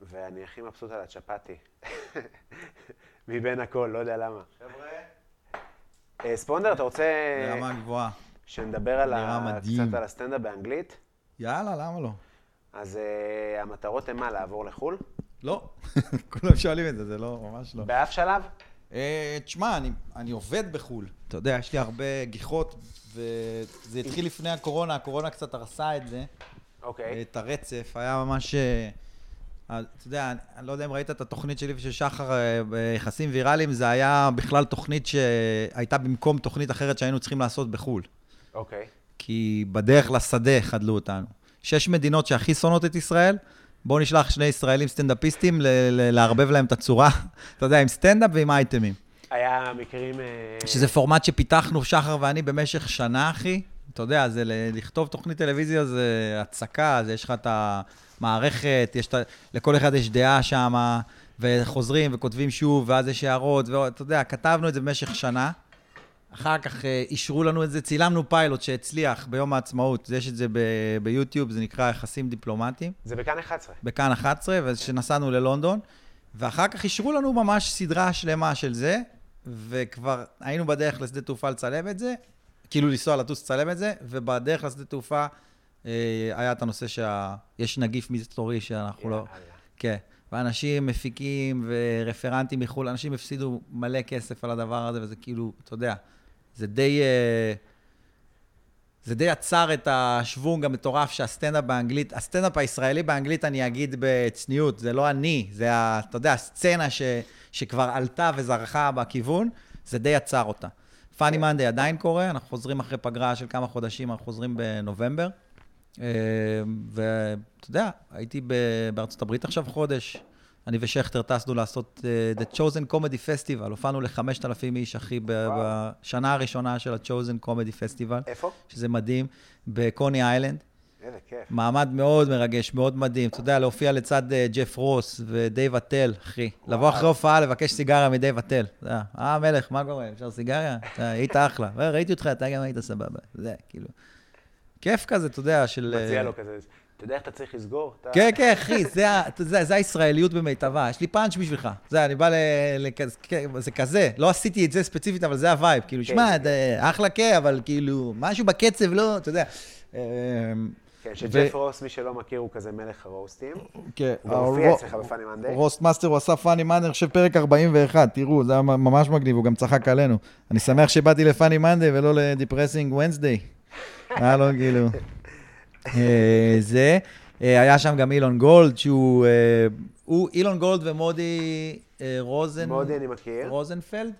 [SPEAKER 2] ואני הכי מבסוט על הצ'פאטי. מבין הכל, לא יודע למה.
[SPEAKER 4] חבר'ה.
[SPEAKER 2] אה, ספונדר, אתה רוצה
[SPEAKER 4] ברמה גבוהה.
[SPEAKER 2] שנדבר על
[SPEAKER 4] נראה
[SPEAKER 2] ה...
[SPEAKER 4] מדהים.
[SPEAKER 2] קצת על הסטנדאפ באנגלית?
[SPEAKER 4] יאללה, למה לא?
[SPEAKER 2] אז אה, המטרות הן מה, לעבור לחו"ל?
[SPEAKER 4] לא. כולם שואלים את זה, זה לא, ממש לא.
[SPEAKER 2] באף שלב?
[SPEAKER 4] אה, תשמע, אני, אני עובד בחו"ל. אתה יודע, יש לי הרבה גיחות, וזה התחיל לפני הקורונה, הקורונה קצת הרסה את זה, אה,
[SPEAKER 2] אוקיי.
[SPEAKER 4] את הרצף. היה ממש... אה, אה, אתה יודע, אני, אני לא יודע אם ראית את התוכנית שלי ושל שחר אה, ביחסים ויראליים, זה היה בכלל תוכנית שהייתה במקום תוכנית אחרת שהיינו צריכים לעשות בחו"ל.
[SPEAKER 2] אוקיי.
[SPEAKER 4] כי בדרך לשדה חדלו אותנו. שש מדינות שהכי שונאות את ישראל, בואו נשלח שני ישראלים סטנדאפיסטים ל- ל- לערבב להם את הצורה, אתה יודע, עם סטנדאפ ועם אייטמים.
[SPEAKER 2] היה מקרים... אה,
[SPEAKER 4] שזה פורמט שפיתחנו, שחר ואני, במשך שנה, אחי. אתה יודע, זה ל- לכתוב תוכנית טלוויזיה זה הצקה, אז יש לך את המערכת, יש את ה... לכל אחד יש דעה שם, וחוזרים וכותבים שוב, ואז יש הערות, ואתה יודע, כתבנו את זה במשך שנה. אחר כך אה, אישרו לנו את זה, צילמנו פיילוט שהצליח ביום העצמאות, יש את זה ב- ביוטיוב, זה נקרא יחסים דיפלומטיים.
[SPEAKER 2] זה בכאן 11.
[SPEAKER 4] בכאן 11, וכשנסענו ללונדון, ואחר כך אישרו לנו ממש סדרה שלמה של זה, וכבר היינו בדרך לשדה תעופה לצלם את זה, כאילו לנסוע לטוס לצלם את זה, ובדרך לשדה תעופה אה, היה את הנושא שיש נגיף מסתורי שאנחנו לא...
[SPEAKER 2] יאללה.
[SPEAKER 4] כן. ואנשים, מפיקים ורפרנטים מחו"ל, אנשים הפסידו מלא כסף על הדבר הזה, וזה כאילו, אתה יודע, זה די... אה, זה די עצר את השוונג המטורף שהסטנדאפ באנגלית, הסטנדאפ הישראלי באנגלית, אני אגיד בצניעות, זה לא אני, זה, ה, אתה יודע, הסצנה ש, שכבר עלתה וזרחה בכיוון, זה די עצר אותה. פאני מנדי עדיין קורה, אנחנו חוזרים אחרי פגרה של כמה חודשים, אנחנו חוזרים בנובמבר. אה, ואתה יודע, הייתי ב- בארצות הברית עכשיו חודש, אני ושכטר טסנו לעשות אה, The Chosen Comedy Festival, הופענו ל-5,000 איש, אחי, ב-
[SPEAKER 2] וואו.
[SPEAKER 4] בשנה הראשונה של ה-Chosen Comedy Festival.
[SPEAKER 2] איפה?
[SPEAKER 4] שזה מדהים, בקוני איילנד.
[SPEAKER 2] איזה כיף.
[SPEAKER 4] מעמד מאוד מרגש, מאוד מדהים. אתה יודע, להופיע לצד אה, ג'ף רוס ודייב אטל, אחי. לבוא אחרי הופעה, לבקש סיגריה מדייב אטל. אתה יודע, אה, המלך, מה קורה? אפשר סיגריה? אתה היית אחלה. "אה, ראיתי אותך, אתה גם היית סבבה. זה, כאילו... כיף כזה, אתה יודע, של... אה,
[SPEAKER 2] מציע לו כזה. אתה יודע איך אתה צריך לסגור? אתה-
[SPEAKER 4] כן, כן, אחי, זה ה- אתה יודע, זה הישראליות במיטבה. יש לי פאנץ' בשבילך. זה, אני בא ל... לכזה- כן, זה כזה. לא עשיתי את זה ספציפית, אבל זה הווייב. כאילו,
[SPEAKER 2] כן,
[SPEAKER 4] שמע,
[SPEAKER 2] כן.
[SPEAKER 4] זה אחלה כן, אבל כאילו, משהו בקצב, לא, אתה יודע. אה,
[SPEAKER 2] כן,
[SPEAKER 4] ו-
[SPEAKER 2] שג'ף רוס, מי שלא מכיר, הוא כזה מלך הרוסטים.
[SPEAKER 4] כן,
[SPEAKER 2] הוא גם הופיע אצלך בפאני מנדי.
[SPEAKER 4] רוסטמאסטר הוא עשה פאני מנדי, אני חושב פרק 41, תראו, זה היה ממש מגניב, הוא גם צחק עלינו. אני שמח שבאתי לפאני מנדי ולא לדיפרסינג ונסדי. היה לו כאילו... אה, זה, אה, היה שם גם אילון גולד, שהוא... אה, הוא אילון גולד ומודי אה, רוזן...
[SPEAKER 2] מודי אני מכיר.
[SPEAKER 4] רוזנפלד?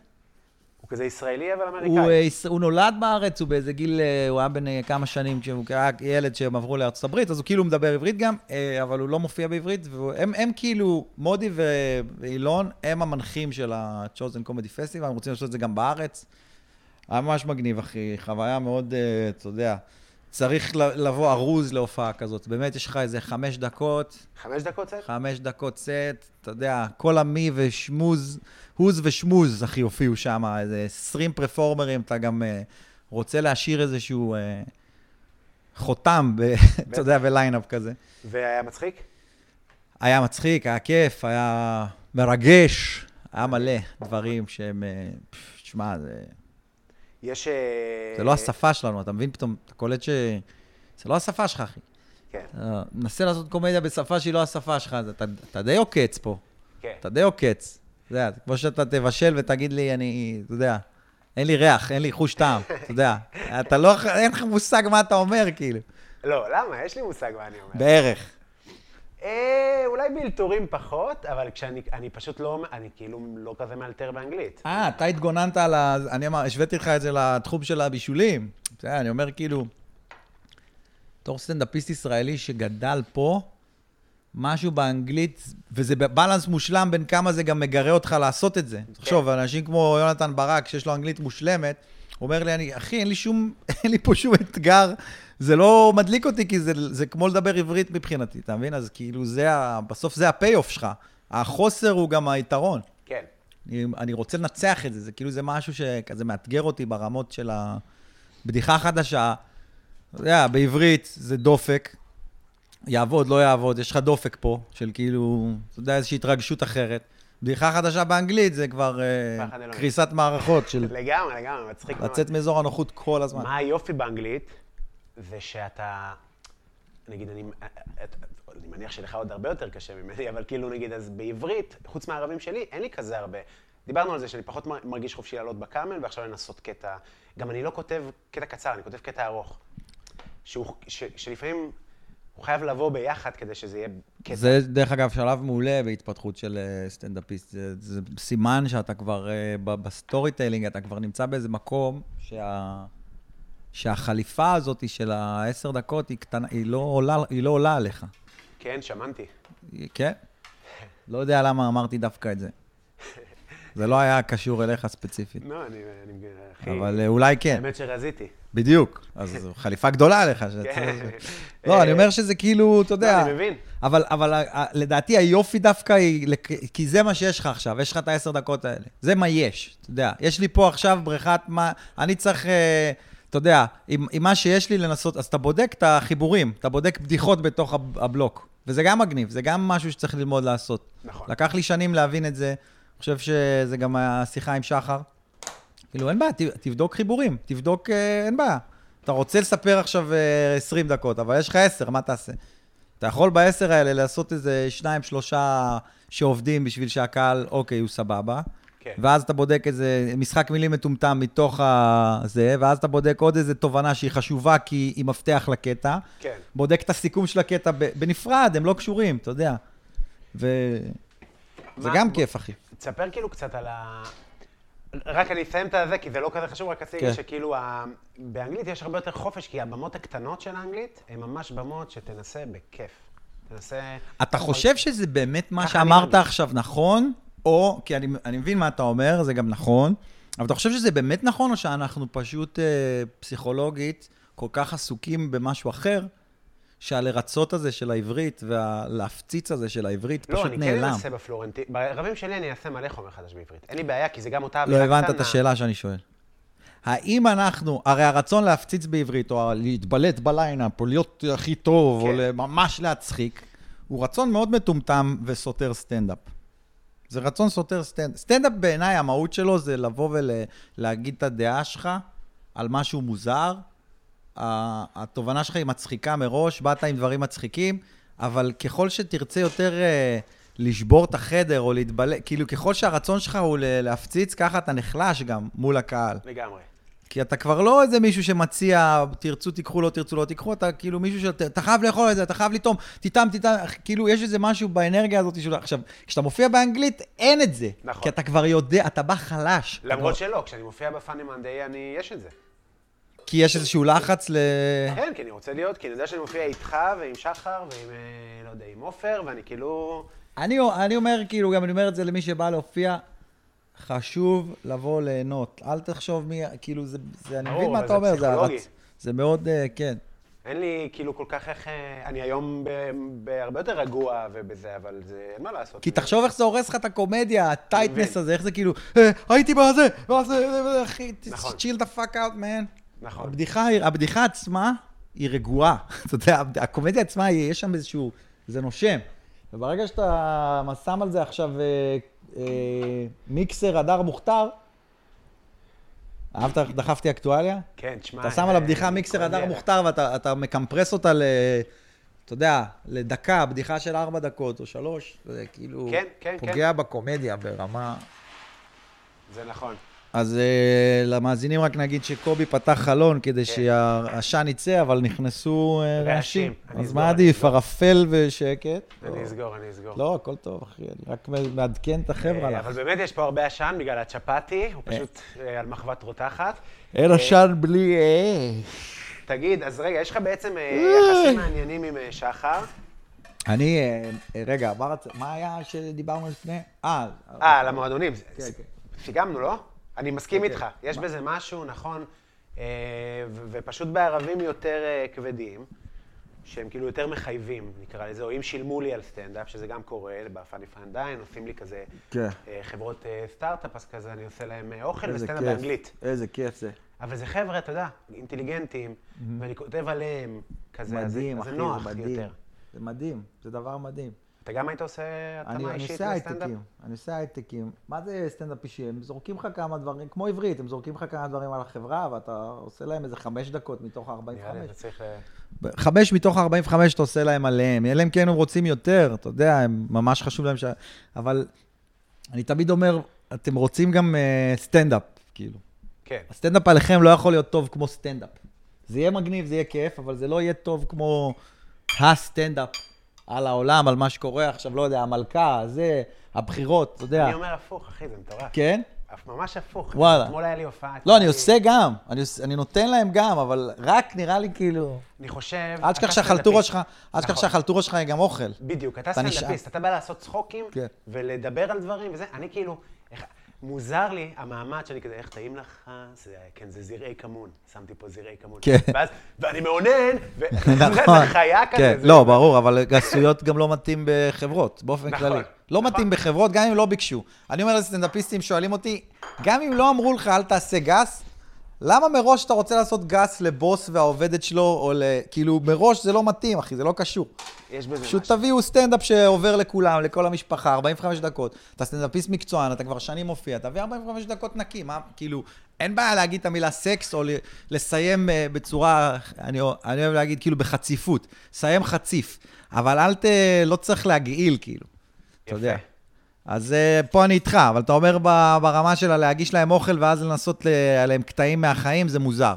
[SPEAKER 2] הוא כזה ישראלי אבל
[SPEAKER 4] הוא, אה,
[SPEAKER 2] אמריקאי.
[SPEAKER 4] יש- הוא נולד בארץ, הוא באיזה גיל, אה, הוא היה בן אה, כמה שנים כשהוא היה ילד שהם עברו לארצות הברית, אז הוא כאילו מדבר עברית גם, אה, אבל הוא לא מופיע בעברית, והם הם כאילו, מודי ו- ואילון, הם המנחים של ה-Chosen Comedy Festival, הם רוצים לעשות את זה גם בארץ. היה ממש מגניב, אחי, חוויה מאוד, אה, אתה יודע, צריך ל- לבוא ארוז להופעה כזאת. באמת, יש לך איזה חמש דקות,
[SPEAKER 2] חמש דקות סט?
[SPEAKER 4] חמש דקות סט, אתה יודע, כל המי ושמוז, הוז ושמוז, אחי, הופיעו שם, איזה 20 פרפורמרים, אתה גם אה, רוצה להשאיר איזשהו אה, חותם, ב, אתה יודע, בליינאפ כזה.
[SPEAKER 2] והיה מצחיק?
[SPEAKER 4] היה מצחיק, היה כיף, היה מרגש, היה מלא דברים שהם, אה, פש, שמע, זה...
[SPEAKER 2] יש... אה,
[SPEAKER 4] זה לא השפה שלנו, אתה מבין פתאום, אתה קולט ש... זה לא השפה שלך, אחי.
[SPEAKER 2] כן,
[SPEAKER 4] אתה מנסה לעשות קומדיה בשפה שהיא לא השפה שלך, אז אתה, אתה די עוקץ פה.
[SPEAKER 2] כן.
[SPEAKER 4] אתה די עוקץ. אתה יודע, זה כמו שאתה תבשל ותגיד לי, אני, אתה יודע, אין לי ריח, אין לי חוש טעם, אתה יודע. אתה לא, אין לך מושג מה אתה אומר, כאילו.
[SPEAKER 2] לא, למה? יש לי מושג מה אני אומר.
[SPEAKER 4] בערך.
[SPEAKER 2] אה, אולי באלתורים פחות, אבל כשאני אני פשוט לא, אני כאילו לא כזה מאלתר באנגלית.
[SPEAKER 4] אה, אתה התגוננת על ה... אני אמר, השוויתי לך את זה לתחום של הבישולים. בסדר, אני אומר כאילו, בתור סטנדאפיסט ישראלי שגדל פה, משהו באנגלית, וזה בבלנס מושלם בין כמה זה גם מגרה אותך לעשות את זה. תחשוב, אנשים כמו יונתן ברק, שיש לו אנגלית מושלמת, הוא אומר לי, אני, אחי, אין לי שום, אין לי פה שום אתגר, זה לא מדליק אותי, כי זה, זה כמו לדבר עברית מבחינתי, אתה מבין? אז כאילו, זה ה, בסוף זה הפי-אוף שלך. החוסר הוא גם היתרון.
[SPEAKER 2] כן.
[SPEAKER 4] אני, אני רוצה לנצח את זה, זה כאילו זה משהו שכזה מאתגר אותי ברמות של הבדיחה החדשה. אתה יודע, בעברית זה דופק, יעבוד, לא יעבוד, יש לך דופק פה, של כאילו, אתה יודע, איזושהי התרגשות אחרת. בדיחה חדשה באנגלית זה כבר אה,
[SPEAKER 2] פחד אלוהים.
[SPEAKER 4] קריסת מערכות של
[SPEAKER 2] לגמרי, לגמרי, מצחיק מאוד.
[SPEAKER 4] לצאת מאזור הנוחות כל הזמן.
[SPEAKER 2] מה היופי באנגלית? זה שאתה, נגיד, אני, אה, את- אני מניח שלך עוד הרבה יותר קשה ממני, אבל כאילו, נגיד, אז בעברית, חוץ מהערבים שלי, אין לי כזה הרבה. דיברנו על זה שאני פחות מר- מרגיש חופשי לעלות בקאמל, ועכשיו לנסות קטע. גם אני לא כותב קטע קצר, אני כותב קטע ארוך. שהוא, ש, שלפעמים הוא חייב לבוא ביחד כדי שזה יהיה קטע.
[SPEAKER 4] זה, דרך אגב, שלב מעולה בהתפתחות של אה, סטנדאפיסט. זה, זה סימן שאתה כבר, אה, ב- בסטורי טיילינג, אתה כבר נמצא באיזה מקום שה, שהחליפה הזאת של העשר דקות היא קטנה, היא לא עולה, היא לא עולה עליך.
[SPEAKER 2] כן, שמעתי.
[SPEAKER 4] היא- כן? לא יודע למה אמרתי דווקא את זה. זה לא היה קשור אליך ספציפית,
[SPEAKER 2] לא, אני, אני, אחי,
[SPEAKER 4] אבל אה, אולי כן.
[SPEAKER 2] האמת שרזיתי.
[SPEAKER 4] בדיוק. אז זו חליפה גדולה עליך. שאתה-
[SPEAKER 2] כן.
[SPEAKER 4] לא, אני אומר שזה כאילו, אתה יודע...
[SPEAKER 2] לא, אני מבין.
[SPEAKER 4] אבל, אבל ה- ה- לדעתי היופי דווקא היא, לק- כי זה מה שיש לך עכשיו, יש לך את העשר דקות האלה. זה מה יש, אתה יודע. יש לי פה עכשיו בריכת מה... אני צריך, אה, אתה יודע, עם, עם מה שיש לי לנסות, אז אתה בודק את החיבורים, אתה בודק בדיחות בתוך הב- הבלוק. וזה גם מגניב, זה גם משהו שצריך ללמוד לעשות.
[SPEAKER 2] נכון.
[SPEAKER 4] לקח לי שנים להבין את זה. אני חושב שזה גם השיחה עם שחר. כאילו, אין בעיה, ת- תבדוק חיבורים, תבדוק, אה, אין בעיה. אתה רוצה לספר עכשיו אה, 20 דקות, אבל יש לך 10, מה תעשה? אתה יכול בעשר האלה לעשות איזה שניים, שלושה שעובדים בשביל שהקהל, אוקיי, הוא סבבה.
[SPEAKER 2] כן.
[SPEAKER 4] ואז אתה בודק איזה משחק מילים מטומטם מתוך ה- זה, ואז אתה בודק עוד איזה תובנה שהיא חשובה כי היא מפתח לקטע.
[SPEAKER 2] כן.
[SPEAKER 4] בודק את הסיכום של הקטע ב- בנפרד, הם לא קשורים, אתה יודע. ו... זה
[SPEAKER 2] מה-
[SPEAKER 4] גם כיף, אחי.
[SPEAKER 2] תספר כאילו קצת על ה... רק אני אסיים את הזה, כי זה לא כזה חשוב, רק רציתי
[SPEAKER 4] כן.
[SPEAKER 2] להגיד שכאילו, ה... באנגלית יש הרבה יותר חופש, כי הבמות הקטנות של האנגלית, הן ממש במות שתנסה בכיף. תנסה...
[SPEAKER 4] אתה חושב שזה באמת מה
[SPEAKER 2] ככה אני
[SPEAKER 4] שאמרת
[SPEAKER 2] מרגיש.
[SPEAKER 4] עכשיו נכון, או, כי אני, אני מבין מה אתה אומר, זה גם נכון, אבל אתה חושב שזה באמת נכון, או שאנחנו פשוט אה, פסיכולוגית כל כך עסוקים במשהו אחר, שהלרצות הזה של העברית והלהפציץ הזה של העברית
[SPEAKER 2] לא,
[SPEAKER 4] פשוט
[SPEAKER 2] אני כן
[SPEAKER 4] נעלם.
[SPEAKER 2] אנסה בפלורנטי... בערבים שלי אני אעשה מלא חומר חדש בעברית. אין לי בעיה, כי זה גם אותה
[SPEAKER 4] לא
[SPEAKER 2] אווירה
[SPEAKER 4] הבנת את השאלה שאני שואל. האם אנחנו, הרי הרצון להפציץ בעברית, או להתבלט בליינאפ, או להיות הכי טוב,
[SPEAKER 2] כן.
[SPEAKER 4] או ממש להצחיק, הוא רצון מאוד מטומטם וסותר סטנדאפ. זה רצון סותר סטנדאפ. סטנדאפ בעיניי, המהות שלו זה לבוא ולהגיד את הדעה שלך על משהו מוזר. ה- התובנה שלך היא מצחיקה מראש, באת עם דברים מצחיקים, אבל ככל שתרצה יותר אה, לשבור את החדר או להתבלט, כאילו ככל שהרצון שלך הוא ל- להפציץ, ככה אתה נחלש גם מול הקהל.
[SPEAKER 2] לגמרי.
[SPEAKER 4] כי אתה כבר לא איזה מישהו שמציע, תרצו תיקחו, לא תרצו לא תיקחו, אתה כאילו מישהו שאתה אתה חייב לאכול את זה, אתה חייב לטעום, תטעם, תטעם, כאילו יש איזה משהו באנרגיה הזאת שלו. עכשיו, כשאתה מופיע באנגלית, אין את זה.
[SPEAKER 2] נכון.
[SPEAKER 4] כי אתה כבר יודע, אתה בא חלש. אתה
[SPEAKER 2] למרות
[SPEAKER 4] כבר-
[SPEAKER 2] שלא, כשאני מופיע בפאני מאנדיי, אני... יש את זה.
[SPEAKER 4] לא- כי יש איזשהו לחץ ל...
[SPEAKER 2] כן, כי אני רוצה להיות, כי אני יודע שאני מופיע איתך ועם שחר ועם, אה, לא יודע, עם עופר, ואני כאילו...
[SPEAKER 4] אני, אני אומר, כאילו, גם אני אומר את זה למי שבא להופיע, חשוב לבוא ליהנות. אל תחשוב מי, כאילו, זה, זה אני
[SPEAKER 2] ברור,
[SPEAKER 4] מבין מה
[SPEAKER 2] אבל
[SPEAKER 4] אתה
[SPEAKER 2] זה
[SPEAKER 4] אומר, זה
[SPEAKER 2] פסיכולוגי.
[SPEAKER 4] הרצ... זה מאוד, אה, כן.
[SPEAKER 2] אין לי כאילו כל כך איך... אה, אני היום ב- בהרבה יותר רגוע ובזה, אבל זה אין מה לעשות.
[SPEAKER 4] כי
[SPEAKER 2] אני-
[SPEAKER 4] תחשוב איך זה הורס לך את הקומדיה, הטייטנס
[SPEAKER 2] מבין.
[SPEAKER 4] הזה, איך זה כאילו, "אה, הייתי בזה, וזה, אחי,
[SPEAKER 2] נכון.
[SPEAKER 4] chill the fuck out, man.
[SPEAKER 2] נכון.
[SPEAKER 4] הבדיחה, היא- הבדיחה עצמה היא רגועה. אתה יודע, הבד- הקומדיה עצמה, היא- יש שם איזשהו, זה נושם. וברגע שאתה שם על זה עכשיו אה, אה, מיקסר הדר מוכתר, אהבת, איך דחפתי אקטואליה?
[SPEAKER 2] כן, תשמע...
[SPEAKER 4] אתה שם
[SPEAKER 2] אה,
[SPEAKER 4] על הבדיחה מיקסר הדר
[SPEAKER 2] קומדיה.
[SPEAKER 4] מוכתר ואתה אתה מקמפרס אותה ל... אתה יודע, לדקה, בדיחה של ארבע דקות או שלוש, זה כאילו
[SPEAKER 2] כן, כן,
[SPEAKER 4] פוגע בקומדיה ברמה...
[SPEAKER 2] זה נכון.
[SPEAKER 4] אז אה, למאזינים רק נגיד שקובי פתח חלון כדי שהעשן יצא, אבל נכנסו אה, רעשים.
[SPEAKER 2] כן. רעשים. אני
[SPEAKER 4] אז
[SPEAKER 2] אסגור,
[SPEAKER 4] מה
[SPEAKER 2] אני
[SPEAKER 4] עדיף,
[SPEAKER 2] אסגור.
[SPEAKER 4] ערפל ושקט?
[SPEAKER 2] אני אסגור, אני אסגור.
[SPEAKER 4] לא, הכל טוב, אחי, אני רק מעדכן את החבר'ה
[SPEAKER 2] אה,
[SPEAKER 4] לך.
[SPEAKER 2] אבל באמת יש פה הרבה עשן בגלל הצ'פאטי, הוא פשוט אה, על מחבת רותחת.
[SPEAKER 4] אין עשן בלי... אה.
[SPEAKER 2] תגיד, אז רגע, יש לך בעצם אה, יחסים מעניינים עם אה, שחר?
[SPEAKER 4] אני, אה, אה, רגע, מה רצ- מה היה שדיברנו לפני? אה,
[SPEAKER 2] אה, על המועדונים.
[SPEAKER 4] כן,
[SPEAKER 2] סיגמנו, לא? אני מסכים
[SPEAKER 4] כן,
[SPEAKER 2] איתך,
[SPEAKER 4] כן.
[SPEAKER 2] יש בזה משהו, נכון, אה, ו- ופשוט בערבים יותר אה, כבדים, שהם כאילו יותר מחייבים, נקרא לזה, או אם שילמו לי על סטנדאפ, שזה גם קורה, בפאני פרנדיין, עושים לי כזה,
[SPEAKER 4] כן.
[SPEAKER 2] אה, חברות אה, סטארט-אפ, אז כזה אני עושה להם אה, אוכל
[SPEAKER 4] איזה
[SPEAKER 2] וסטנדאפ
[SPEAKER 4] כיף.
[SPEAKER 2] באנגלית.
[SPEAKER 4] איזה כיף זה.
[SPEAKER 2] אבל זה חבר'ה, אתה יודע, אינטליגנטים, ואני כותב עליהם, כזה, אז זה-
[SPEAKER 4] מדהים,
[SPEAKER 2] אז
[SPEAKER 4] אחי,
[SPEAKER 2] זה
[SPEAKER 4] זה
[SPEAKER 2] נוח
[SPEAKER 4] מדהים.
[SPEAKER 2] יותר.
[SPEAKER 4] זה מדהים, זה דבר מדהים.
[SPEAKER 2] אתה גם היית עושה
[SPEAKER 4] אני,
[SPEAKER 2] התאמה
[SPEAKER 4] אני
[SPEAKER 2] אישית
[SPEAKER 4] עושה
[SPEAKER 2] לסטנדאפ?
[SPEAKER 4] הייטקים, אני עושה הייטקים. מה זה סטנדאפ אישי? הם זורקים לך כמה דברים, כמו עברית, הם זורקים לך כמה דברים על החברה, ואתה עושה להם איזה חמש דקות מתוך
[SPEAKER 2] נראה לי,
[SPEAKER 4] ה-45.
[SPEAKER 2] אתה צריך... אה,
[SPEAKER 4] חמש מתוך ה-45 אתה עושה להם עליהם, אלא אם כן הם רוצים יותר, אתה יודע, הם ממש חשוב להם ש... אבל אני תמיד אומר, אתם רוצים גם אה, סטנדאפ, כאילו.
[SPEAKER 2] כן.
[SPEAKER 4] הסטנדאפ עליכם לא יכול להיות טוב כמו סטנדאפ. זה יהיה מגניב, זה יהיה כיף, אבל זה לא יהיה טוב כמו הסטנדאפ על העולם, על מה שקורה עכשיו, לא יודע, המלכה, זה, הבחירות, אתה יודע.
[SPEAKER 2] אני אומר הפוך, אחי, זה מטורף.
[SPEAKER 4] כן?
[SPEAKER 2] אף- ממש הפוך.
[SPEAKER 4] וואלה.
[SPEAKER 2] אתמול היה לי הופעה.
[SPEAKER 4] לא, אני
[SPEAKER 2] אצלי.
[SPEAKER 4] עושה גם, אני, עוש- אני נותן להם גם, אבל רק נראה לי כאילו...
[SPEAKER 2] אני חושב...
[SPEAKER 4] אל
[SPEAKER 2] אתה
[SPEAKER 4] תשכח שהחלטורה
[SPEAKER 2] סטנדאפיסט.
[SPEAKER 4] שלך, אל תשכח
[SPEAKER 2] נכון.
[SPEAKER 4] שהחלטורה שלך היא גם אוכל.
[SPEAKER 2] בדיוק, אתה
[SPEAKER 4] אתה נשאר.
[SPEAKER 2] סטנדאפיסט, אתה בא לעשות צחוקים,
[SPEAKER 4] כן.
[SPEAKER 2] ולדבר על דברים וזה. אני כאילו, איך- מוזר לי המעמד שאני כזה, איך טעים לך? זה, כן, זה זרעי כמון. שמתי פה זרעי כמון.
[SPEAKER 4] כן.
[SPEAKER 2] ואז, ואני מאונן, ו...
[SPEAKER 4] נכון.
[SPEAKER 2] זה חיה כזה.
[SPEAKER 4] כן,
[SPEAKER 2] זה-
[SPEAKER 4] לא, ברור, אבל גסויות גם לא מתאים בחברות, באופן
[SPEAKER 2] נכון,
[SPEAKER 4] כללי. לא
[SPEAKER 2] נכון.
[SPEAKER 4] מתאים בחברות, גם אם לא ביקשו. אני אומר לסטנדאפיסטים, שואלים אותי, גם אם לא אמרו לך, אל תעשה גס, למה מראש אתה רוצה לעשות גס לבוס והעובדת שלו, או ל... כאילו, מראש זה לא מתאים, אחי, זה לא קשור.
[SPEAKER 2] יש בזה משהו.
[SPEAKER 4] פשוט תביאו סטנדאפ שעובר לכולם, לכל המשפחה, 45 דקות. אתה סטנדאפיסט מקצוען, אתה כבר שנים מופיע, תביא 45 דקות נקי, מה, כאילו, אין בעיה להגיד את המילה סקס, או ל- לסיים אה, בצורה, אני, אוה- אני אוהב להגיד, כאילו, בחציפות. סיים חציף, אבל אל ת... לא צריך להגעיל, כאילו. אתה
[SPEAKER 2] יפה.
[SPEAKER 4] יודע. אז אה, פה אני איתך, אבל אתה אומר ב- ברמה שלה להגיש להם אוכל ואז לנסות ל- עליהם קטעים מהחיים, זה מוזר.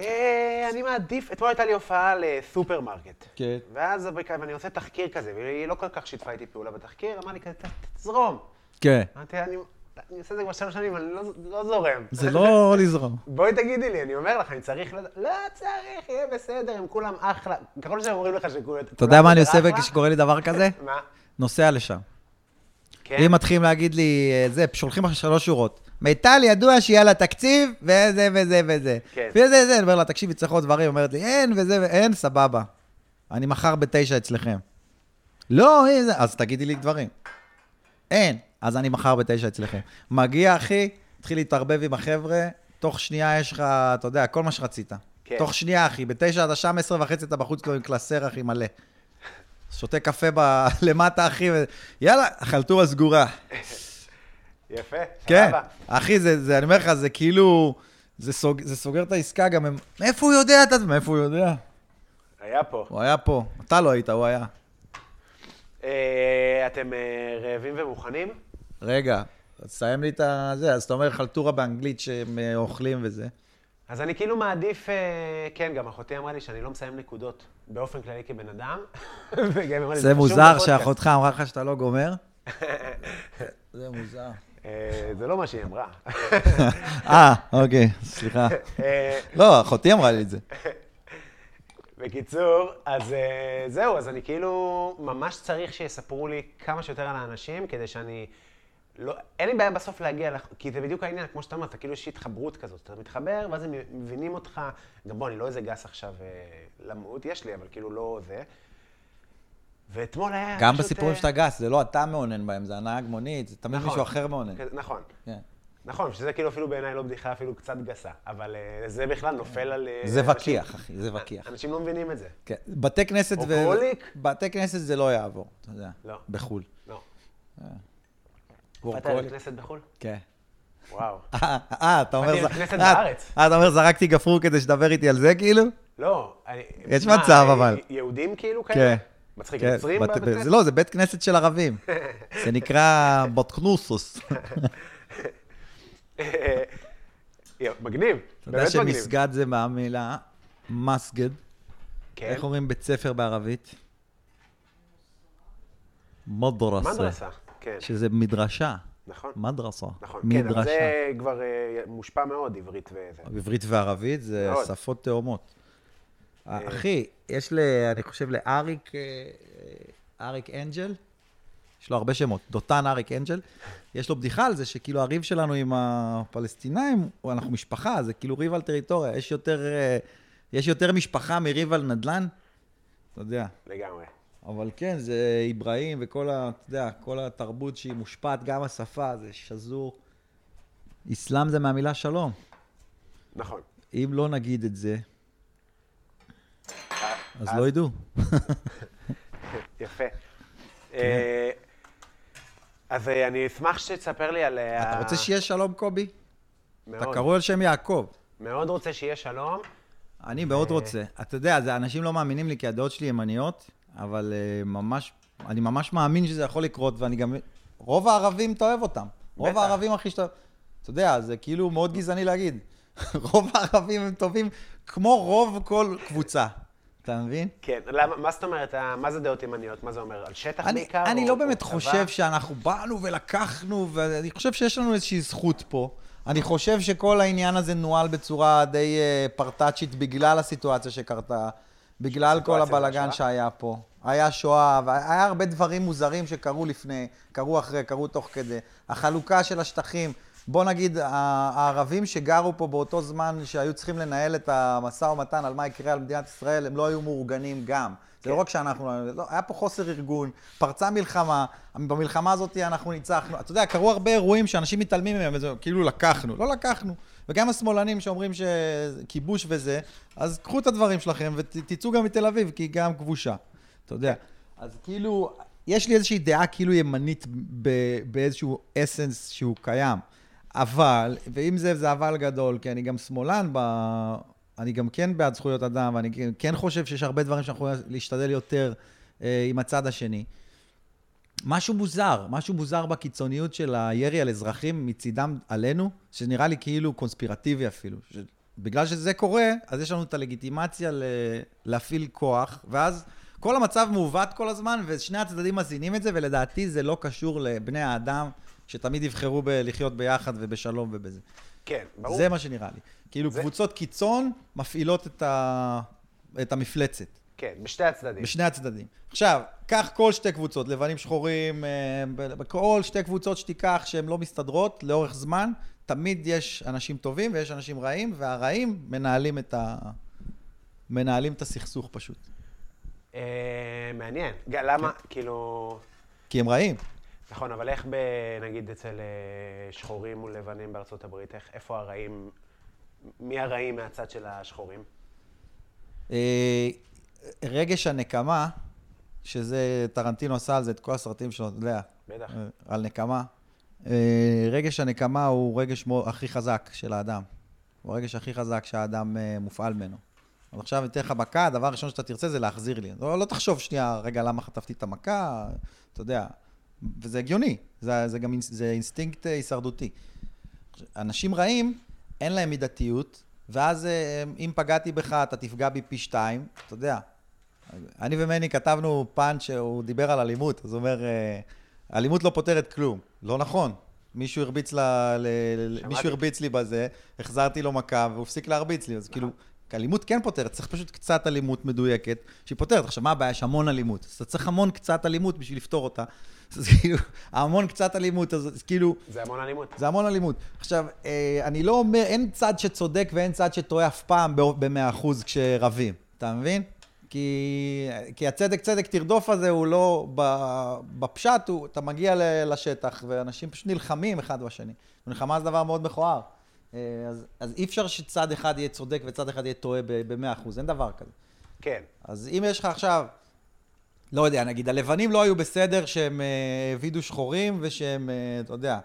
[SPEAKER 2] אה, אני מעדיף, אתמול הייתה לי הופעה לסופרמרקט.
[SPEAKER 4] כן.
[SPEAKER 2] ואז הבריקה, ואני עושה תחקיר כזה, והיא לא כל כך שיתפה איתי פעולה בתחקיר, אמרה לי כזה, "ת- תזרום.
[SPEAKER 4] כן.
[SPEAKER 2] אמרתי, אני אני עושה את זה כבר שלוש שנים, אני לא- לא זורם.
[SPEAKER 4] זה לא לזרום.
[SPEAKER 2] בואי תגידי לי, אני אומר לך, אני צריך... לד- לא צריך, יהיה בסדר, הם כולם אחלה. ככל שהם אומרים לך שכולם...
[SPEAKER 4] אתה יודע מה אני עושה
[SPEAKER 2] אחלה,
[SPEAKER 4] כשקורה לי דבר כזה?
[SPEAKER 2] מה?
[SPEAKER 4] נוסע לשם.
[SPEAKER 2] כן?
[SPEAKER 4] אם מתחילים להגיד לי, אה, זה, שולחים לך שלוש שורות. מיטל ידוע שיהיה לה תקציב, וזה וזה וזה.
[SPEAKER 2] כן.
[SPEAKER 4] וזה זה, אני אומר לה, תקשיבי, צריך עוד דברים. אומרת לי, אין וזה ואין, סבבה. אני מחר בתשע אצלכם. לא, אין, זה- אז תגידי לי דברים. אין, אז אני מחר בתשע אצלכם. מגיע, אחי, התחיל להתערבב עם החבר'ה, תוך שנייה יש לך, אתה יודע, כל מה שרצית.
[SPEAKER 2] כן.
[SPEAKER 4] תוך שנייה, אחי, בתשע עד השעה עשרה וחצי אתה בחוץ כבר עם קלסר, אחי, מלא. שותה קפה ב... למטה, אחי, ו... יאללה, חלטורה סגורה.
[SPEAKER 2] יפה,
[SPEAKER 4] כן.
[SPEAKER 2] סבבה.
[SPEAKER 4] אחי, זה, זה, אני אומר לך, זה כאילו... זה, סוג, זה סוגר את העסקה גם, הם... מאיפה הוא יודע? אתה... מאיפה הוא יודע?
[SPEAKER 2] היה פה.
[SPEAKER 4] הוא היה פה. אתה לא היית, הוא היה.
[SPEAKER 2] אה, אתם אה, רעבים ומוכנים?
[SPEAKER 4] רגע, אז סיים לי את ה... זה, אז אתה אומר חלטורה באנגלית שהם אה, אוכלים וזה.
[SPEAKER 2] אז אני כאילו מעדיף, אה, כן, גם אחותי אמרה לי שאני לא מסיים נקודות באופן כללי כבן אדם. וגם היא אמרה לי,
[SPEAKER 4] זה
[SPEAKER 2] חשוב כן.
[SPEAKER 4] מוזר
[SPEAKER 2] בפודקאסט."
[SPEAKER 4] שאחותך אמרה לך שאתה לא גומר? זה מוזר.
[SPEAKER 2] אה, זה לא מה שהיא אמרה.
[SPEAKER 4] אה, אוקיי, סליחה.
[SPEAKER 2] אה,
[SPEAKER 4] לא, אחותי אמרה לי את זה.
[SPEAKER 2] בקיצור, אז אה, זהו, אז אני כאילו ממש צריך שיספרו לי כמה שיותר על האנשים, כדי שאני... לא, אין לי בעיה בסוף להגיע, לח- כי זה בדיוק העניין, כמו שאתה אומר, אתה כאילו יש התחברות כזאת, אתה מתחבר, ואז הם מבינים אותך, גם בוא, אני לא איזה גס עכשיו אה, למות, יש לי, אבל כאילו לא זה. ואתמול היה...
[SPEAKER 4] גם
[SPEAKER 2] פשוט,
[SPEAKER 4] בסיפורים
[SPEAKER 2] אה,
[SPEAKER 4] שאתה גס, זה לא אתה מאונן בהם, זה הנהג מונית, זה תמיד
[SPEAKER 2] נכון.
[SPEAKER 4] מישהו אחר מאונן.
[SPEAKER 2] כזה- נכון.
[SPEAKER 4] כן.
[SPEAKER 2] נכון, שזה כאילו אפילו בעיניי לא בדיחה אפילו קצת גסה, אבל אה, זה בכלל נופל על... אה,
[SPEAKER 4] זה
[SPEAKER 2] אנשים-
[SPEAKER 4] וקיח, אחי, זה וקיח.
[SPEAKER 2] אנשים לא מבינים את זה.
[SPEAKER 4] כן. בתי כנסת
[SPEAKER 2] או קרוליק?
[SPEAKER 4] בתי כנסת זה לא יעבור, אתה יודע.
[SPEAKER 2] לא.
[SPEAKER 4] בחו"ל.
[SPEAKER 2] לא.
[SPEAKER 4] עבור
[SPEAKER 2] באת
[SPEAKER 4] קרוליק.
[SPEAKER 2] לכנסת בחו"ל?
[SPEAKER 4] כן.
[SPEAKER 2] וואו.
[SPEAKER 4] אה, אה, אתה אומר...
[SPEAKER 2] באתי
[SPEAKER 4] ז-
[SPEAKER 2] לכנסת
[SPEAKER 4] אה,
[SPEAKER 2] בארץ.
[SPEAKER 4] אה, אתה אומר, זרקתי גפרור כדי שתדבר איתי על זה, כאילו?
[SPEAKER 2] לא, אני...
[SPEAKER 4] יש
[SPEAKER 2] מה,
[SPEAKER 4] מצב,
[SPEAKER 2] אה,
[SPEAKER 4] אבל.
[SPEAKER 2] יהודים כאילו כאלה?
[SPEAKER 4] כן.
[SPEAKER 2] מצחיק,
[SPEAKER 4] כן,
[SPEAKER 2] נוצרים
[SPEAKER 4] בת-
[SPEAKER 2] בבית
[SPEAKER 4] ב-
[SPEAKER 2] כנסת?
[SPEAKER 4] זה לא, זה בית כנסת של ערבים. זה נקרא בוטקנוסוס.
[SPEAKER 2] יא, מגניב,
[SPEAKER 4] אתה יודע
[SPEAKER 2] באמת מגניב.
[SPEAKER 4] שמסגד זה מהמילה מסגד.
[SPEAKER 2] כן,
[SPEAKER 4] איך אומרים בית ספר בערבית? מדרסה.
[SPEAKER 2] מדרסה, כן,
[SPEAKER 4] שזה מדרשה.
[SPEAKER 2] נכון.
[SPEAKER 4] מדרסה.
[SPEAKER 2] נכון, כן, אבל
[SPEAKER 4] מדרשה.
[SPEAKER 2] זה כבר אה, מושפע מאוד, עברית וזה.
[SPEAKER 4] עברית וערבית זה
[SPEAKER 2] מאוד.
[SPEAKER 4] שפות תאומות. אה, אחי, יש ל... אני חושב לאריק... אה, אה, אריק אנג'ל? יש לו הרבה שמות. דותן אריק אנג'ל. יש לו בדיחה על זה שכאילו הריב שלנו עם הפלסטינאים, הוא- אנחנו משפחה, זה כאילו ריב על טריטוריה. יש יותר, אה, יש יותר משפחה מריב על נדל"ן? אתה יודע.
[SPEAKER 2] לגמרי.
[SPEAKER 4] אבל כן, זה איברהים וכל ה... אתה יודע, כל התרבות שהיא מושפעת, גם השפה, זה שזור. אסלאם זה מהמילה שלום.
[SPEAKER 2] נכון.
[SPEAKER 4] אם לא נגיד את זה, אז לא ידעו.
[SPEAKER 2] כן, יפה.
[SPEAKER 4] כן.
[SPEAKER 2] אה, אז אה, אני אשמח שתספר לי על... אה,
[SPEAKER 4] אתה רוצה שיהיה שלום, קובי? אתה
[SPEAKER 2] מאוד.
[SPEAKER 4] קרוי על שם יעקב.
[SPEAKER 2] מאוד רוצה שיהיה שלום.
[SPEAKER 4] אני
[SPEAKER 2] אה.
[SPEAKER 4] מאוד רוצה. אתה יודע, זה- אנשים לא מאמינים לי כי הדעות שלי ימניות, אבל אה, ממש, אני ממש מאמין שזה יכול לקרות, ואני גם... רוב הערבים, אתה אוהב אותם. רוב
[SPEAKER 2] בטח.
[SPEAKER 4] הערבים הכי שאתה... אתה יודע, זה כאילו מאוד גזעני להגיד. רוב הערבים הם טובים כמו רוב כל קבוצה. אתה מבין?
[SPEAKER 2] כן, למה, מה זאת אומרת, אה, מה זה דעות ימניות? מה זה אומר? על שטח
[SPEAKER 4] אני,
[SPEAKER 2] בעיקר?
[SPEAKER 4] אני
[SPEAKER 2] או-
[SPEAKER 4] לא
[SPEAKER 2] או
[SPEAKER 4] באמת
[SPEAKER 2] צבא?
[SPEAKER 4] חושב שאנחנו באנו ולקחנו, ואני חושב שיש לנו איזושהי זכות פה. אני חושב שכל העניין הזה נוהל בצורה די אה, פרטאצ'ית בגלל הסיטואציה שקרתה, בגלל כל
[SPEAKER 2] סיטואציה
[SPEAKER 4] הבלגן
[SPEAKER 2] של
[SPEAKER 4] שהיה פה. היה שואה, והיה הרבה דברים מוזרים שקרו לפני, קרו אחרי, קרו תוך כדי. החלוקה של השטחים, בוא נגיד, ה- הערבים שגרו פה באותו זמן שהיו צריכים לנהל את המשא ומתן על מה יקרה על מדינת ישראל, הם לא היו מאורגנים גם. זה לא רק שאנחנו, לא, היה פה חוסר ארגון, פרצה מלחמה, במלחמה הזאת אנחנו ניצחנו. אתה יודע, קרו הרבה אירועים שאנשים מתעלמים מהם, וזה כאילו לקחנו, לא לקחנו. וגם השמאלנים שאומרים שכיבוש וזה, אז קחו את הדברים שלכם ותצאו גם מתל אביב, כי היא גם כבושה. אתה יודע. אז כאילו, יש לי איזושהי דעה כאילו ימנית ב, באיזשהו אסנס שהוא קיים. אבל, ועם זה, זה אבל גדול, כי אני גם שמאלן ב... אני גם כן בעד זכויות אדם, ואני כן- כן חושב שיש הרבה דברים שאנחנו יכולים להשתדל יותר אה, עם הצד השני. משהו מוזר, משהו מוזר בקיצוניות של הירי על אזרחים מצידם עלינו, שנראה לי כאילו קונספירטיבי אפילו. ש... בגלל שזה קורה, אז יש לנו את הלגיטימציה ל... להפעיל כוח, ואז כל המצב מעוות כל הזמן, ושני הצדדים מזינים את זה, ולדעתי זה לא קשור לבני האדם, שתמיד יבחרו בלחיות ביחד ובשלום ובזה.
[SPEAKER 2] כן, ברור.
[SPEAKER 4] זה מה שנראה לי. כאילו
[SPEAKER 2] זה-
[SPEAKER 4] קבוצות קיצון מפעילות את, ה... את המפלצת.
[SPEAKER 2] כן, בשתי הצדדים.
[SPEAKER 4] בשני הצדדים. עכשיו, קח כל שתי קבוצות, לבנים שחורים, אה, ב- בכל שתי קבוצות שתיקח שהן לא מסתדרות לאורך זמן, תמיד יש אנשים טובים ויש אנשים רעים, והרעים מנהלים את ה... מנהלים את הסכסוך פשוט.
[SPEAKER 2] אה, מעניין. גם למה,
[SPEAKER 4] כן.
[SPEAKER 2] כאילו...
[SPEAKER 4] כי הם רעים.
[SPEAKER 2] נכון, אבל איך ב... נגיד אצל אה, שחורים מול לבנים בארצות הברית, איך, איפה הרעים... מי הרעים מהצד של השחורים?
[SPEAKER 4] אה, רגש הנקמה, שזה, טרנטינו עשה על זה את כל הסרטים שלו, אתה יודע.
[SPEAKER 2] בטח.
[SPEAKER 4] אה, על נקמה. אה, רגש הנקמה הוא רגש מו- הכי חזק של האדם. הוא הרגש הכי חזק שהאדם אה, מופעל ממנו. אז עכשיו אני אתן לך מכה, הדבר הראשון שאתה תרצה זה להחזיר לי. לא, לא תחשוב שנייה, רגע, למה חטפתי את המכה, אתה יודע. וזה הגיוני, זה, זה גם אינס- זה אינסטינקט אה, הישרדותי. אנשים רעים, אין להם מידתיות, ואז אה, אם פגעתי בך, אתה תפגע בי פי שתיים, אתה יודע. אני ומני כתבנו פאנץ' שהוא דיבר על אלימות, אז הוא אומר, אה, אלימות לא פותרת כלום. לא נכון. מישהו הרביץ, ל... ל... ל-
[SPEAKER 2] שמעתי.
[SPEAKER 4] מישהו הרביץ לי בזה, החזרתי לו מכה והוא הפסיק להרביץ לי, אז כאילו, אלימות כן פותרת, צריך פשוט קצת אלימות מדויקת שהיא פותרת. עכשיו, מה הבעיה? יש המון אלימות. אז אתה צריך המון קצת אלימות בשביל לפתור אותה. אז כאילו, המון קצת אלימות, אז אז כאילו...
[SPEAKER 2] זה המון אלימות.
[SPEAKER 4] זה המון אלימות. עכשיו, אה, אני לא אומר, אין צד שצודק ואין צד שטועה אף פעם ב-100% כשרבים, אתה מבין? כי, כי הצדק צדק תרדוף הזה הוא לא, ב- בפשט הוא, אתה מגיע ל- לשטח ואנשים פשוט נלחמים אחד בשני. מלחמה זה דבר מאוד מכוער. אה, אז, אז אי אפשר שצד אחד יהיה צודק וצד אחד יהיה טועה ב-100%, אין דבר כזה.
[SPEAKER 2] כן.
[SPEAKER 4] אז אם יש לך עכשיו, לא יודע, נגיד הלבנים לא היו בסדר שהם אה, העבידו שחורים ושהם, אה, אתה יודע,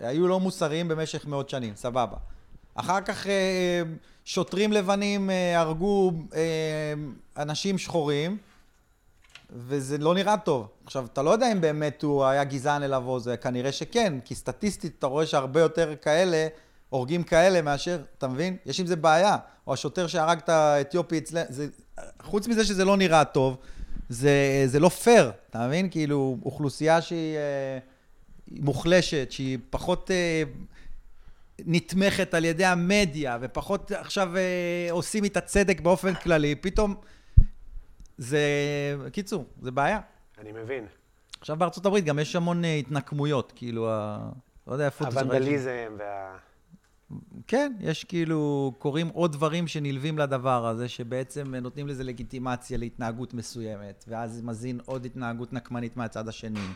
[SPEAKER 4] היו לא מוסריים במשך מאות שנים, סבבה. אחר כך אה, שוטרים לבנים אה, הרגו אה, אנשים שחורים, וזה לא נראה טוב. עכשיו, אתה לא יודע אם באמת הוא היה גזען אליו או זה, כנראה שכן, כי סטטיסטית אתה רואה שהרבה יותר כאלה, הורגים כאלה מאשר, אתה מבין? יש עם זה בעיה. או השוטר שהרג את האתיופי אצלנו, זה... חוץ מזה שזה לא נראה טוב, זה, זה לא פייר, אתה מבין? כאילו, אוכלוסייה שהיא אה, מוחלשת, שהיא פחות... אה, נתמכת על ידי המדיה, ופחות עכשיו אה, עושים איתה צדק באופן כללי, פתאום זה, קיצור, זה בעיה.
[SPEAKER 2] אני מבין.
[SPEAKER 4] עכשיו בארצות הברית גם יש המון אה, התנקמויות, כאילו, ה... לא יודע איפה... אתה-
[SPEAKER 2] הוונדליזם וה...
[SPEAKER 4] כן, יש כאילו, קורים עוד דברים שנלווים לדבר הזה, שבעצם אה, נותנים לזה לגיטימציה להתנהגות מסוימת, ואז זה מזין עוד התנהגות נקמנית מהצד השני.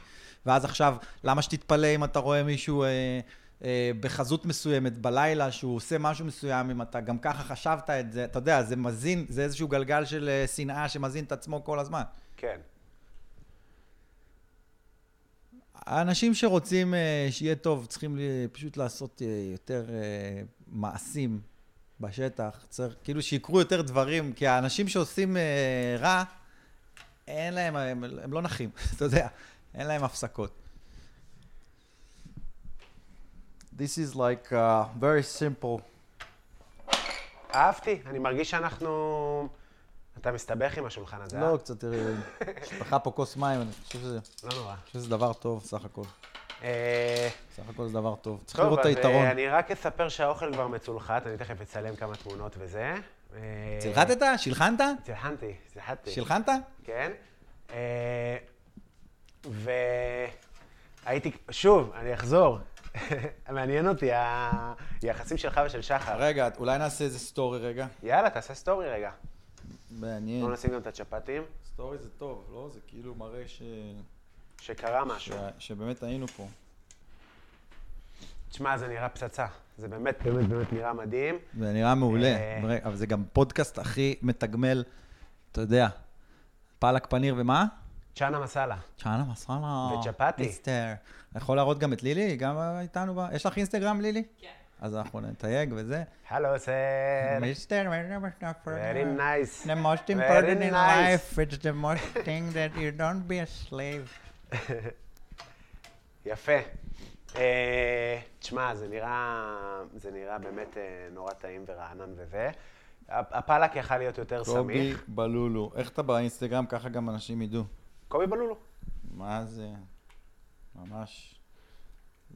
[SPEAKER 4] ואז עכשיו, למה שתתפלא אם אתה רואה מישהו אה, אה, בחזות מסוימת בלילה, שהוא עושה משהו מסוים, אם אתה גם ככה חשבת את זה, אתה יודע, זה מזין, זה איזשהו גלגל של אה, שנאה שמזין את עצמו כל הזמן.
[SPEAKER 2] כן.
[SPEAKER 4] האנשים שרוצים אה, שיהיה טוב צריכים ל- פשוט לעשות אה, יותר אה, מעשים בשטח, צריך כאילו שיקרו יותר דברים, כי האנשים שעושים אה, רע, אין להם, הם, הם לא נחים, אתה יודע, אין להם הפסקות. This is like uh, very simple.
[SPEAKER 2] אהבתי, אני מרגיש שאנחנו... אתה מסתבך עם השולחן הזה, אה?
[SPEAKER 4] לא, קצת, תראי, שפכה פה כוס מים, אני חושב שזה, אני
[SPEAKER 2] לא נורא.
[SPEAKER 4] חושב שזה דבר טוב, סך הכל.
[SPEAKER 2] אה,
[SPEAKER 4] סך הכל זה דבר טוב. צריך
[SPEAKER 2] טוב,
[SPEAKER 4] לראות את
[SPEAKER 2] אז
[SPEAKER 4] היתרון.
[SPEAKER 2] אה, אני רק אספר שהאוכל כבר מצולחת, אני תכף אצלם כמה תמונות וזה. אה,
[SPEAKER 4] צלחתת? שילחנת?
[SPEAKER 2] כן. צלחנתי, צלחתי.
[SPEAKER 4] שילחנת?
[SPEAKER 2] כן. אה, והייתי, שוב, אני אחזור. מעניין אותי ה- היחסים שלך ושל שחר.
[SPEAKER 4] רגע, אולי נעשה איזה סטורי רגע?
[SPEAKER 2] יאללה, תעשה סטורי רגע.
[SPEAKER 4] מעניין.
[SPEAKER 2] בואו נשים גם את הצ'פטים,
[SPEAKER 4] סטורי זה טוב, לא? זה כאילו מראה ש...
[SPEAKER 2] שקרה משהו.
[SPEAKER 4] ש- שבאמת היינו פה.
[SPEAKER 2] תשמע, זה נראה פצצה. זה באמת, באמת, באמת נראה מדהים.
[SPEAKER 4] זה נראה מעולה,
[SPEAKER 2] אה.
[SPEAKER 4] מראה- אבל זה גם פודקאסט הכי מתגמל, אתה יודע, פלק פניר ומה?
[SPEAKER 2] צ'אנה מסאלה.
[SPEAKER 4] צ'אנה מסראלה.
[SPEAKER 2] וצ'פטי.
[SPEAKER 4] מיסטר. אני יכול להראות גם את לילי? היא גם איתנו ב... יש לך אינסטגרם, לילי?
[SPEAKER 3] כן.
[SPEAKER 4] אז אנחנו נתייג וזה.
[SPEAKER 2] הלו, סר.
[SPEAKER 4] מיסטר,
[SPEAKER 2] כן. Very nice.
[SPEAKER 4] The most
[SPEAKER 2] Very
[SPEAKER 4] important in
[SPEAKER 2] nice.
[SPEAKER 4] life, it's the most thing that you don't be a slave.
[SPEAKER 2] יפה. אה, תשמע, זה נראה, זה נראה באמת אה, נורא טעים ורענן וזה. הפ- הפלק יכל להיות יותר
[SPEAKER 4] קובי
[SPEAKER 2] סמיך.
[SPEAKER 4] בלולו. איך אתה באינסטגרם? ככה גם אנשים ידעו.
[SPEAKER 2] קובי בלולו.
[SPEAKER 4] מה זה? ממש.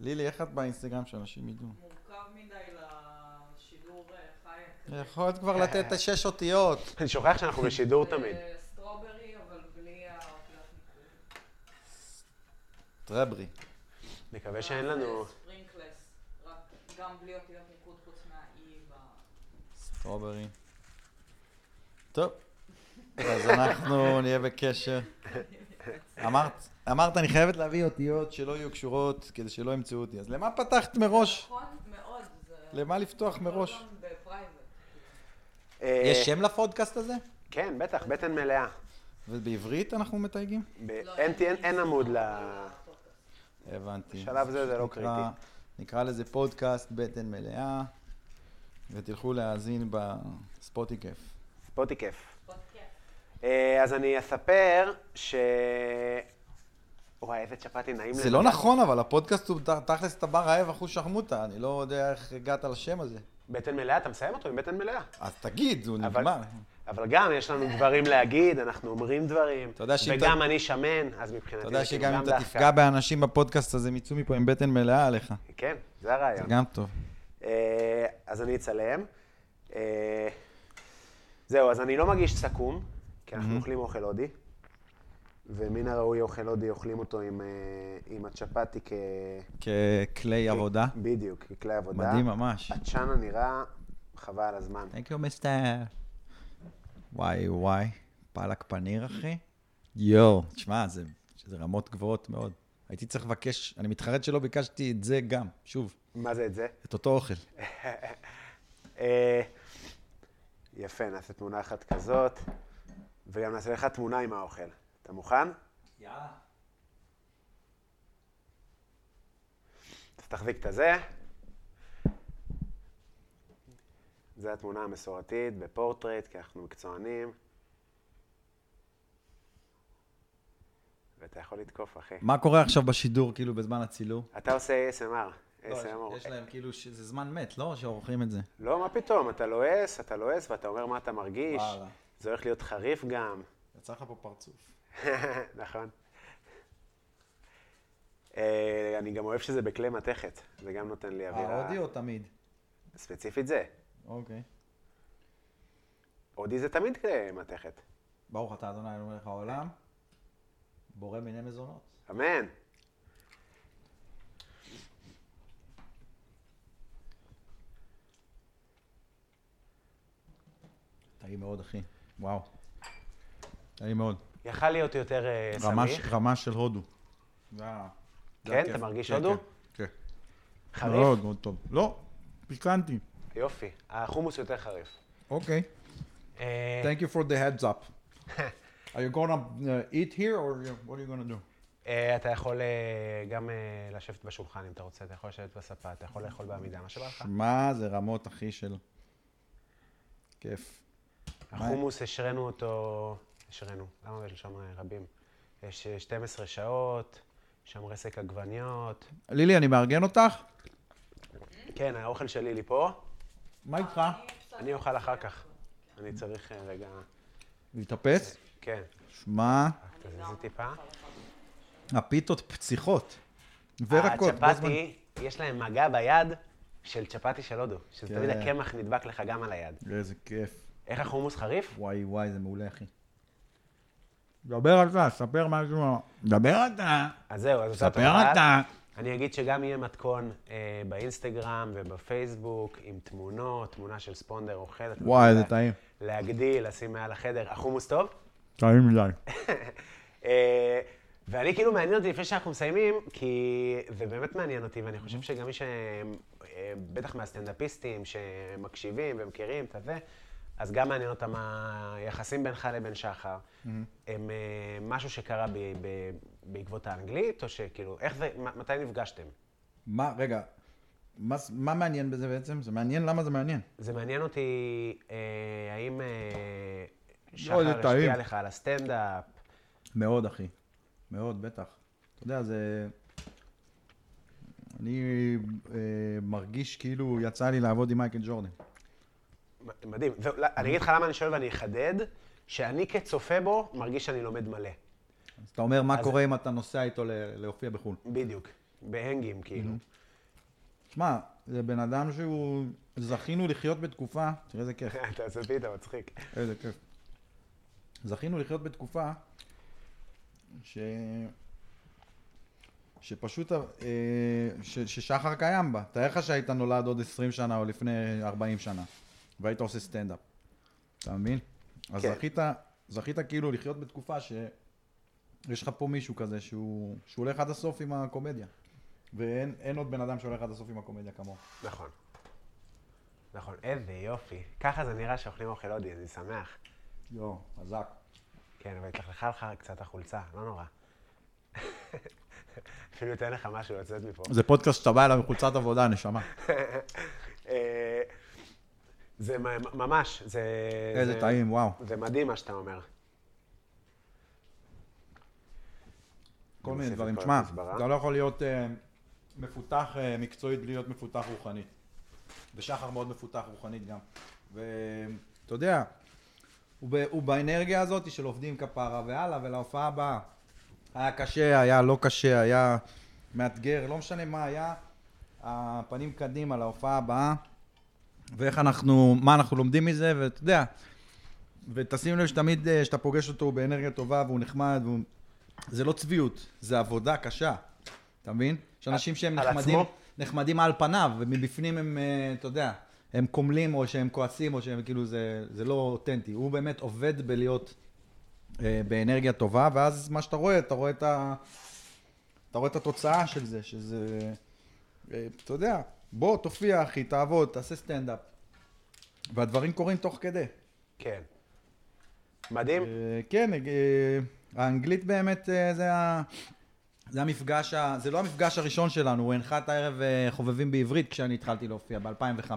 [SPEAKER 4] לילי, איך את באינסטגרם שאנשים ידעו?
[SPEAKER 3] מורכב מדי לשידור אה, חי. כזה.
[SPEAKER 4] יכולת כבר לתת את השש אותיות.
[SPEAKER 2] אני שוכח שאנחנו בשידור
[SPEAKER 3] זה
[SPEAKER 2] תמיד.
[SPEAKER 3] אה, סטרוברי, אבל בלי האופלת ניקוי.
[SPEAKER 4] טרברי.
[SPEAKER 2] נקווה שאין לנו...
[SPEAKER 3] זה אה, ספרינקלס, רק גם בלי אותיות ניקוד חוץ מהאי ב...
[SPEAKER 4] סטרוברי. טוב. אז אנחנו נהיה בקשר. אמרת, אמרת, אני חייבת להביא אותיות שלא יהיו קשורות כדי שלא ימצאו אותי. אז למה פתחת מראש?
[SPEAKER 3] נכון מאוד, זה...
[SPEAKER 4] למה לפתוח מראש?
[SPEAKER 3] גם בפרייבט.
[SPEAKER 2] אה,
[SPEAKER 4] יש שם לפודקאסט הזה?
[SPEAKER 2] כן, בטח, בטן מלאה.
[SPEAKER 4] ובעברית אנחנו מתייגים?
[SPEAKER 2] ב- אין- אין- אין עמוד ל...
[SPEAKER 4] הבנתי.
[SPEAKER 2] בשלב זה זה לא
[SPEAKER 4] נקרא-
[SPEAKER 2] קריטי.
[SPEAKER 4] נקרא לזה פודקאסט בטן מלאה, ותלכו להאזין בספוטי כיף.
[SPEAKER 2] ספוטי כיף.
[SPEAKER 3] פודקאסט.
[SPEAKER 2] אה, אז אני אספר ש... וואי, איזה צ'פטי נעים
[SPEAKER 4] זה לא נכון, אבל הפודקאסט הוא ת- תכלס אתה בא רעב אחוז שחמוטה, אני לא יודע איך הגעת לשם הזה.
[SPEAKER 2] בטן מלאה, אתה מסיים אותו עם בטן מלאה.
[SPEAKER 4] אז תגיד, הוא
[SPEAKER 2] אבל-
[SPEAKER 4] נגמר.
[SPEAKER 2] אבל גם יש לנו דברים להגיד, אנחנו אומרים דברים.
[SPEAKER 4] אתה יודע שאם
[SPEAKER 2] וגם
[SPEAKER 4] אתה-
[SPEAKER 2] אני שמן, אז מבחינתי...
[SPEAKER 4] אתה יודע
[SPEAKER 2] זה כאילו
[SPEAKER 4] שגם אם אתה
[SPEAKER 2] דווקא.
[SPEAKER 4] תפגע באנשים בפודקאסט הזה, הם יצאו מפה עם בטן מלאה עליך.
[SPEAKER 2] כן, זה
[SPEAKER 4] זה
[SPEAKER 2] הרעיון.
[SPEAKER 4] גם טוב.
[SPEAKER 2] אה, אז אני אצלם. אה, זהו, אז אני לא מגיש סכו"ם, כי אנחנו אוכלים אוכל הודי, ומן הראוי אוכל הודי אוכלים אותו עם, אה, עם הצ'פטי כ...
[SPEAKER 4] ככלי עבודה.
[SPEAKER 2] בדיוק, ככלי עבודה.
[SPEAKER 4] מדהים ממש. אה.
[SPEAKER 2] הצ'אנה נראה חבל על הזמן.
[SPEAKER 4] Thank you, מיסטר. כאילו וואי וואי, פלק פניר אחי. יואו, תשמע, זה, זה רמות גבוהות מאוד. הייתי צריך לבקש, אני מתחרט שלא ביקשתי את זה גם, שוב,
[SPEAKER 2] מה זה את זה?
[SPEAKER 4] את אותו אוכל.
[SPEAKER 2] אה, יפה, נעשה תמונה אחת כזאת, וגם נעשה לך תמונה עם האוכל. אתה מוכן? אז תחזיק את הזה. זו התמונה המסורתית בפורטרייט, כי אנחנו מקצוענים. אתה יכול לתקוף, אחי.
[SPEAKER 4] מה קורה עכשיו בשידור, כאילו, בזמן הצילום?
[SPEAKER 2] אתה עושה ASMR.
[SPEAKER 4] לא,
[SPEAKER 2] ASMR.
[SPEAKER 4] יש- יש להם כאילו, ש- זה זמן מת, לא? שעורכים את זה.
[SPEAKER 2] לא, מה פתאום, אתה לועס, אתה לועס, ואתה אומר מה אתה מרגיש.
[SPEAKER 4] וואלה.
[SPEAKER 2] זה הולך להיות חריף גם.
[SPEAKER 4] יצא לך פה פרצוף.
[SPEAKER 2] נכון. אה, אני גם אוהב שזה בכלי מתכת, זה גם נותן לי אווירה.
[SPEAKER 4] האודיו אה, תמיד.
[SPEAKER 2] ספציפית זה.
[SPEAKER 4] אוקיי.
[SPEAKER 2] אודי זה תמיד כלי מתכת.
[SPEAKER 4] ברוך אתה אדוני אלוהינו מלך העולם, בורא מיני מזונות.
[SPEAKER 2] אמן.
[SPEAKER 4] טעים מאוד, אחי. וואו. טעים מאוד.
[SPEAKER 2] יכל להיות יותר אה,
[SPEAKER 4] רמה ש-
[SPEAKER 2] סמיך.
[SPEAKER 4] רמה של הודו. זה ה- אה, זה
[SPEAKER 2] כן?
[SPEAKER 4] הכיף.
[SPEAKER 2] אתה מרגיש
[SPEAKER 4] כן,
[SPEAKER 2] הודו?
[SPEAKER 4] כן. כן. מאוד
[SPEAKER 2] חריף?
[SPEAKER 4] מאוד טוב. לא, פיקנטי.
[SPEAKER 2] יופי. החומוס יותר חריף.
[SPEAKER 4] אוקיי.
[SPEAKER 2] אה,
[SPEAKER 4] Thank you for the heads up. Are you gonna uh, eat here or you- what are you gonna do?
[SPEAKER 2] אה, אתה יכול אה, גם אה, לשבת בשולחן אם אתה רוצה, אתה יכול לשבת בספה, אתה יכול לאכול בעמידה, מה שבא לך.
[SPEAKER 4] שמע, זה רמות, אחי, של... כיף.
[SPEAKER 2] החומוס, השרנו אותו, השרנו, למה יש שם רבים? יש אה, 12 שעות, יש שם רסק עגבניות.
[SPEAKER 4] לילי, אני מארגן אותך?
[SPEAKER 2] כן, האוכל של לילי פה,
[SPEAKER 4] מה איתך?
[SPEAKER 2] אני אוכל אחר כך. אני צריך אה, רגע...
[SPEAKER 4] להתאפס?
[SPEAKER 2] כן,
[SPEAKER 4] שמע,
[SPEAKER 2] רק תזיזי טיפה.
[SPEAKER 4] הפיתות פציחות. ורקות. בו זמן.
[SPEAKER 2] הצ'פאטי, אה, יש להם מגע ביד של צ'פאטי של הודו, שזה
[SPEAKER 4] כן.
[SPEAKER 2] תמיד הקמח נדבק לך גם על היד.
[SPEAKER 4] איזה כיף.
[SPEAKER 2] איך החומוס חריף?
[SPEAKER 4] וואי וואי, זה מעולה, אחי. דבר אתה, ספר משהו. דבר אתה.
[SPEAKER 2] אז זהו, אז אותה
[SPEAKER 4] ספר
[SPEAKER 2] תופעה.
[SPEAKER 4] אתה.
[SPEAKER 2] אני אגיד שגם יהיה מתכון אה, באינסטגרם ובפייסבוק עם תמונות, תמונה של ספונדר אה, אוכל. אתם
[SPEAKER 4] וואי,
[SPEAKER 2] יכולים
[SPEAKER 4] איזה טעים.
[SPEAKER 2] להגדיל, לשים מעל החדר. החומוס טוב?
[SPEAKER 4] טעים מדי.
[SPEAKER 2] אה, ואני כאילו מעניין אותי לפני שאנחנו מסיימים, כי זה באמת מעניין אותי, ואני
[SPEAKER 4] Mm-hmm.
[SPEAKER 2] חושב שגם מי ש... אה, בטח מהסטנדאפיסטים שמקשיבים ומכירים את הזה, אז גם מעניין אותם היחסים בינך לבין שחר.
[SPEAKER 4] Mm-hmm.
[SPEAKER 2] הם אה, משהו שקרה ב- ב- בעקבות האנגלית, או שכאילו, איך זה, מ- מתי נפגשתם?
[SPEAKER 4] מה, רגע, מה, מה מעניין בזה בעצם? זה מעניין למה זה מעניין.
[SPEAKER 2] זה מעניין אותי, אה, האם אה,
[SPEAKER 4] לא,
[SPEAKER 2] שחר
[SPEAKER 4] זה
[SPEAKER 2] השפיע
[SPEAKER 4] טעים.
[SPEAKER 2] לך על הסטנדאפ?
[SPEAKER 4] מאוד, אחי. מאוד, בטח. אתה יודע, זה... אני אה, מרגיש כאילו יצא לי לעבוד עם מייקל ג'ורדן.
[SPEAKER 2] מדהים. זהו, לא, אני אגיד לך למה אני שואל ואני אחדד, שאני כצופה בו מרגיש שאני לומד מלא.
[SPEAKER 4] אז אתה אומר, מה
[SPEAKER 2] אז-
[SPEAKER 4] קורה אם אתה נוסע איתו ל- להופיע בחו"ל?
[SPEAKER 2] בדיוק. בהנגים, כאילו.
[SPEAKER 4] שמע, זה בן אדם שהוא... זכינו לחיות בתקופה, תראה איזה כיף,
[SPEAKER 2] אתה עושה פיתה, מצחיק.
[SPEAKER 4] איזה כיף. זכינו לחיות בתקופה ש... שפשוט, אה, ש, ששחר קיים בה. תאר לך שהיית נולד עוד 20 שנה או לפני 40 שנה, והיית עושה סטנדאפ. אתה מבין? אז
[SPEAKER 2] כן.
[SPEAKER 4] זכית, זכית כאילו לחיות בתקופה שיש לך פה מישהו כזה שהוא, שהוא הולך עד הסוף עם הקומדיה. ואין אין עוד בן אדם שהולך עד הסוף עם הקומדיה כמוהו.
[SPEAKER 2] נכון. נכון. איזה יופי. ככה זה נראה שאוכלים אוכל הודי, אני שמח.
[SPEAKER 4] יואו, חזק.
[SPEAKER 2] כן, אבל התלכלכה לך קצת החולצה, לא נורא. אפילו אתן לך משהו לצאת מפה.
[SPEAKER 4] זה פודקאסט שאתה בא אליו מחולצת עבודה, נשמה.
[SPEAKER 2] אה, זה מ- ממש, זה...
[SPEAKER 4] איזה
[SPEAKER 2] זה-
[SPEAKER 4] טעים, וואו.
[SPEAKER 2] זה מדהים מה שאתה אומר.
[SPEAKER 4] כל
[SPEAKER 2] אני
[SPEAKER 4] מיני
[SPEAKER 2] מוסיף את
[SPEAKER 4] דברים.
[SPEAKER 2] כל
[SPEAKER 4] תשמע,
[SPEAKER 2] התסברה.
[SPEAKER 4] אתה לא יכול להיות אה, מפותח אה, מקצועית בלי להיות מפותח רוחנית. ושחר מאוד מפותח רוחנית גם. ואתה יודע, הוא, ב, הוא באנרגיה הזאת של עובדים כפרה, והלאה, ולהופעה הבאה. היה קשה, היה לא קשה, היה מאתגר, לא משנה מה היה. הפנים קדימה להופעה הבאה, ואיך אנחנו, מה אנחנו לומדים מזה, ואתה יודע, ותשים לב שתמיד אה, כשאתה פוגש אותו הוא באנרגיה טובה והוא נחמד, והוא... זה לא צביעות, זה עבודה קשה, אתה מבין? יש אנשים שהם
[SPEAKER 2] על
[SPEAKER 4] נחמדים,
[SPEAKER 2] עצמו?
[SPEAKER 4] נחמדים על פניו, ומבפנים הם, אה, אתה יודע, הם קומלים או שהם כועסים או שהם כאילו, זה, זה לא אותנטי. הוא באמת עובד בלהיות אה, באנרגיה טובה, ואז מה שאתה רואה, אתה רואה את, ה... אתה רואה את התוצאה של זה, שזה... אה, אתה יודע, בוא, תופיע אחי, תעבוד, תעשה סטנדאפ. והדברים קורים תוך כדי.
[SPEAKER 2] כן. מדהים.
[SPEAKER 4] אה, כן, אה, האנגלית באמת אה, זה ה... זה המפגש, ה... זה לא המפגש הראשון שלנו, הוא הנחה את הערב אה, חובבים בעברית כשאני התחלתי להופיע, ב-2005.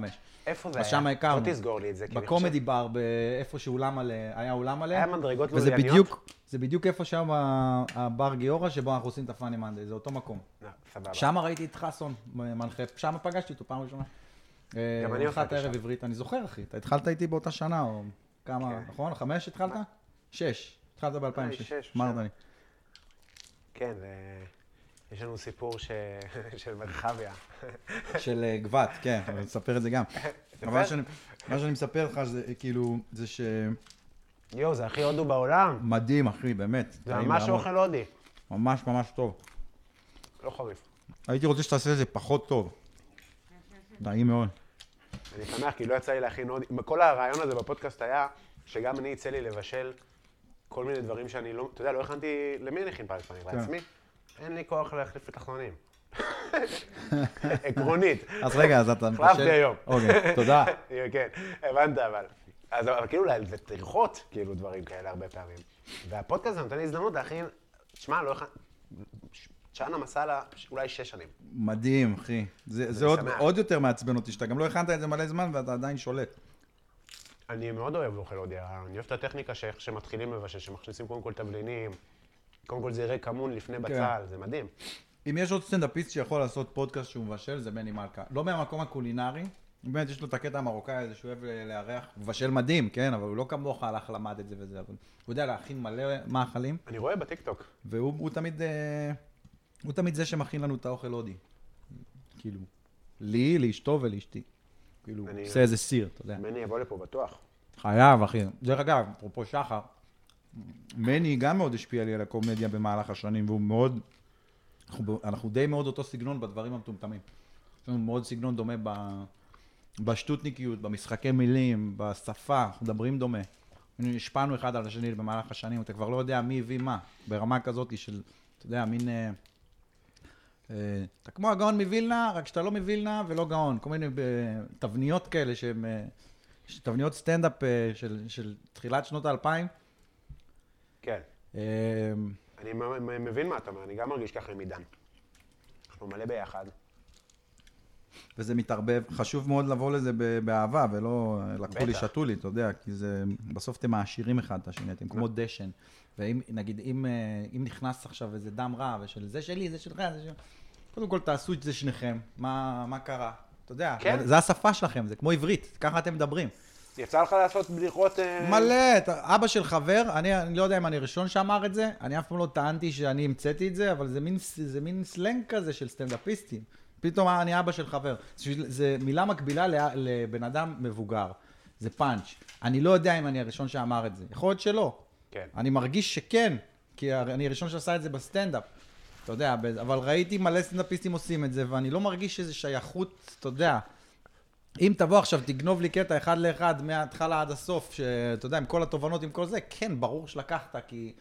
[SPEAKER 2] איפה זה
[SPEAKER 4] אז
[SPEAKER 2] היה? לא
[SPEAKER 4] שם הכרנו.
[SPEAKER 2] בוא תסגור לי את זה, כי אני חושב...
[SPEAKER 4] בקומדי בר, באיפה שאולם מלא, היה אולם מלא.
[SPEAKER 2] היה מדרגות לא
[SPEAKER 4] וזה
[SPEAKER 2] לולייניות?
[SPEAKER 4] בדיוק, זה בדיוק איפה שם ה- הבר גיורא, שבו אנחנו עושים את הפאני מנדי, זה אותו מקום.
[SPEAKER 2] אה, סבבה.
[SPEAKER 4] שם ראיתי את חסון, מנחה, שם פגשתי אותו פעם ראשונה.
[SPEAKER 2] גם אני
[SPEAKER 4] הלכת
[SPEAKER 2] הופעתי
[SPEAKER 4] ערב
[SPEAKER 2] שם.
[SPEAKER 4] עברית, אני זוכר, אחי. אתה התחלת איתי באותה שנה, או כמה,
[SPEAKER 2] כן. אה,
[SPEAKER 4] נכון? חמש התחלת? שש. התחלת ב-2006.
[SPEAKER 2] שש,
[SPEAKER 4] מה
[SPEAKER 2] שש.
[SPEAKER 4] אמרת לי?
[SPEAKER 2] כן, אה, יש לנו סיפור ש- של מרחביה.
[SPEAKER 4] של אה, גבת, כן, אבל נספר את זה גם. אבל מה
[SPEAKER 2] בסדר.
[SPEAKER 4] שאני- מה שאני מספר לך זה כאילו, זה שמדהים,
[SPEAKER 2] יואו, זה הכי הודו בעולם.
[SPEAKER 4] אחי, באמת.
[SPEAKER 2] זה
[SPEAKER 4] טעים
[SPEAKER 2] ממש
[SPEAKER 4] ברמות.
[SPEAKER 2] אוכל הודי.
[SPEAKER 4] ממש ממש טוב.
[SPEAKER 2] לא חריף.
[SPEAKER 4] הייתי רוצה שתעשה את זה פחות טוב. טעים מאוד.
[SPEAKER 2] אני שמח, כי לא יצא לי להכין הודי. כל הרעיון הזה בפודקאסט היה שגם אני יצא לי לבשל כל מיני דברים שאני לא... אתה יודע, לא הכנתי... למי אני הכין פרק פנים?
[SPEAKER 4] כן.
[SPEAKER 2] לעצמי? אין לי כוח להחליף לתחנונים. עקרונית.
[SPEAKER 4] אז רגע, אז אתה
[SPEAKER 2] החלפתי היום.
[SPEAKER 4] אוקיי, תודה.
[SPEAKER 2] כן, הבנת אבל. אז אבל כאילו, לה- זה טרחות, כאילו, דברים כאלה הרבה פעמים. והפודקאסט הזה נותן לי הזדמנות להכין... תשמע, לא הכנתי... צ'אנה מסאלה, אולי שש שנים.
[SPEAKER 4] מדהים, אחי. זה זה עוד-
[SPEAKER 2] שמח.
[SPEAKER 4] עוד יותר מעצבן אותי, שאתה גם לא הכנת את זה מלא זמן ואתה עדיין שולט.
[SPEAKER 2] אני מאוד אוהב אוכל הודי, אני אוהב את הטכניקה שאיך שמתחילים לבשל, שמכניסים קודם כל תבלינים, קודם כל זה יראה כמון לפני בצל, זה מדהים.
[SPEAKER 4] אם יש עוד סטנדאפיסט שיכול לעשות פודקאסט שהוא מבשל, זה בני מלכה. לא מהמקום הקולינרי, באמת יש לו את הקטע המרוקאי הזה שהוא אוהב ל- לארח, הוא מבשל מדהים, כן, אבל הוא לא כמוך הלך, למד את זה וזה, אבל הוא יודע להכין מלא מאכלים,
[SPEAKER 2] אני רואה בטיקטוק,
[SPEAKER 4] והוא הוא תמיד, אה, הוא תמיד זה שמכין לנו את האוכל הודי. כאילו, לי, לאשתו ולאשתי. כאילו,
[SPEAKER 2] אני-
[SPEAKER 4] עושה איזה סיר, אתה יודע.
[SPEAKER 2] מני יבוא לפה בטוח.
[SPEAKER 4] חייב, אחי. דרך אגב, אפרופו שחר, מני גם מאוד השפיע לי על הקומדיה במהלך השנים, והוא מאוד... אנחנו, ב- אנחנו די מאוד אותו סגנון בדברים המטומטמים. יש לנו מאוד סגנון דומה ב, בשטותניקיות, במשחקי מילים, בשפה, אנחנו מדברים דומה. השפענו אחד על השני במהלך השנים, אתה כבר לא יודע מי הביא מה, ברמה כזאת של, אתה יודע, מין... אה, אה, אתה כמו הגאון מווילנה, רק שאתה לא מווילנה ולא גאון. כל מיני אה, תבניות כאלה שהן... אה, ש- תבניות סטנדאפ אה, של, של תחילת שנות האלפיים.
[SPEAKER 2] כן,
[SPEAKER 4] אה,
[SPEAKER 2] אני מ- מ- מבין מה אתה אומר, אני גם מרגיש ככה עם עידן. אנחנו מלא ביחד.
[SPEAKER 4] וזה מתערבב, חשוב מאוד לבוא לזה ב- באהבה, ולא אה, לקחו לי,
[SPEAKER 2] בטח.
[SPEAKER 4] שתו לי, אתה יודע, כי זה, בסוף אתם מעשירים אחד את השני, אתם כמו דשן. ואם, נגיד, אם, אה, אם נכנס עכשיו איזה דם רע, ושל זה שלי, זה שלך, זה שלך, קודם כל תעשו את זה שניכם, מה, מה קרה? אתה יודע,
[SPEAKER 2] כן.
[SPEAKER 4] זה השפה שלכם, זה כמו עברית, ככה אתם מדברים.
[SPEAKER 2] יצא לך לעשות בדיחות... אה,
[SPEAKER 4] מלא, אתה- אבא של חבר, אני, אני לא יודע אם אני הראשון שאמר את זה, אני אף פעם לא טענתי שאני המצאתי את זה, אבל זה מין, ס- זה מין סלנג כזה של סטנדאפיסטים. פתאום "אה, אני אבא של חבר. זה, זה מילה מקבילה ל- לבן אדם מבוגר. זה פאנץ'. אני לא יודע אם אני הראשון שאמר את זה. יכול להיות שלא.
[SPEAKER 2] כן.
[SPEAKER 4] אני מרגיש שכן, כי הר- אני הראשון שעשה את זה בסטנדאפ. אתה יודע, ב- אבל ראיתי מלא סטנדאפיסטים עושים את זה, ואני לא מרגיש איזו שייכות, אתה יודע. אם תבוא עכשיו, תגנוב לי קטע אחד לאחד מההתחלה עד הסוף, שאתה יודע, עם כל התובנות, עם כל זה, כן, ברור שלקחת, כי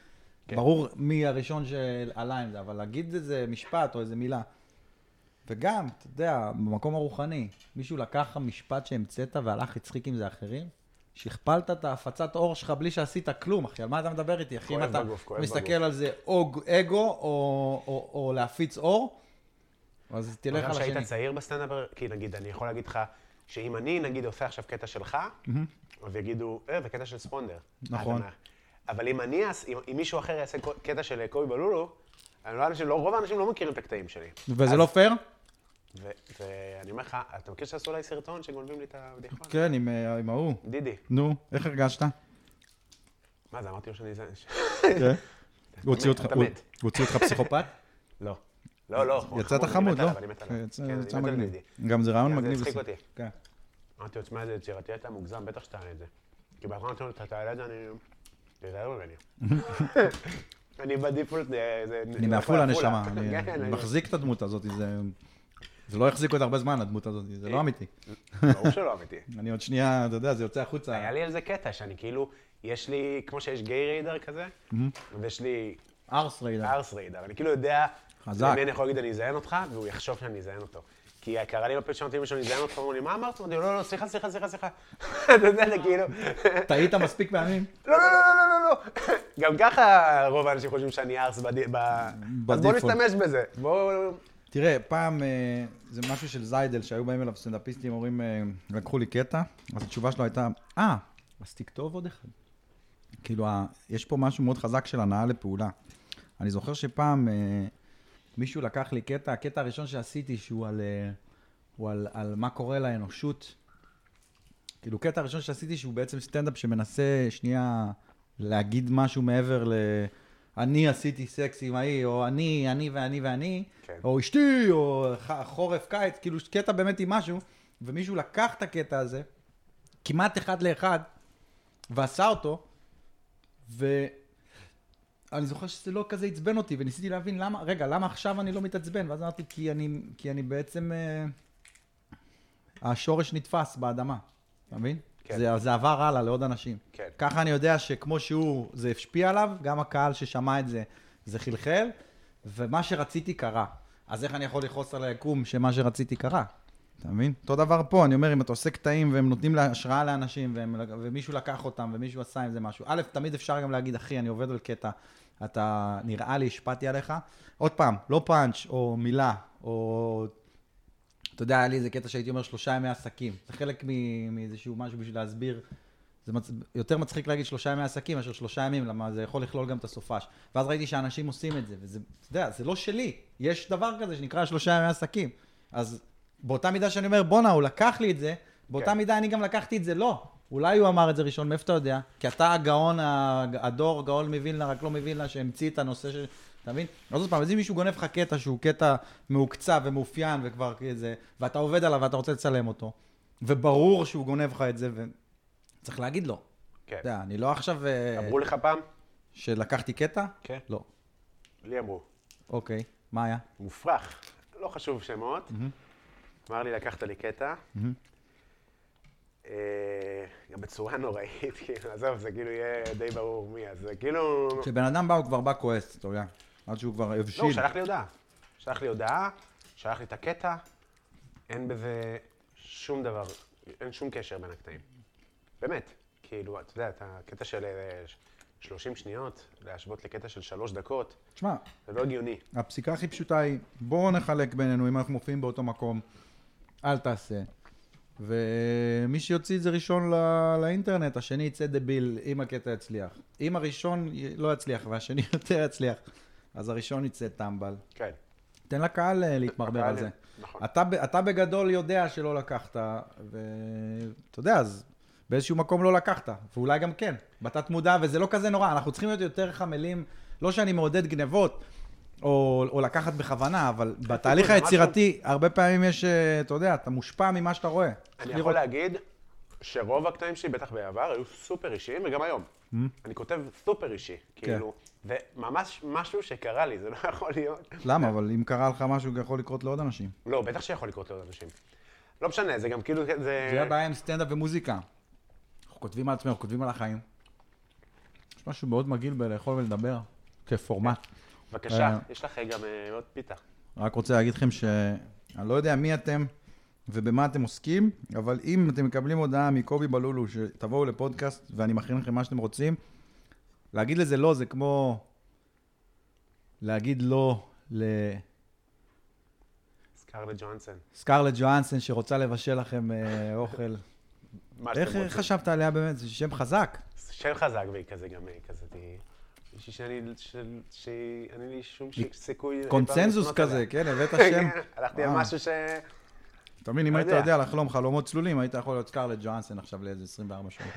[SPEAKER 4] כן. ברור מי הראשון שעלה עם זה, אבל להגיד איזה משפט או איזה מילה. וגם, אתה יודע, במקום הרוחני, מישהו לקח לך משפט שהמצאת והלך, הצחיק עם זה אחרים? שכפלת את ההפצת אור שלך בלי שעשית כלום, אחי, על מה אתה מדבר איתי, אחי? אם
[SPEAKER 2] כואב
[SPEAKER 4] אתה
[SPEAKER 2] בגוף, כואב
[SPEAKER 4] מסתכל
[SPEAKER 2] בגוף.
[SPEAKER 4] על זה או ג- אגו או, או, או להפיץ אור, אז תלך
[SPEAKER 2] גם
[SPEAKER 4] על השני.
[SPEAKER 2] כשהיית צעיר בסטנדאפ, כי נגיד, אני יכול להגיד לך, שאם אני, נגיד, עושה עכשיו קטע שלך, אז יגידו, אה, זה קטע של ספונדר.
[SPEAKER 4] נכון.
[SPEAKER 2] אה, אתה מה. אבל אם אני, אעש- אם אם מישהו אחר יעשה קו- קטע של אה, קובי בלולו, אני לא- אנשים- לא- רוב האנשים לא מכירים את הקטעים שלי.
[SPEAKER 4] וזה לא פייר?
[SPEAKER 2] ו- ואני אומר לך, אתה מכיר שעשו עליי סרטון שגונבים לי את הבדיחה?
[SPEAKER 4] כן, עם, אה, עם ההוא.
[SPEAKER 2] דידי.
[SPEAKER 4] נו, איך הרגשת?
[SPEAKER 2] מה זה, אמרתי לו שאני... זה- ש-
[SPEAKER 4] כן. הוא הוציא אותך,
[SPEAKER 2] אתה
[SPEAKER 4] הוא
[SPEAKER 2] מת.
[SPEAKER 4] הוא הוציא אותך פסיכופת?
[SPEAKER 2] לא. לא, לא. הוא
[SPEAKER 4] יצאת
[SPEAKER 2] אני
[SPEAKER 4] חמוד,
[SPEAKER 2] מת
[SPEAKER 4] לא?
[SPEAKER 2] עליו, אני מת עליו.
[SPEAKER 4] יצא-
[SPEAKER 2] כן, אני
[SPEAKER 4] יצא
[SPEAKER 2] מת על
[SPEAKER 4] מגניב.
[SPEAKER 2] דידי.
[SPEAKER 4] גם זה רעיון
[SPEAKER 2] גם זה
[SPEAKER 4] מגניב.
[SPEAKER 2] הצחיק
[SPEAKER 4] לסרט.
[SPEAKER 2] אותי.
[SPEAKER 4] כן.
[SPEAKER 2] אמרתי לו, תשמע, זה יצירתי אתה מוגזם, בטח שתעלה את זה. כי בהתחלה אמרתי לו, אתה תעלה את זה, אני... תיזהר ממני. אני בדיפולט, אה, זה...
[SPEAKER 4] אני
[SPEAKER 2] זה
[SPEAKER 4] מעפולה
[SPEAKER 2] הכל
[SPEAKER 4] נשמה,
[SPEAKER 2] עפולה.
[SPEAKER 4] אני
[SPEAKER 2] כן,
[SPEAKER 4] אני מחזיק את הדמות הזאת, זה... זה לא יחזיק עוד הרבה זמן, הדמות הזאת, זה
[SPEAKER 2] אה.
[SPEAKER 4] לא אמיתי.
[SPEAKER 2] ברור שלא אמיתי.
[SPEAKER 4] אני עוד שנייה, אתה יודע, זה יוצא החוצה.
[SPEAKER 2] היה לי על זה קטע, שאני כאילו, יש לי, כמו שיש גיי ריידר כזה,
[SPEAKER 4] Mm-hmm.
[SPEAKER 2] אז יש לי
[SPEAKER 4] ארס ריידר.
[SPEAKER 2] ארס ריידר. אני כאילו יודע,
[SPEAKER 4] חזק.
[SPEAKER 2] למי אני יכול להגיד אני אזיין אותך, והוא יחשוב שאני אזיין אותו. כי קרה לי בפה שאמרתי למישהו, אני אזיין אותך, אמרו לי, מה אמרת? אמרתי לו, לא, לא, סליחה, סליחה, סליחה, סליחה. אתה יודע, זה כאילו,
[SPEAKER 4] טעית מספיק פעמים?
[SPEAKER 2] לא, לא, לא, לא, לא, לא. גם ככה רוב האנשים חושבים שאני ארס בדי- ב... אז בואו
[SPEAKER 4] בדיפולט.
[SPEAKER 2] נשתמש בזה. בואו...
[SPEAKER 4] תראה, פעם אה, זה משהו של זיידל, שהיו באים אליו סטנדאפיסטים, אומרים, אה, לקחו לי קטע, אז התשובה שלו הייתה, אה, אז תכתוב עוד אחד. כאילו, ה- יש פה משהו מאוד חזק של הנאה לפעולה. אני זוכר שפעם אה, מישהו לקח לי קטע, הקטע הראשון שעשיתי, שהוא על, אה, הוא על, על מה קורה לאנושות. כאילו, קטע הראשון שעשיתי, שהוא בעצם סטנדאפ שמנסה שנייה להגיד משהו מעבר ל... אני עשיתי סקס עם ההיא, או אני, אני ואני ואני,
[SPEAKER 2] כן.
[SPEAKER 4] או אשתי, או ח- חורף, קיץ, כאילו קטע באמת עם משהו, ומישהו לקח את הקטע הזה, כמעט אחד לאחד, ועשה אותו, ואני זוכר שזה לא כזה עצבן אותי, וניסיתי להבין למה, רגע, למה עכשיו אני לא מתעצבן? ואז אמרתי, כי אני, כי אני בעצם, אה, השורש נתפס באדמה, אתה מבין?
[SPEAKER 2] כן.
[SPEAKER 4] זה, זה עבר הלאה לעוד אנשים.
[SPEAKER 2] כן.
[SPEAKER 4] ככה אני יודע שכמו שהוא, זה השפיע עליו, גם הקהל ששמע את זה, זה חלחל, ומה שרציתי קרה. אז איך אני יכול לכעוס על היקום שמה שרציתי קרה? אתה מבין? אותו דבר פה, אני אומר, אם אתה עושה קטעים והם נותנים לה- השראה לאנשים, והם, ומישהו לקח אותם, ומישהו עשה עם זה משהו. א', תמיד אפשר גם להגיד, אחי, אני עובד על קטע, אתה נראה לי, השפעתי עליך. עוד פעם, לא פאנץ' או מילה, או... אתה יודע, היה לי איזה קטע שהייתי אומר שלושה ימי עסקים. זה חלק מ- מאיזשהו משהו בשביל להסביר. זה מצ... יותר מצחיק להגיד שלושה ימי עסקים מאשר שלושה ימים, למה זה יכול לכלול גם את הסופש. ואז ראיתי שאנשים עושים את זה, וזה, אתה יודע, זה לא שלי. יש דבר כזה שנקרא שלושה ימי עסקים. אז באותה מידה שאני אומר, בואנה, הוא לקח לי את זה, באותה
[SPEAKER 2] כן.
[SPEAKER 4] מידה אני גם לקחתי את זה, לא. אולי הוא אמר את זה ראשון, מאיפה אתה יודע? כי אתה הגאון, הג- הדור, גאון מווילנה, רק לא מווילנה, שהמציא את הנושא של... אתה מבין? אז עוד פעם, אז אם מישהו גונב לך קטע שהוא קטע מעוקצב ומאופיין וכבר כזה, ואתה עובד עליו ואתה רוצה לצלם אותו, וברור שהוא גונב לך את זה, ו... צריך להגיד לו.
[SPEAKER 2] כן.
[SPEAKER 4] אתה יודע, אני לא עכשיו... אה,
[SPEAKER 2] אמרו לך פעם?
[SPEAKER 4] שלקחתי קטע?
[SPEAKER 2] כן.
[SPEAKER 4] לא.
[SPEAKER 2] לי אמרו.
[SPEAKER 4] אוקיי, מה היה?
[SPEAKER 2] מופרך, לא חשוב שמות. אמר לי, לקחת לי קטע. אה, גם בצורה נוראית, כאילו, עזוב, זה כאילו יהיה די ברור מי, אז זה כאילו...
[SPEAKER 4] כשבן אדם בא, הוא כבר בא כועס, אתה יודע. עד שהוא כבר הבשיל.
[SPEAKER 2] לא, הוא שלח לי הודעה. שלח לי הודעה, שלח לי את הקטע, אין בזה שום דבר, אין שום קשר בין הקטעים. באמת. כאילו, אתה יודע, את הקטע של אה, ש- 30 שניות, להשוות לקטע של 3 דקות,
[SPEAKER 4] תשמע,
[SPEAKER 2] זה לא הגיוני.
[SPEAKER 4] הפסיקה הכי פשוטה היא, בואו נחלק בינינו, אם אנחנו מופיעים באותו מקום, אל תעשה. ומי שיוציא את זה ראשון לא, לאינטרנט, השני יצא דביל, אם הקטע יצליח. אם הראשון י- לא יצליח והשני יותר יצליח, אז הראשון יצא טמבל.
[SPEAKER 2] כן.
[SPEAKER 4] תן לקהל אה, להתמרבר
[SPEAKER 2] לקהל,
[SPEAKER 4] על זה.
[SPEAKER 2] נכון.
[SPEAKER 4] אתה, ב- אתה בגדול יודע שלא לקחת, ואתה יודע, אז באיזשהו מקום לא לקחת, ואולי גם כן, בתת מודע, וזה לא כזה נורא, אנחנו צריכים להיות יותר חמלים, לא שאני מעודד גנבות, או, או לקחת בכוונה, אבל בתהליך
[SPEAKER 2] זה משהו-
[SPEAKER 4] היצירתי, הרבה פעמים יש, אה, אתה יודע, אתה מושפע ממה שאתה רואה. צריך
[SPEAKER 2] אני
[SPEAKER 4] לראות-
[SPEAKER 2] יכול להגיד שרוב הקטעים שלי, בטח בעבר, היו סופר אישיים, וגם היום.
[SPEAKER 4] Mm-hmm.
[SPEAKER 2] אני כותב סופר אישי, כאילו,
[SPEAKER 4] כן.
[SPEAKER 2] זה ממש משהו שקרה לי, זה לא יכול להיות.
[SPEAKER 4] למה? אבל אם קרה לך משהו, גם יכול לקרות לעוד אנשים.
[SPEAKER 2] לא, בטח שיכול לקרות לעוד אנשים. לא משנה, זה גם כאילו, זה...
[SPEAKER 4] זה הבעיה עם סטנדאפ ומוזיקה. אנחנו כותבים על עצמנו, אנחנו כותבים על החיים. יש משהו מאוד מגעיל בלאכול ולדבר, כפורמט.
[SPEAKER 2] בבקשה,
[SPEAKER 4] אה.
[SPEAKER 2] יש לך גם אה, עוד פיתה.
[SPEAKER 4] רק רוצה להגיד לכם שאני לא יודע מי אתם ובמה אתם עוסקים, אבל אם אתם מקבלים הודעה מקובי בלולו שתבואו לפודקאסט ואני מכין לכם מה שאתם רוצים, להגיד לזה לא זה כמו להגיד לא לסקארלט
[SPEAKER 2] סקרלט ג'ונסון.
[SPEAKER 4] ג'ואנסן שרוצה לבשל לכם אה, אוכל.
[SPEAKER 2] מה
[SPEAKER 4] איך
[SPEAKER 2] שאתם
[SPEAKER 4] איך
[SPEAKER 2] רוצים.
[SPEAKER 4] חשבת עליה באמת? זה שם חזק.
[SPEAKER 2] שם חזק והיא כזה גם, היא כזאת, היא... מישהי שאני, של- שהיא- אין לי שום ש- סיכוי... אי פעם
[SPEAKER 4] קונצנזוס
[SPEAKER 2] לפנות אליה.
[SPEAKER 4] כזה, כן? הבאת שם. אה.
[SPEAKER 2] כן, הלכתי על
[SPEAKER 4] וואו.
[SPEAKER 2] משהו ש...
[SPEAKER 4] אתה מבין, אם
[SPEAKER 2] לא
[SPEAKER 4] היית
[SPEAKER 2] יודע.
[SPEAKER 4] יודע לחלום חלומות צלולים, היית יכול להיות סקארלט ג'ואנסן עכשיו לאיזה 24 שעות.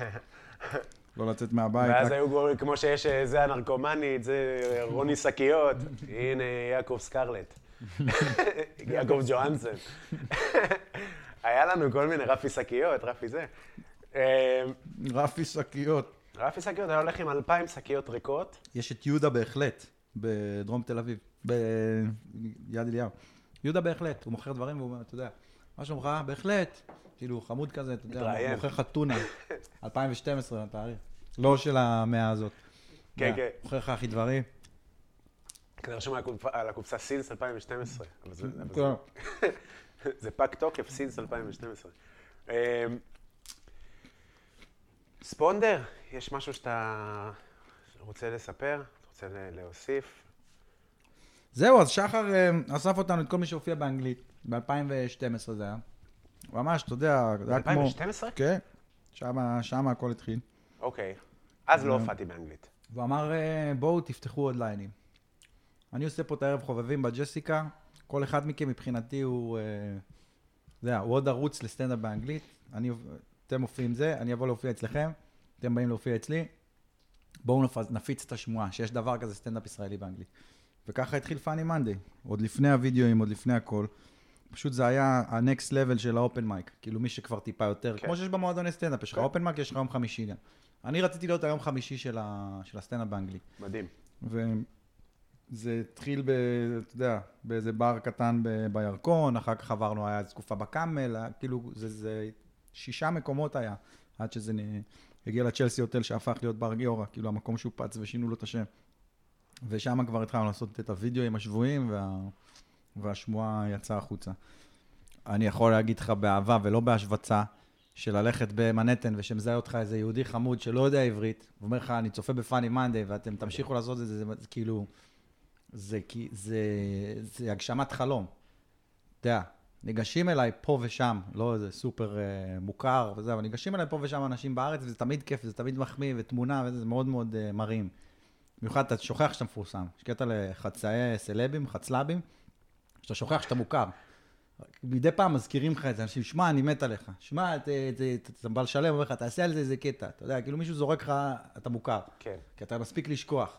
[SPEAKER 4] לא לצאת מהבית. רק-
[SPEAKER 2] ואז היו גורמים, כמו שיש, אה, זה הנרקומנית, זה אה, רוני שקיות, הנה יעקב סקרלט, יעקב ג'ואנסון. היה לנו כל מיני, רפי שקיות, רפי זה. אה,
[SPEAKER 4] רפי שקיות.
[SPEAKER 2] רפי שקיות היה הולך עם אלפיים שקיות ריקות,
[SPEAKER 4] יש את יהודה בהחלט, בדרום תל אביב, ביד אליהו. יהודה בהחלט, הוא מוכר דברים, והוא, אומר, אתה יודע, מה שלומך? בהחלט. כאילו, חמוד כזה, אתה יודע,
[SPEAKER 2] מתראיין.
[SPEAKER 4] הוא מוכר לך טונה. 2012, התאריך. לא של המאה הזאת.
[SPEAKER 2] כן,
[SPEAKER 4] יודע,
[SPEAKER 2] כן.
[SPEAKER 4] מוכר לך אחי דברים.
[SPEAKER 2] כזה רשום על הקופ- על הקופסה סינס 2012. אבל זה- אבל זה-
[SPEAKER 4] כולם,
[SPEAKER 2] זה פג תוקף, סינס 2012. אה, ספונדר, יש משהו שאתה רוצה לספר? אתה רוצה ל- להוסיף?
[SPEAKER 4] זהו, אז שחר אה, אסף אותנו, את כל מי שהופיע באנגלית, ב-2012 זה היה. ממש, אתה יודע, זה היה כמו...
[SPEAKER 2] 2012?
[SPEAKER 4] כן, שמה, שמה הכל התחיל.
[SPEAKER 2] אוקיי. אז לא הופעתי באנגלית.
[SPEAKER 4] והוא אמר, אה, בואו תפתחו עוד ליינים. אני עושה פה את הערב חובבים בג'סיקה, כל אחד מכם מבחינתי הוא, אה, אתה יודע, הוא עוד ערוץ לסטנדאפ באנגלית, אני, אתם מופיעים זה, אני אבוא להופיע אצלכם, אתם באים להופיע אצלי, בואו נפ- נפיץ את השמועה, שיש דבר כזה סטנדאפ ישראלי באנגלית. וככה התחיל פאני מנדי, עוד לפני הוידאוים, עוד לפני הכל. פשוט זה היה ה-next level של האופן מייק, כאילו מי שכבר טיפה יותר,
[SPEAKER 2] כן.
[SPEAKER 4] כמו שיש במועדוני סטנדאפ, יש לך
[SPEAKER 2] כן.
[SPEAKER 4] אופן מייק, יש לך יום חמישי גם. אני רציתי להיות היום חמישי של, ה... של הסצנה באנגלית.
[SPEAKER 2] מדהים.
[SPEAKER 4] וזה התחיל, ב, אתה יודע, באיזה בר קטן ב... בירקון, אחר כך עברנו, היה איזו תקופה בקאמל, היה, כאילו זה, זה שישה מקומות היה, עד שזה נ... הגיע לצ'לסי הוטל שהפך להיות בר גיורא, כאילו המקום שופץ ושינו לו את השם. ושם כבר התחלנו לעשות את הוידאו עם השבויים, וה... והשמועה יצאה החוצה. אני יכול להגיד לך באהבה ולא בהשווצה, שללכת במנהטן ושמזהה אותך איזה יהודי חמוד שלא יודע עברית, ואומר לך, אני צופה בפאני מנדי ואתם תמשיכו לעשות את זה, זה, זה כאילו, זה, כי- זה, זה הגשמת חלום. אתה יודע, ניגשים אליי פה ושם, לא איזה סופר אה, מוכר וזה, אבל ניגשים אליי פה ושם אנשים בארץ, וזה תמיד כיף, וזה תמיד מחמיא, ותמונה, וזה זה מאוד מאוד אה, מראים. במיוחד, אתה שוכח שאתה מפורסם. יש קטע לחצאי סלבים, חצלבים, שאתה שוכח שאתה מוכר. מדי פעם מזכירים לך את זה, אנשים, שמע, אני מת עליך. שמע, ת- ת- ת- אתה בא לשלם, אומר לך, תעשה על זה איזה קטע. אתה יודע, כאילו מישהו זורק לך, אתה מוכר.
[SPEAKER 2] כן.
[SPEAKER 4] כי אתה מספיק לשכוח.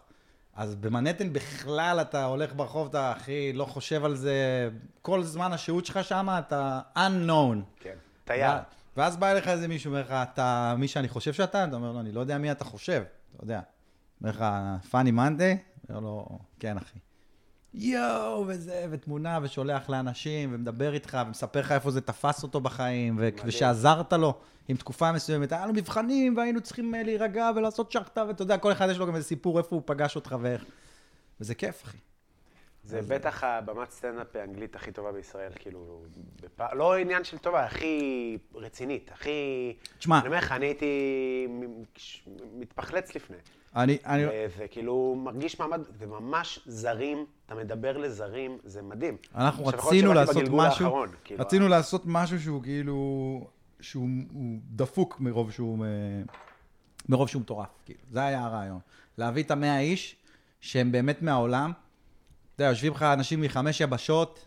[SPEAKER 4] אז במנהטן בכלל אתה הולך ברחוב, אתה הכי לא חושב על זה. כל זמן השהות שלך שם אתה unknown.
[SPEAKER 2] כן. תייר.
[SPEAKER 4] ו- ואז בא אליך איזה מישהו, אומר לך, אתה מי שאני חושב שאתה? אתה אומר לו, אני לא יודע מי אתה חושב, אתה יודע. אומר לך, פאני מנדי? אומר לו, כן, אחי. יואו, וזה, ותמונה, ושולח לאנשים, ומדבר איתך, ומספר לך איפה זה תפס אותו בחיים, ו- ושעזרת לו עם תקופה מסוימת. היה לו מבחנים, והיינו צריכים אה, להירגע ולעשות שחטה, ואתה יודע, כל אחד יש לו גם איזה סיפור איפה הוא פגש אותך ואיך. וזה כיף, אחי.
[SPEAKER 2] זה בטח הבמת סטנדאפ האנגלית הכי טובה בישראל, כאילו, בפ... לא עניין של טובה, הכי רצינית, הכי...
[SPEAKER 4] תשמע.
[SPEAKER 2] אני אומר לך, אני הייתי מ- כש- מתפחלץ לפני.
[SPEAKER 4] אני, אני...
[SPEAKER 2] זה כאילו מרגיש מעמד, זה ממש זרים, אתה מדבר לזרים, זה מדהים.
[SPEAKER 4] אנחנו
[SPEAKER 2] עכשיו, יכול להיות
[SPEAKER 4] רצינו
[SPEAKER 2] שבאתי
[SPEAKER 4] לעשות
[SPEAKER 2] בגלגול
[SPEAKER 4] משהו,
[SPEAKER 2] האחרון, כאילו,
[SPEAKER 4] רצינו לעשות משהו שהוא כאילו, שהוא הוא דפוק מרוב שהוא, אה, מרוב שהוא מטורף, כאילו, זה היה הרעיון. להביא את המאה איש, שהם באמת מהעולם, אתה יודע, יושבים לך אנשים מחמש יבשות,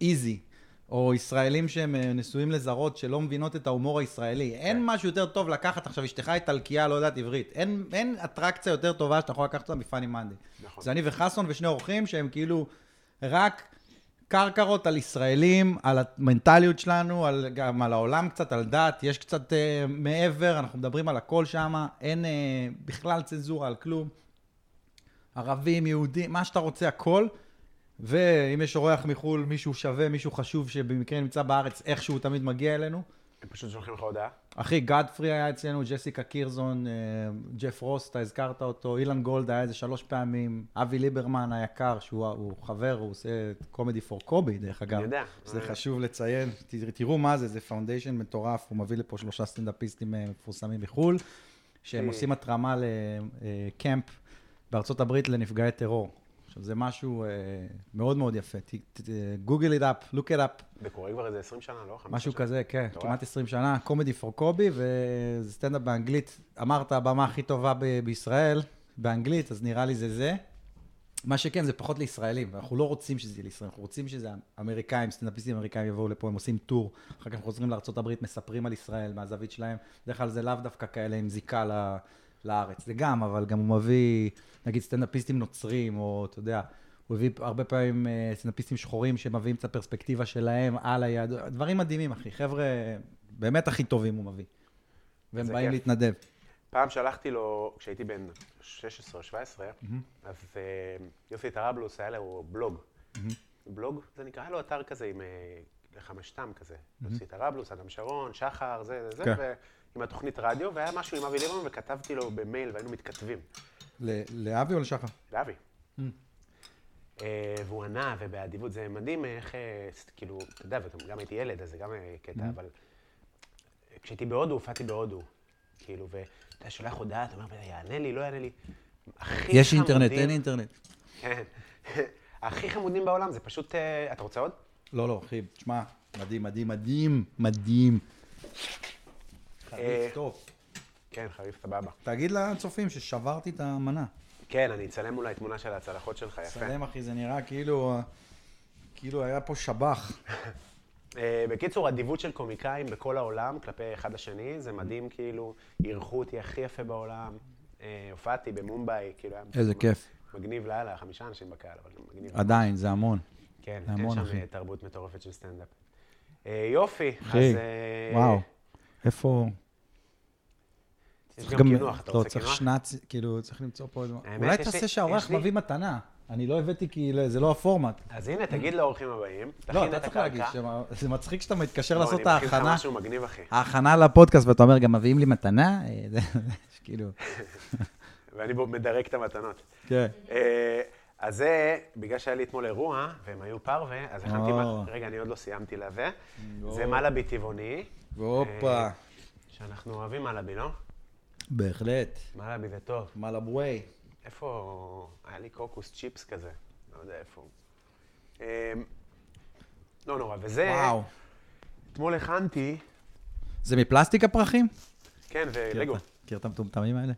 [SPEAKER 4] איזי, או ישראלים שהם אה, נשואים לזרות שלא מבינות את ההומור הישראלי.
[SPEAKER 2] כן.
[SPEAKER 4] אין משהו יותר טוב לקחת, עכשיו אשתך איטלקייה, לא יודעת עברית. אין, אין אטרקציה יותר טובה שאתה יכול לקחת אותה מפאני מנדי.
[SPEAKER 2] נכון.
[SPEAKER 4] זה אני וחסון ושני אורחים שהם כאילו רק קרקרות על ישראלים, על המנטליות שלנו, על, גם על העולם קצת, על דת, יש קצת אה, מעבר, אנחנו מדברים על הכל שם, אין אה, בכלל צנזורה על כלום. ערבים, יהודים, מה שאתה רוצה, הכל. ואם יש אורח מחו"ל, מישהו שווה, מישהו חשוב שבמקרה נמצא בארץ, איכשהו הוא תמיד מגיע אלינו.
[SPEAKER 2] הם אה, פשוט שולחים לך הודעה.
[SPEAKER 4] אחי, גדפרי היה אצלנו, ג'סיקה קירזון, אה, ג'ף רוס, אתה הזכרת אותו, אילן גולד היה איזה שלוש פעמים, אבי ליברמן היקר, שהוא הוא חבר, הוא עושה קומדי פור קובי, דרך אגב.
[SPEAKER 2] אני יודע.
[SPEAKER 4] שזה
[SPEAKER 2] אה.
[SPEAKER 4] חשוב לציין, ת- תראו מה זה, זה פאונדיישן מטורף, הוא מביא לפה שלושה סטנדאפיסטים אה, מפורסמים מחו"ל, שהם
[SPEAKER 2] אה.
[SPEAKER 4] עושים התרמה לקמפ בארצות הברית לנפגעי טרור. עכשיו, זה משהו אה, מאוד מאוד יפה. גוגל it up, look it up.
[SPEAKER 2] זה קורה כבר איזה 20 שנה, לא? 15
[SPEAKER 4] משהו
[SPEAKER 2] שנה.
[SPEAKER 4] כזה, כן,
[SPEAKER 2] מטורף.
[SPEAKER 4] כמעט 20 שנה, קומדי פור קובי, וזה סטנדאפ באנגלית. אמרת, הבמה הכי טובה ב- בישראל, באנגלית, אז נראה לי זה זה. מה שכן, זה פחות לישראלים, ואנחנו לא רוצים שזה יהיה לישראלים, אנחנו רוצים שזה אמריקאים, סטנדאפיסטים אמריקאים יבואו לפה, הם עושים טור, אחר כך הם חוזרים לארה"ב, מספרים על ישראל מהזווית שלהם, בדרך כלל זה לאו דווקא כאלה עם זיקה ל- לארץ, זה גם, אבל גם הוא מביא, נגיד סטנדאפיסטים נוצרים, או אתה יודע, הוא הביא הרבה פעמים אה, סטנדאפיסטים שחורים שמביאים את הפרספקטיבה שלהם על היהדות, דברים מדהימים, אחי, חבר'ה, באמת הכי טובים הוא מביא, והם
[SPEAKER 2] זה
[SPEAKER 4] באים
[SPEAKER 2] כיף.
[SPEAKER 4] להתנדב.
[SPEAKER 2] פעם שלחתי לו, כשהייתי בן 16 או 17, אז אה, יוסי טראבלוס היה לו בלוג. בלוג, זה נקרא היה לו אתר כזה עם אה, חמשתם כזה. יוסי טראבלוס, אדם שרון, שחר, זה, זה,
[SPEAKER 4] כן.
[SPEAKER 2] זה, ועם התוכנית רדיו, והיה משהו עם אבי ליברמן, וכתבתי לו במייל, והיינו מתכתבים.
[SPEAKER 4] ל- לאבי או לשחר?
[SPEAKER 2] לאבי.
[SPEAKER 4] Mm.
[SPEAKER 2] אה, והוא ענה, ובאדיבות, זה מדהים איך, אה, ס- כאילו, אתה יודע, וגם גם הייתי ילד, אז זה גם אה, קטע,
[SPEAKER 4] Mm.
[SPEAKER 2] אבל אה, כשהייתי בהודו, הופעתי בהודו. כאילו, ואתה שולח הודעה, אתה אומר, "בוא'נה, יענה לי, לא יענה לי. הכי
[SPEAKER 4] יש אינטרנט,
[SPEAKER 2] חמודים-
[SPEAKER 4] אין אינטרנט.
[SPEAKER 2] כן. הכי חמודים בעולם, זה פשוט... אה, אתה רוצה עוד?
[SPEAKER 4] לא, לא, אחי, תשמע, מדהים, מדהים, מדהים, מדהים.
[SPEAKER 2] אה,
[SPEAKER 4] חריץ טוב.
[SPEAKER 2] כן, חריף, סבבה.
[SPEAKER 4] תגיד לצופים ששברתי את המנה.
[SPEAKER 2] כן, אני אצלם אולי תמונה של הצלחות שלך, יפה.
[SPEAKER 4] סלם, אחי, זה נראה כאילו... כאילו היה פה שב"ח.
[SPEAKER 2] אה, בקיצור, אדיבות של קומיקאים בכל העולם כלפי אחד השני, זה מדהים, כאילו, אירחו אותי הכי יפה בעולם. אה, הופעתי במומבאי, כאילו, היה...
[SPEAKER 4] איזה כיף.
[SPEAKER 2] מגניב לאללה, חמישה אנשים בקהל, אבל מגניב.
[SPEAKER 4] עדיין, זה המון.
[SPEAKER 2] כן,
[SPEAKER 4] זה
[SPEAKER 2] אין
[SPEAKER 4] המון,
[SPEAKER 2] שם
[SPEAKER 4] אחי.
[SPEAKER 2] אה, תרבות מטורפת של סטנדאפ. אה, יופי, אז...
[SPEAKER 4] אחי,
[SPEAKER 2] אה,
[SPEAKER 4] וואו. איפה...
[SPEAKER 2] יש
[SPEAKER 4] צריך
[SPEAKER 2] גם קינוח, אתה
[SPEAKER 4] לא,
[SPEAKER 2] רוצה
[SPEAKER 4] צריך
[SPEAKER 2] קינוח?
[SPEAKER 4] שנץ, כאילו, צריך למצוא פה איזה...
[SPEAKER 2] האמת,
[SPEAKER 4] אולי
[SPEAKER 2] יש לי-
[SPEAKER 4] תעשה שהאורח
[SPEAKER 2] יש לי-
[SPEAKER 4] מביא מתנה. אני לא הבאתי כי לא- זה לא הפורמט.
[SPEAKER 2] אז הנה, תגיד לאורחים הבאים,
[SPEAKER 4] לא,
[SPEAKER 2] תכין
[SPEAKER 4] אתה
[SPEAKER 2] את
[SPEAKER 4] צריך
[SPEAKER 2] הקרקע.
[SPEAKER 4] להגיד, שמה- זה מצחיק שאתה מתקשר
[SPEAKER 2] בוא,
[SPEAKER 4] לעשות את
[SPEAKER 2] אני מכין לך
[SPEAKER 4] ההכנה,
[SPEAKER 2] משהו מגניב, אחי.
[SPEAKER 4] ההכנה לפודקאסט, ואתה אומר, גם מביאים לי מתנה? אה, זה- זה כאילו,
[SPEAKER 2] ואני בו מדרג את המתנות.
[SPEAKER 4] כן.
[SPEAKER 2] אה, אז זה, בגלל שהיה לי אתמול אירוע, והם היו פרווה, אז הכנתי...
[SPEAKER 4] או.
[SPEAKER 2] מה- רגע, אני עוד לא סיימתי לזה.
[SPEAKER 4] לא.
[SPEAKER 2] זה מלאבי טבעוני.
[SPEAKER 4] והופה.
[SPEAKER 2] אה, שאנחנו אוהבים מלאבי, לא?
[SPEAKER 4] בהחלט.
[SPEAKER 2] מלאבי זה טוב.
[SPEAKER 4] מלאבווי.
[SPEAKER 2] איפה... היה לי קוקוס צ'יפס כזה, לא יודע איפה. הוא. אה, לא נורא, וזה...
[SPEAKER 4] וואו.
[SPEAKER 2] אתמול הכנתי,
[SPEAKER 4] זה מפלסטיק הפרחים?
[SPEAKER 2] כן, ולגו.
[SPEAKER 4] מכיר את המטומטמים האלה?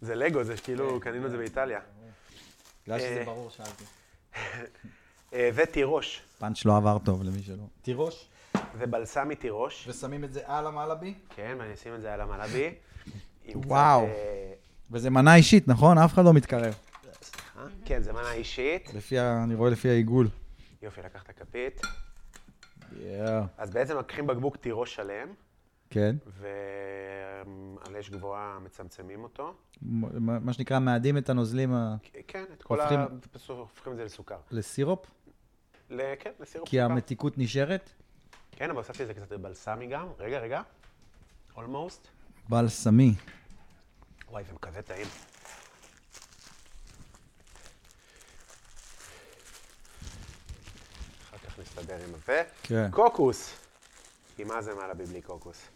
[SPEAKER 2] זה לגו, זה
[SPEAKER 4] כן.
[SPEAKER 2] כאילו, קנינו את זה באיטליה.
[SPEAKER 4] בגלל
[SPEAKER 2] שזה
[SPEAKER 4] ברור, שאלתי.
[SPEAKER 2] אה, זה תירוש,
[SPEAKER 4] פאנץ' לא עבר טוב למי שלא. תירוש,
[SPEAKER 2] זה בלסמי תירוש.
[SPEAKER 4] ושמים את זה על המלאבי?
[SPEAKER 2] כן, ואני אשים את זה על המלאבי. עם קצת,
[SPEAKER 4] וואו.
[SPEAKER 2] אה,
[SPEAKER 4] וזה מנה אישית, נכון? אף אחד לא מתקרב.
[SPEAKER 2] אה? כן, זה מנה אישית.
[SPEAKER 4] לפי ה... אני רואה לפי העיגול.
[SPEAKER 2] יופי, לקחת כפית.
[SPEAKER 4] יואו.
[SPEAKER 2] אז בעצם לוקחים בקבוק תירוש שלם,
[SPEAKER 4] כן.
[SPEAKER 2] ועל אש גבוהה מצמצמים אותו.
[SPEAKER 4] מ- מה מה שנקרא, מאדים את הנוזלים ה-
[SPEAKER 2] כן, את כל ה...
[SPEAKER 4] הופכים-
[SPEAKER 2] בסוף הופכים את זה לסוכר.
[SPEAKER 4] לסירופ,
[SPEAKER 2] ל- כן, לסירופ
[SPEAKER 4] כי
[SPEAKER 2] סוכר.
[SPEAKER 4] המתיקות נשארת.
[SPEAKER 2] כן, אבל הוספתי לזה קצת בלסמי גם. רגע, רגע. אולמוסט.
[SPEAKER 4] בלסמי.
[SPEAKER 2] וואי, זה כזה טעים. אחר כך נסתדר עם הפה.
[SPEAKER 4] כן.
[SPEAKER 2] קוקוס. כי מה זה מעלה בלי קוקוס?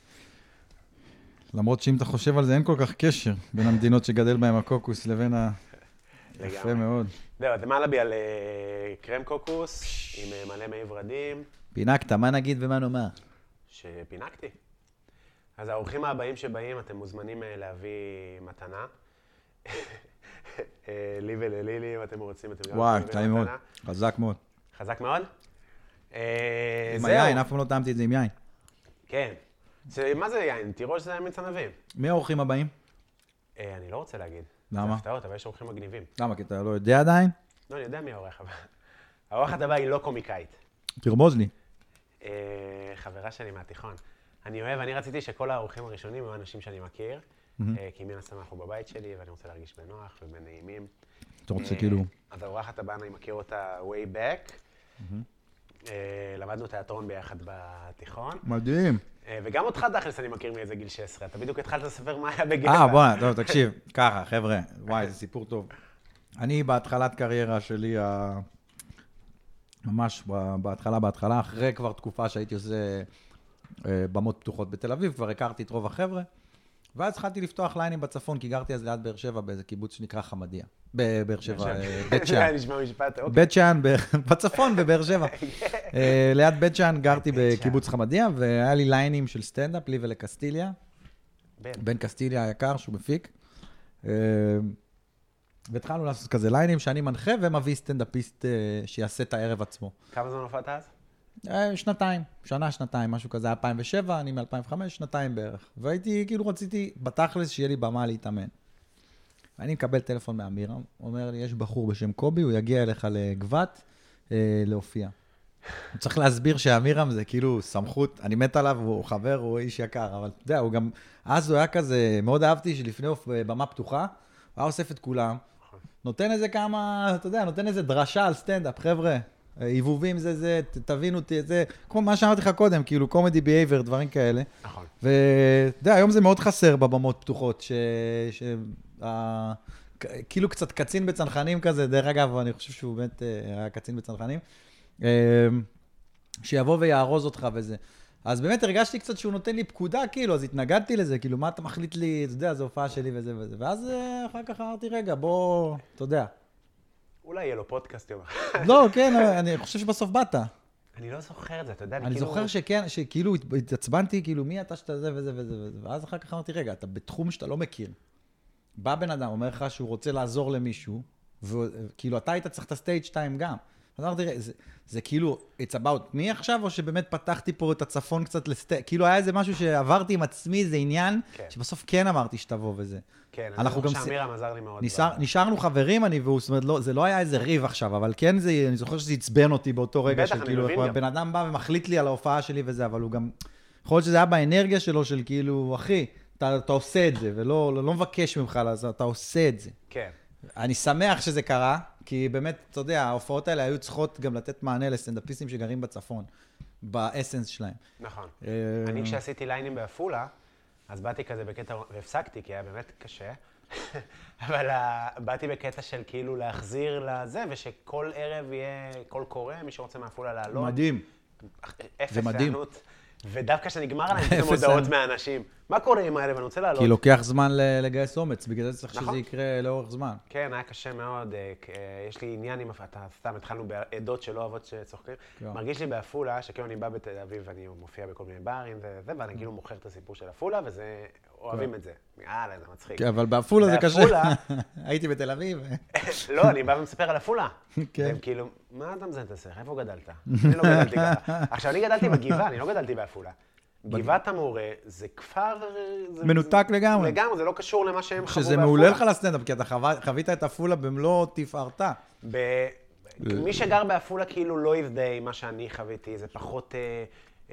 [SPEAKER 4] למרות שאם אתה חושב על זה, אין כל כך קשר בין המדינות שגדל בהן הקוקוס לבין ה... יפה מאוד.
[SPEAKER 2] זהו, אז מעלה בי על אה, קרם קוקוס עם אה, מלא מי ורדים
[SPEAKER 4] פינקת, מה נגיד ומה נאמר?
[SPEAKER 2] שפינקתי. אז האורחים הבאים שבאים, אתם מוזמנים אה, להביא מתנה. אה, לי וללילי, אם אתם רוצים, אתם גם
[SPEAKER 4] וואי,
[SPEAKER 2] מקבלים
[SPEAKER 4] טעים מאוד.
[SPEAKER 2] מתנה.
[SPEAKER 4] חזק מאוד.
[SPEAKER 2] חזק מאוד. אה,
[SPEAKER 4] עם
[SPEAKER 2] זהו.
[SPEAKER 4] היין, אף פעם לא טעמתי את זה עם יין.
[SPEAKER 2] כן. זה, מה זה יין? תירוש זה מיץ ענבים.
[SPEAKER 4] מי האורחים הבאים?
[SPEAKER 2] אה, אני לא רוצה להגיד. זה
[SPEAKER 4] למה?
[SPEAKER 2] הפתעות, אבל יש אורחים מגניבים.
[SPEAKER 4] למה? כי אתה לא יודע עדיין?
[SPEAKER 2] לא, אני יודע מי האורח הבא. האורחת הבאה היא לא קומיקאית.
[SPEAKER 4] תרמוז לי.
[SPEAKER 2] אה, חברה שלי מהתיכון. אני אוהב, אני רציתי שכל האורחים הראשונים יהיו אנשים שאני מכיר, אה, כי מן הסתם אנחנו בבית שלי, ואני רוצה להרגיש בנוח ובנעימים.
[SPEAKER 4] אתה רוצה
[SPEAKER 2] אה.
[SPEAKER 4] כאילו...
[SPEAKER 2] אז האורחת הבאה, אני מכיר אותה way back. אה, למדנו תיאטרון ביחד בתיכון.
[SPEAKER 4] מדהים.
[SPEAKER 2] אה, וגם אותך, תכלס, אני מכיר מאיזה גיל 16. אתה בדיוק התחלת לספר מה היה בגטע.
[SPEAKER 4] אה, בוא, טוב, תקשיב, ככה, חבר'ה, וואי, זה סיפור טוב. אני בהתחלת קריירה שלי, ה- ממש ב- בהתחלה, בהתחלה, אחרי כבר תקופה שהייתי עושה אה, במות פתוחות בתל אביב, כבר הכרתי את רוב החבר'ה, ואז התחלתי לפתוח ליינים בצפון, כי גרתי אז ליד באר שבע, באיזה קיבוץ שנקרא חמדיה. בבאר שבע, אה, בית
[SPEAKER 2] זה היה
[SPEAKER 4] שאן. לא-
[SPEAKER 2] נשמע משפט, אוקיי.
[SPEAKER 4] בית שאן, ב- בצפון, בבאר שבע. אה, ליד בית שאן גרתי בקיבוץ חמדיה, והיה לי ליינים של סטנדאפ, לי ולקסטיליה.
[SPEAKER 2] בן.
[SPEAKER 4] בן קסטיליה היקר, שהוא מפיק. אה, והתחלנו לעשות כזה ליינים שאני מנחה ומביא סטנדאפיסט אה, שיעשה את הערב עצמו.
[SPEAKER 2] כמה זמן הופעת אז?
[SPEAKER 4] אה, שנתיים, שנה, שנתיים, משהו כזה, 2007, אני מ-2005, שנתיים בערך. והייתי, כאילו רציתי, בתכלס, שיהיה לי במה להתאמן. אני מקבל טלפון מאמירם, אומר לי, יש בחור בשם קובי, הוא יגיע אליך לגבת אה, להופיע. צריך להסביר שאמירם זה כאילו סמכות, אני מת עליו, הוא חבר, הוא איש יקר, אבל אתה יודע, הוא גם, אז הוא היה כזה, מאוד אהבתי שלפני אוף- במה פתוחה, הוא היה אוסף את כולם, נותן איזה כמה, אתה יודע, נותן איזה דרשה על סטנדאפ, חבר'ה, אה, עיבובים זה זה, ת- תבינו אותי, זה, כמו מה שאמרתי לך קודם, כאילו קומדי בייבר, דברים כאלה.
[SPEAKER 2] נכון.
[SPEAKER 4] ואתה יודע, היום זה מאוד חסר בבמות פתוחות, ש... ש... ה... כ- כאילו קצת קצין בצנחנים כזה, דרך אגב, אני חושב שהוא באמת אה, היה קצין בצנחנים, אה, שיבוא ויארוז אותך וזה. אז באמת הרגשתי קצת שהוא נותן לי פקודה, כאילו, אז התנגדתי לזה, כאילו, מה אתה מחליט לי, אתה יודע, זו הופעה שלי וזה וזה. ואז אה, אחר כך אמרתי, רגע, בוא, אתה יודע.
[SPEAKER 2] אולי יהיה לו פודקאסט יום אחד.
[SPEAKER 4] לא, כן, אבל אני חושב שבסוף באת.
[SPEAKER 2] אני לא זוכר את זה, אתה יודע,
[SPEAKER 4] אני
[SPEAKER 2] כאילו-
[SPEAKER 4] זוכר שכן, שכאילו הת- התעצבנתי, כאילו מי אתה שאתה זה וזה וזה וזה, ואז אחר כך אמרתי, רגע, אתה בתחום שאתה לא מכיר. בא בן אדם, אומר לך שהוא רוצה לעזור למישהו, וכאילו אתה היית צריך את הסטייג' 2 גם. אז אמרתי, "רגע, זה, זה כאילו, it's about me עכשיו, או שבאמת פתחתי פה את הצפון קצת לסטייג', כאילו היה איזה משהו שעברתי עם עצמי, זה עניין,
[SPEAKER 2] כן.
[SPEAKER 4] שבסוף כן אמרתי שתבוא וזה.
[SPEAKER 2] כן, אני
[SPEAKER 4] אנחנו
[SPEAKER 2] זוכר
[SPEAKER 4] גם ס-
[SPEAKER 2] שאמירם עזר לי מאוד.
[SPEAKER 4] נשאר, נשארנו חברים, אני והוא, זאת אומרת, לא, זה לא היה איזה ריב עכשיו, אבל כן, זה, אני זוכר שזה עצבן אותי באותו רגע,
[SPEAKER 2] בטח,
[SPEAKER 4] של
[SPEAKER 2] אני
[SPEAKER 4] כאילו,
[SPEAKER 2] מבין
[SPEAKER 4] איך
[SPEAKER 2] גם.
[SPEAKER 4] הבן אדם בא ומחליט לי על ההופעה שלי וזה, אבל הוא גם, יכול להיות שזה היה באנרגיה שלו, של כאילו, אחי, אתה, אתה עושה את זה, ולא לא, לא מבקש ממך לעשות, אתה עושה את זה.
[SPEAKER 2] כן.
[SPEAKER 4] אני שמח שזה קרה, כי באמת, אתה יודע, ההופעות האלה היו צריכות גם לתת מענה לסטנדאפיסטים שגרים בצפון, באסנס שלהם.
[SPEAKER 2] נכון.
[SPEAKER 4] אה,
[SPEAKER 2] אני כשעשיתי ליינים בעפולה, אז באתי כזה בקטע, והפסקתי, כי היה באמת קשה, אבל אה, באתי בקטע של כאילו להחזיר לזה, ושכל ערב יהיה קול קורא, מי שרוצה מעפולה לעלות.
[SPEAKER 4] מדהים.
[SPEAKER 2] לא. אפס
[SPEAKER 4] זה מדהים.
[SPEAKER 2] הענות. ודווקא כשנגמר להם, פתאום
[SPEAKER 4] אפס כאילו,
[SPEAKER 2] הודעות
[SPEAKER 4] הענות.
[SPEAKER 2] מהאנשים. מה קורה עם הערב? אני רוצה לעלות.
[SPEAKER 4] כי לוקח זמן ל- לגייס אומץ, בגלל זה צריך שזה
[SPEAKER 2] נכון.
[SPEAKER 4] יקרה לאורך זמן.
[SPEAKER 2] כן, היה קשה מאוד. אה, כ- אה, יש לי עניין עם... אתה סתם, התחלנו בעדות שלא אוהבות שצוחקים.
[SPEAKER 4] כן.
[SPEAKER 2] מרגיש לי בעפולה, שכאילו אני בא בתל אביב ואני מופיע בכל מיני ברים וזה,
[SPEAKER 4] Mm.
[SPEAKER 2] ואני כאילו מוכר את הסיפור של עפולה, וזה... אוהבים את זה. יאללה, זה מצחיק.
[SPEAKER 4] כן, אבל בעפולה זה קשה.
[SPEAKER 2] בעפולה-
[SPEAKER 4] הייתי בתל אביב.
[SPEAKER 2] לא, אני בא ומספר על עפולה.
[SPEAKER 4] כן.
[SPEAKER 2] והם כאילו, מה אתה מזיין את השכל? איפה גדלת? אני לא גדלתי ככה. עכשיו, אני גדלתי בגבעה, אני לא גדלתי בעפולה. גבעת המורה זה כפר... זה-
[SPEAKER 4] מנותק לגמרי.
[SPEAKER 2] לגמרי, זה לא קשור למה שהם חוו
[SPEAKER 4] שזה
[SPEAKER 2] בעפולה.
[SPEAKER 4] מעולה לך לסטנדאפ, כי אתה חו- חווית את עפולה במלוא תפארתה.
[SPEAKER 2] ב... מי שגר בעפולה כאילו לא יזדהה עם מה שאני חוויתי, זה פחות אה,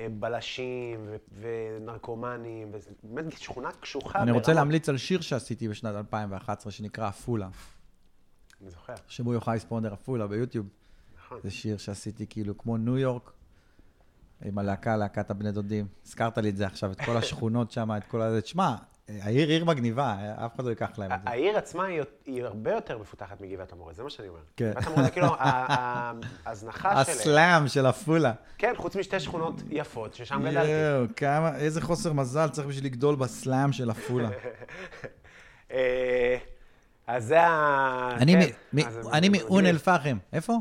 [SPEAKER 2] אה, בלשים ו- ונרקומנים, וזה באמת שכונה קשוחה.
[SPEAKER 4] אני רוצה
[SPEAKER 2] ברמות-
[SPEAKER 4] להמליץ על שיר שעשיתי בשנת 2011, שנקרא עפולה.
[SPEAKER 2] אני זוכר,
[SPEAKER 4] שמעו יוחאי ספונדר עפולה ביוטיוב.
[SPEAKER 2] נכון.
[SPEAKER 4] זה שיר שעשיתי כאילו כמו ניו יורק, עם הלהקה, להקת הבני דודים. הזכרת לי את זה עכשיו, את כל השכונות שם, את כל הזה. תשמע, העיר עיר מגניבה, אף אחד לא ייקח להם את זה.
[SPEAKER 2] העיר עצמה היא, היא הרבה יותר מפותחת מגבעת המורה, זה מה שאני אומר.
[SPEAKER 4] כן.
[SPEAKER 2] גבעת המורה זה כאילו ה- ה- ההזנחה שלהם.
[SPEAKER 4] הסלאם של עפולה.
[SPEAKER 2] כן, חוץ משתי שכונות יפות ששם גדלתי.
[SPEAKER 4] יואו, כמה, איזה חוסר מזל צריך בשביל לגדול בסלאם של עפולה.
[SPEAKER 2] אה, אז זה ה...
[SPEAKER 4] אני
[SPEAKER 2] כן,
[SPEAKER 4] מ-
[SPEAKER 2] אז
[SPEAKER 4] מ-
[SPEAKER 2] זה
[SPEAKER 4] אני
[SPEAKER 2] מגניב.
[SPEAKER 4] מאום אל-פחם. איפה?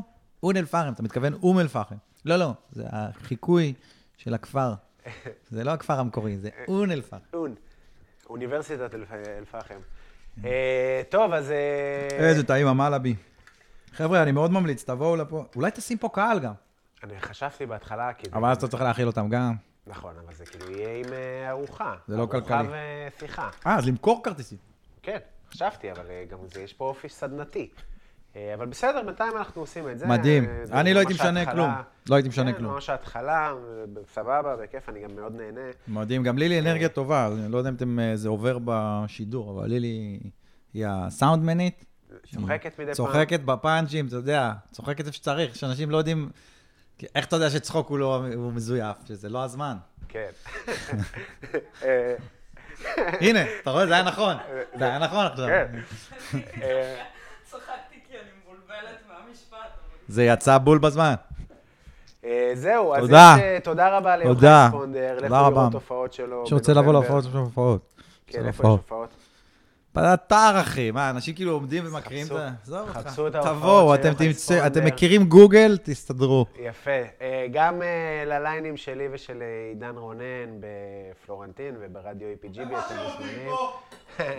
[SPEAKER 4] אום אל-פחם. אתה מתכוון אום אל-פחם. לא, לא, זה החיקוי של הכפר. זה לא הכפר המקורי,
[SPEAKER 2] אה,
[SPEAKER 4] זה אום אל-פחם.
[SPEAKER 2] און. אוניברסיטת אל- אל-פחם. אה, טוב, אז... אה,
[SPEAKER 4] איזה טעים המלאבי. חבר'ה, אני מאוד ממליץ, תבואו לפה. אולי תשים פה קהל גם.
[SPEAKER 2] אני חשבתי בהתחלה, כי... זה-
[SPEAKER 4] אבל אז אתה צריך להאכיל אותם גם.
[SPEAKER 2] נכון, אבל זה כאילו יהיה עם אה, ארוחה.
[SPEAKER 4] זה לא
[SPEAKER 2] ארוחה
[SPEAKER 4] כלכלי.
[SPEAKER 2] ושיחה.
[SPEAKER 4] אה, אז למכור כרטיסים.
[SPEAKER 2] כן, חשבתי, אבל אה, גם זה, יש פה אופי סדנתי. אה, אבל בסדר, בינתיים אנחנו עושים את זה.
[SPEAKER 4] מדהים.
[SPEAKER 2] אה, זה
[SPEAKER 4] אני לא הייתי
[SPEAKER 2] ממש
[SPEAKER 4] משנה
[SPEAKER 2] ההתחלה.
[SPEAKER 4] כלום. לא הייתי משנה
[SPEAKER 2] כן,
[SPEAKER 4] כלום.
[SPEAKER 2] ממש ההתחלה, אה, סבבה, בכיף, אני גם מאוד נהנה.
[SPEAKER 4] מדהים, גם לילי אנרגיה טובה, אז אני לא יודע אם אתם, אה, זה עובר בשידור, אבל לילי היא הסאונדמנית.
[SPEAKER 2] צוחקת מדי פעם.
[SPEAKER 4] צוחקת בפאנצ'ים, אתה יודע, צוחקת איפה שצריך, שאנשים לא יודעים... איך אתה יודע שצחוק הוא לא, הוא מזויף, שזה לא הזמן.
[SPEAKER 2] כן. אה,
[SPEAKER 4] הנה, אתה רואה, זה היה נכון. זה היה נכון עכשיו.
[SPEAKER 2] כן. אה,
[SPEAKER 3] צחקתי כי אני מבולבלת מהמשפט. אבל-
[SPEAKER 4] זה יצא בול בזמן.
[SPEAKER 2] אה, זהו, אז
[SPEAKER 4] תודה.
[SPEAKER 2] יש, אה, תודה רבה
[SPEAKER 4] תודה.
[SPEAKER 2] ליוחנן ספונדר.
[SPEAKER 4] תודה
[SPEAKER 2] לכו
[SPEAKER 4] רבה.
[SPEAKER 2] לראות הופעות שלו.
[SPEAKER 4] שרוצה לבוא
[SPEAKER 2] לא, בנובמבר.
[SPEAKER 4] להופעות, יש לו הופעות.
[SPEAKER 2] כן,
[SPEAKER 4] של
[SPEAKER 2] איפה יש
[SPEAKER 4] הופעות.
[SPEAKER 2] הופעות?
[SPEAKER 4] באתר, אחי, מה, אנשים כאילו עומדים ומקריאים את
[SPEAKER 2] חפשו-
[SPEAKER 4] זה? עזוב אותך.
[SPEAKER 2] חפשו את ההופעות
[SPEAKER 4] תבואו,
[SPEAKER 2] של
[SPEAKER 4] אתם
[SPEAKER 2] יוחאי
[SPEAKER 4] תמצאו, אתם
[SPEAKER 2] ספונדר.
[SPEAKER 4] מכירים גוגל, תסתדרו.
[SPEAKER 2] יפה. אה, גם אה, לליינים שלי ושל אה, עידן רונן בפלורנטין וברדיו EPGB, אתם מוזמנים.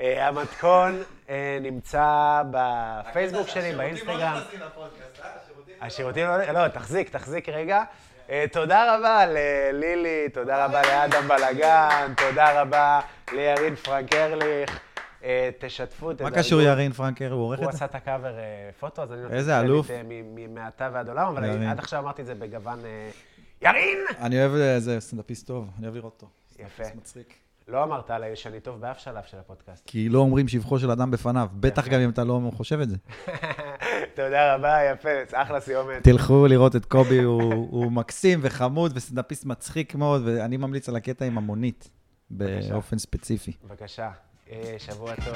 [SPEAKER 2] אה, המתכון אה, נמצא בפייסבוק שלי, באינסטגרם. השירותים לא... לא, תחזיק, תחזיק רגע. אה, תודה רבה ללילי, תודה רבה לאדם בלגן, תודה רבה לירין פרנק ארליך. אה, תשתפו,
[SPEAKER 4] מה
[SPEAKER 2] תדרגו.
[SPEAKER 4] קשור ירין פרנקר, הוא עורך
[SPEAKER 2] הוא
[SPEAKER 4] את זה?
[SPEAKER 2] עשה את הקאבר אה, פוטו, אז אני נותן
[SPEAKER 4] איזה
[SPEAKER 2] קרדיט,
[SPEAKER 4] אלוף.
[SPEAKER 2] אה, מ- מ- מעתה ועד עולם, אבל
[SPEAKER 4] ירין.
[SPEAKER 2] אני- עד עכשיו אמרתי את זה בגוון אה, ירין!
[SPEAKER 4] אני אוהב איזה סטנדאפיסט טוב, אני אוהב לראות אותו.
[SPEAKER 2] יפה.
[SPEAKER 4] זה מצחיק.
[SPEAKER 2] לא אמרת עליי שאני טוב באף שלב של הפודקאסט.
[SPEAKER 4] כי לא אומרים שבחו של אדם בפניו, בטח גם אם אתה לא חושב את זה.
[SPEAKER 2] תודה רבה, יפה, אחלה סיומת.
[SPEAKER 4] תלכו לראות את קובי, הוא, הוא מקסים וחמוד וסטנדאפיסט מצחיק מאוד, ואני ממליץ על הקטע עם המונית, באופן ספציפי.
[SPEAKER 2] בבקשה, אה, שבוע טוב.